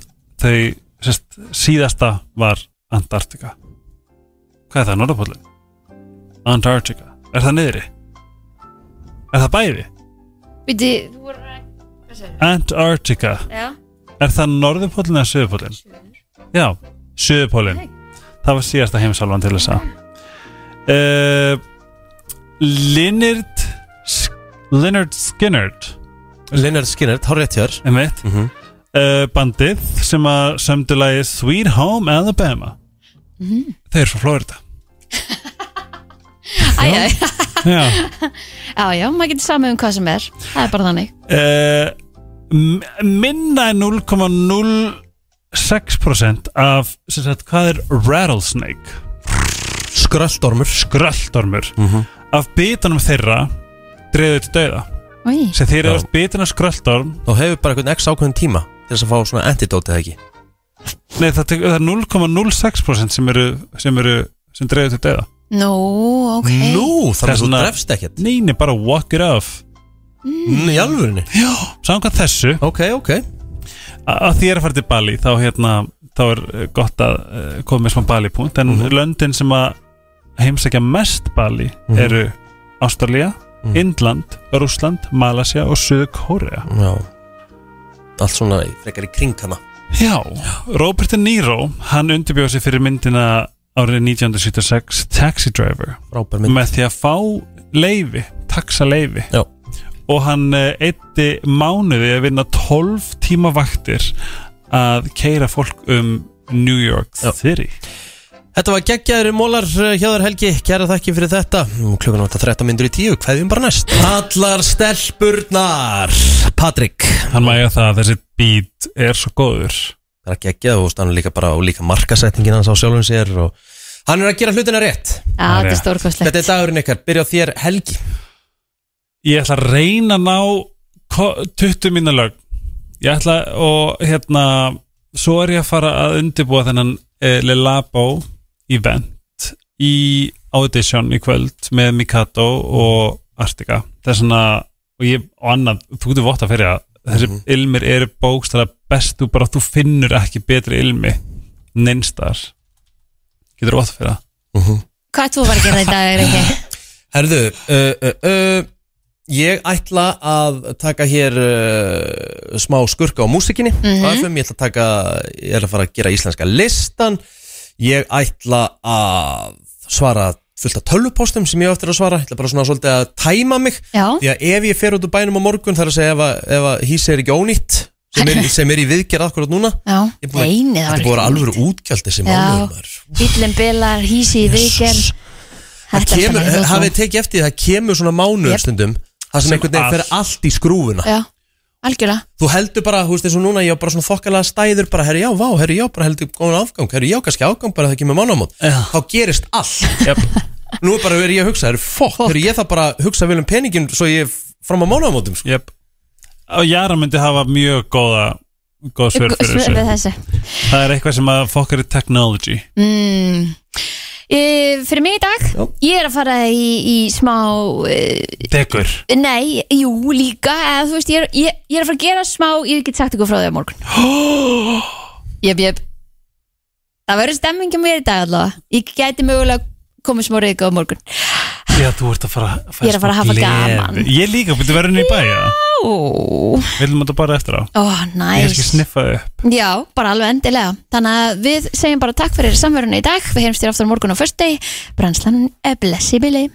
Speaker 3: þau sérst, síðasta var Antarktika hvað er það, Norðapólinn? Antarctica, er það niðri? Er það bæði?
Speaker 4: Viti,
Speaker 3: Antarctica
Speaker 4: Já.
Speaker 3: Er það norðupólinn eða söðupólinn? Já, söðupólinn Það var síðasta heimsálfan til þess að uh, Linnard Linnard Skinnard
Speaker 2: Linnard Skinnert, hár rétt hér
Speaker 3: Einmitt mm Bandið sem að sömdu lagi Sweet Home Alabama
Speaker 4: Mm.
Speaker 3: Þeir eru frá Florida
Speaker 4: Æja,
Speaker 3: Já
Speaker 4: já, já, maður getur samið um hvað sem er Það er bara þannig
Speaker 3: Eh, m- minna en 0,06% af sem sagt, hvað er rattlesnake
Speaker 2: skröldormur
Speaker 3: skröldormur af bitunum þeirra dreifðu til dauða
Speaker 4: Í.
Speaker 3: sem þeir eru oft bitin af skröldorm
Speaker 2: Þá hefur bara einhvern x ákveðin tíma til þess að fá svona antidote eða ekki
Speaker 3: nei, það, tek- það er 0,06% sem eru sem, eru, sem dreifðu til dauða
Speaker 4: Nú, ok
Speaker 3: þannig að þú drefst
Speaker 2: ekkert
Speaker 3: Neini, bara walk it off
Speaker 2: mm. Í alvörinni?
Speaker 3: Já, samkvæmt þessu
Speaker 2: Ok, ok
Speaker 3: Að því er að fara til Bali þá, hérna, þá er eh, gott að eh, koma með smá Bali-punkt En löndin sem að heimsækja mest Bali
Speaker 2: Mhm.
Speaker 3: eru Ástralía, Indland, Rússland, Malasia og Suður-Kórea
Speaker 2: Já Allt svona í- frekar í kring hana
Speaker 3: Já, Robert De Niro, hann undirbjóð sig fyrir myndina árið 1976 Taxi Driver
Speaker 2: Frábær mynd
Speaker 3: Með því að fá leifi, taxa leifi
Speaker 2: Já
Speaker 3: Og hann eitti mánuði að vinna 12 tíma vaktir að keira fólk um New York City
Speaker 2: Þetta var geggjaður mólar eh, hjá þér Helgi Kæra þakki fyrir þetta Nú klukkan átta 13 myndur í tíu Hveðjum bara næst Allar stelpurnar Patrik
Speaker 3: Hann mæja það að þessi beat er svo góður Það
Speaker 2: er að gegja þú veist hann er líka bara og líka markasetningin hans á sjálfum sér og hann er að gera hlutina rétt
Speaker 4: Já, þetta er stórkostlegt
Speaker 2: Þetta er dagurinn ykkar, byrja á þér Helgi
Speaker 3: Ég ætla að reyna að ná ko- 20 mínu lög Ég ætla og hérna Svo er ég að fara að undirbúa þennan eh, Lelabo event í Audition í kvöld með Mikado og Artika Það er svona og, ég, og annað, þú getur votta fyrir að þessi ilmir eru bókstæða best þú bara, þú finnur ekki betri ilmi neinstar getur votta fyrir það
Speaker 4: Hvað ert þú að fara að gera í dag, Rikki?
Speaker 2: Herðu, uh, uh, uh, ég ætla að taka hér uh, smá skurka á músikinni
Speaker 4: Mhm.
Speaker 2: á FM, ég ætla að taka, ég er að fara að gera íslenska listan, ég ætla að svara fullt af tölvupóstum sem ég á eftir að svara, ég ætla bara svona svolítið að tæma mig,
Speaker 4: Já.
Speaker 2: því að ef ég fer út úr bænum á morgun þar að segja ef að, ef að hísi er ekki ónýtt, sem er, sem er í viðgerð akkurat núna,
Speaker 4: Já,
Speaker 2: Ég er búin að-
Speaker 4: neini, það
Speaker 2: þetta
Speaker 4: var
Speaker 2: er búin alveg útgjaldi sem mánuður
Speaker 4: Já, bílinn bilar, hísi í viken
Speaker 2: það
Speaker 4: Þetta er
Speaker 2: kemur,
Speaker 4: bara
Speaker 2: hafið þið tekið eftir því, það kemur svona
Speaker 4: Jep.
Speaker 2: mánuðstundum það sem
Speaker 3: Sem
Speaker 2: einhvern veginn
Speaker 3: að-
Speaker 2: fer allt í skrúfuna
Speaker 4: Já, algjörlega
Speaker 2: þú heldur bara, þú veist eins og núna ég á bara svona þokkalega stæður bara, herri já, vá, herri já, bara heldur góðan afgang, herri já, kannski afgang bara það kemur mánamót þá gerist allt
Speaker 3: yep.
Speaker 2: nú er bara verið ég að hugsa, herri fokk, herri ég það bara að hugsa vel um peningin svo ég er fram á mánamótum sko.
Speaker 3: yep. og Jara myndi hafa mjög góða góð svör
Speaker 4: Svör
Speaker 3: fyrir
Speaker 4: við
Speaker 3: þessu
Speaker 4: þessu
Speaker 3: það er eitthvað sem að fokkar í technology
Speaker 4: mm. e, Fyrir mig í dag Ég er að fara í, í smá e,
Speaker 3: degur
Speaker 4: Nei, jú, líka eða, Þú veist, ég er, ég, ég er að fara að gera smá Ég get sagt ykkur frá því á morgun Jöp, jöp Það verður stemming hjá mér í dag allavega Ég gæti mögulega komið smá reyka á morgun
Speaker 3: já, þú ert að fara fá
Speaker 4: Ég er að fara að hafa
Speaker 3: smá gleði.
Speaker 4: gaman.
Speaker 3: ég líka, byrju verður henni í bæja
Speaker 4: Ó,
Speaker 3: viljum þetta bara eftir á
Speaker 4: Ó,
Speaker 3: ég er
Speaker 4: næs
Speaker 3: ekki sniffað upp
Speaker 4: Já, bara alveg endilega Þannig að við segjum bara takk fyrir samverðinu í dag Við heyrumst þér aftur á morgun á föstudegi Brænslan er blessi bili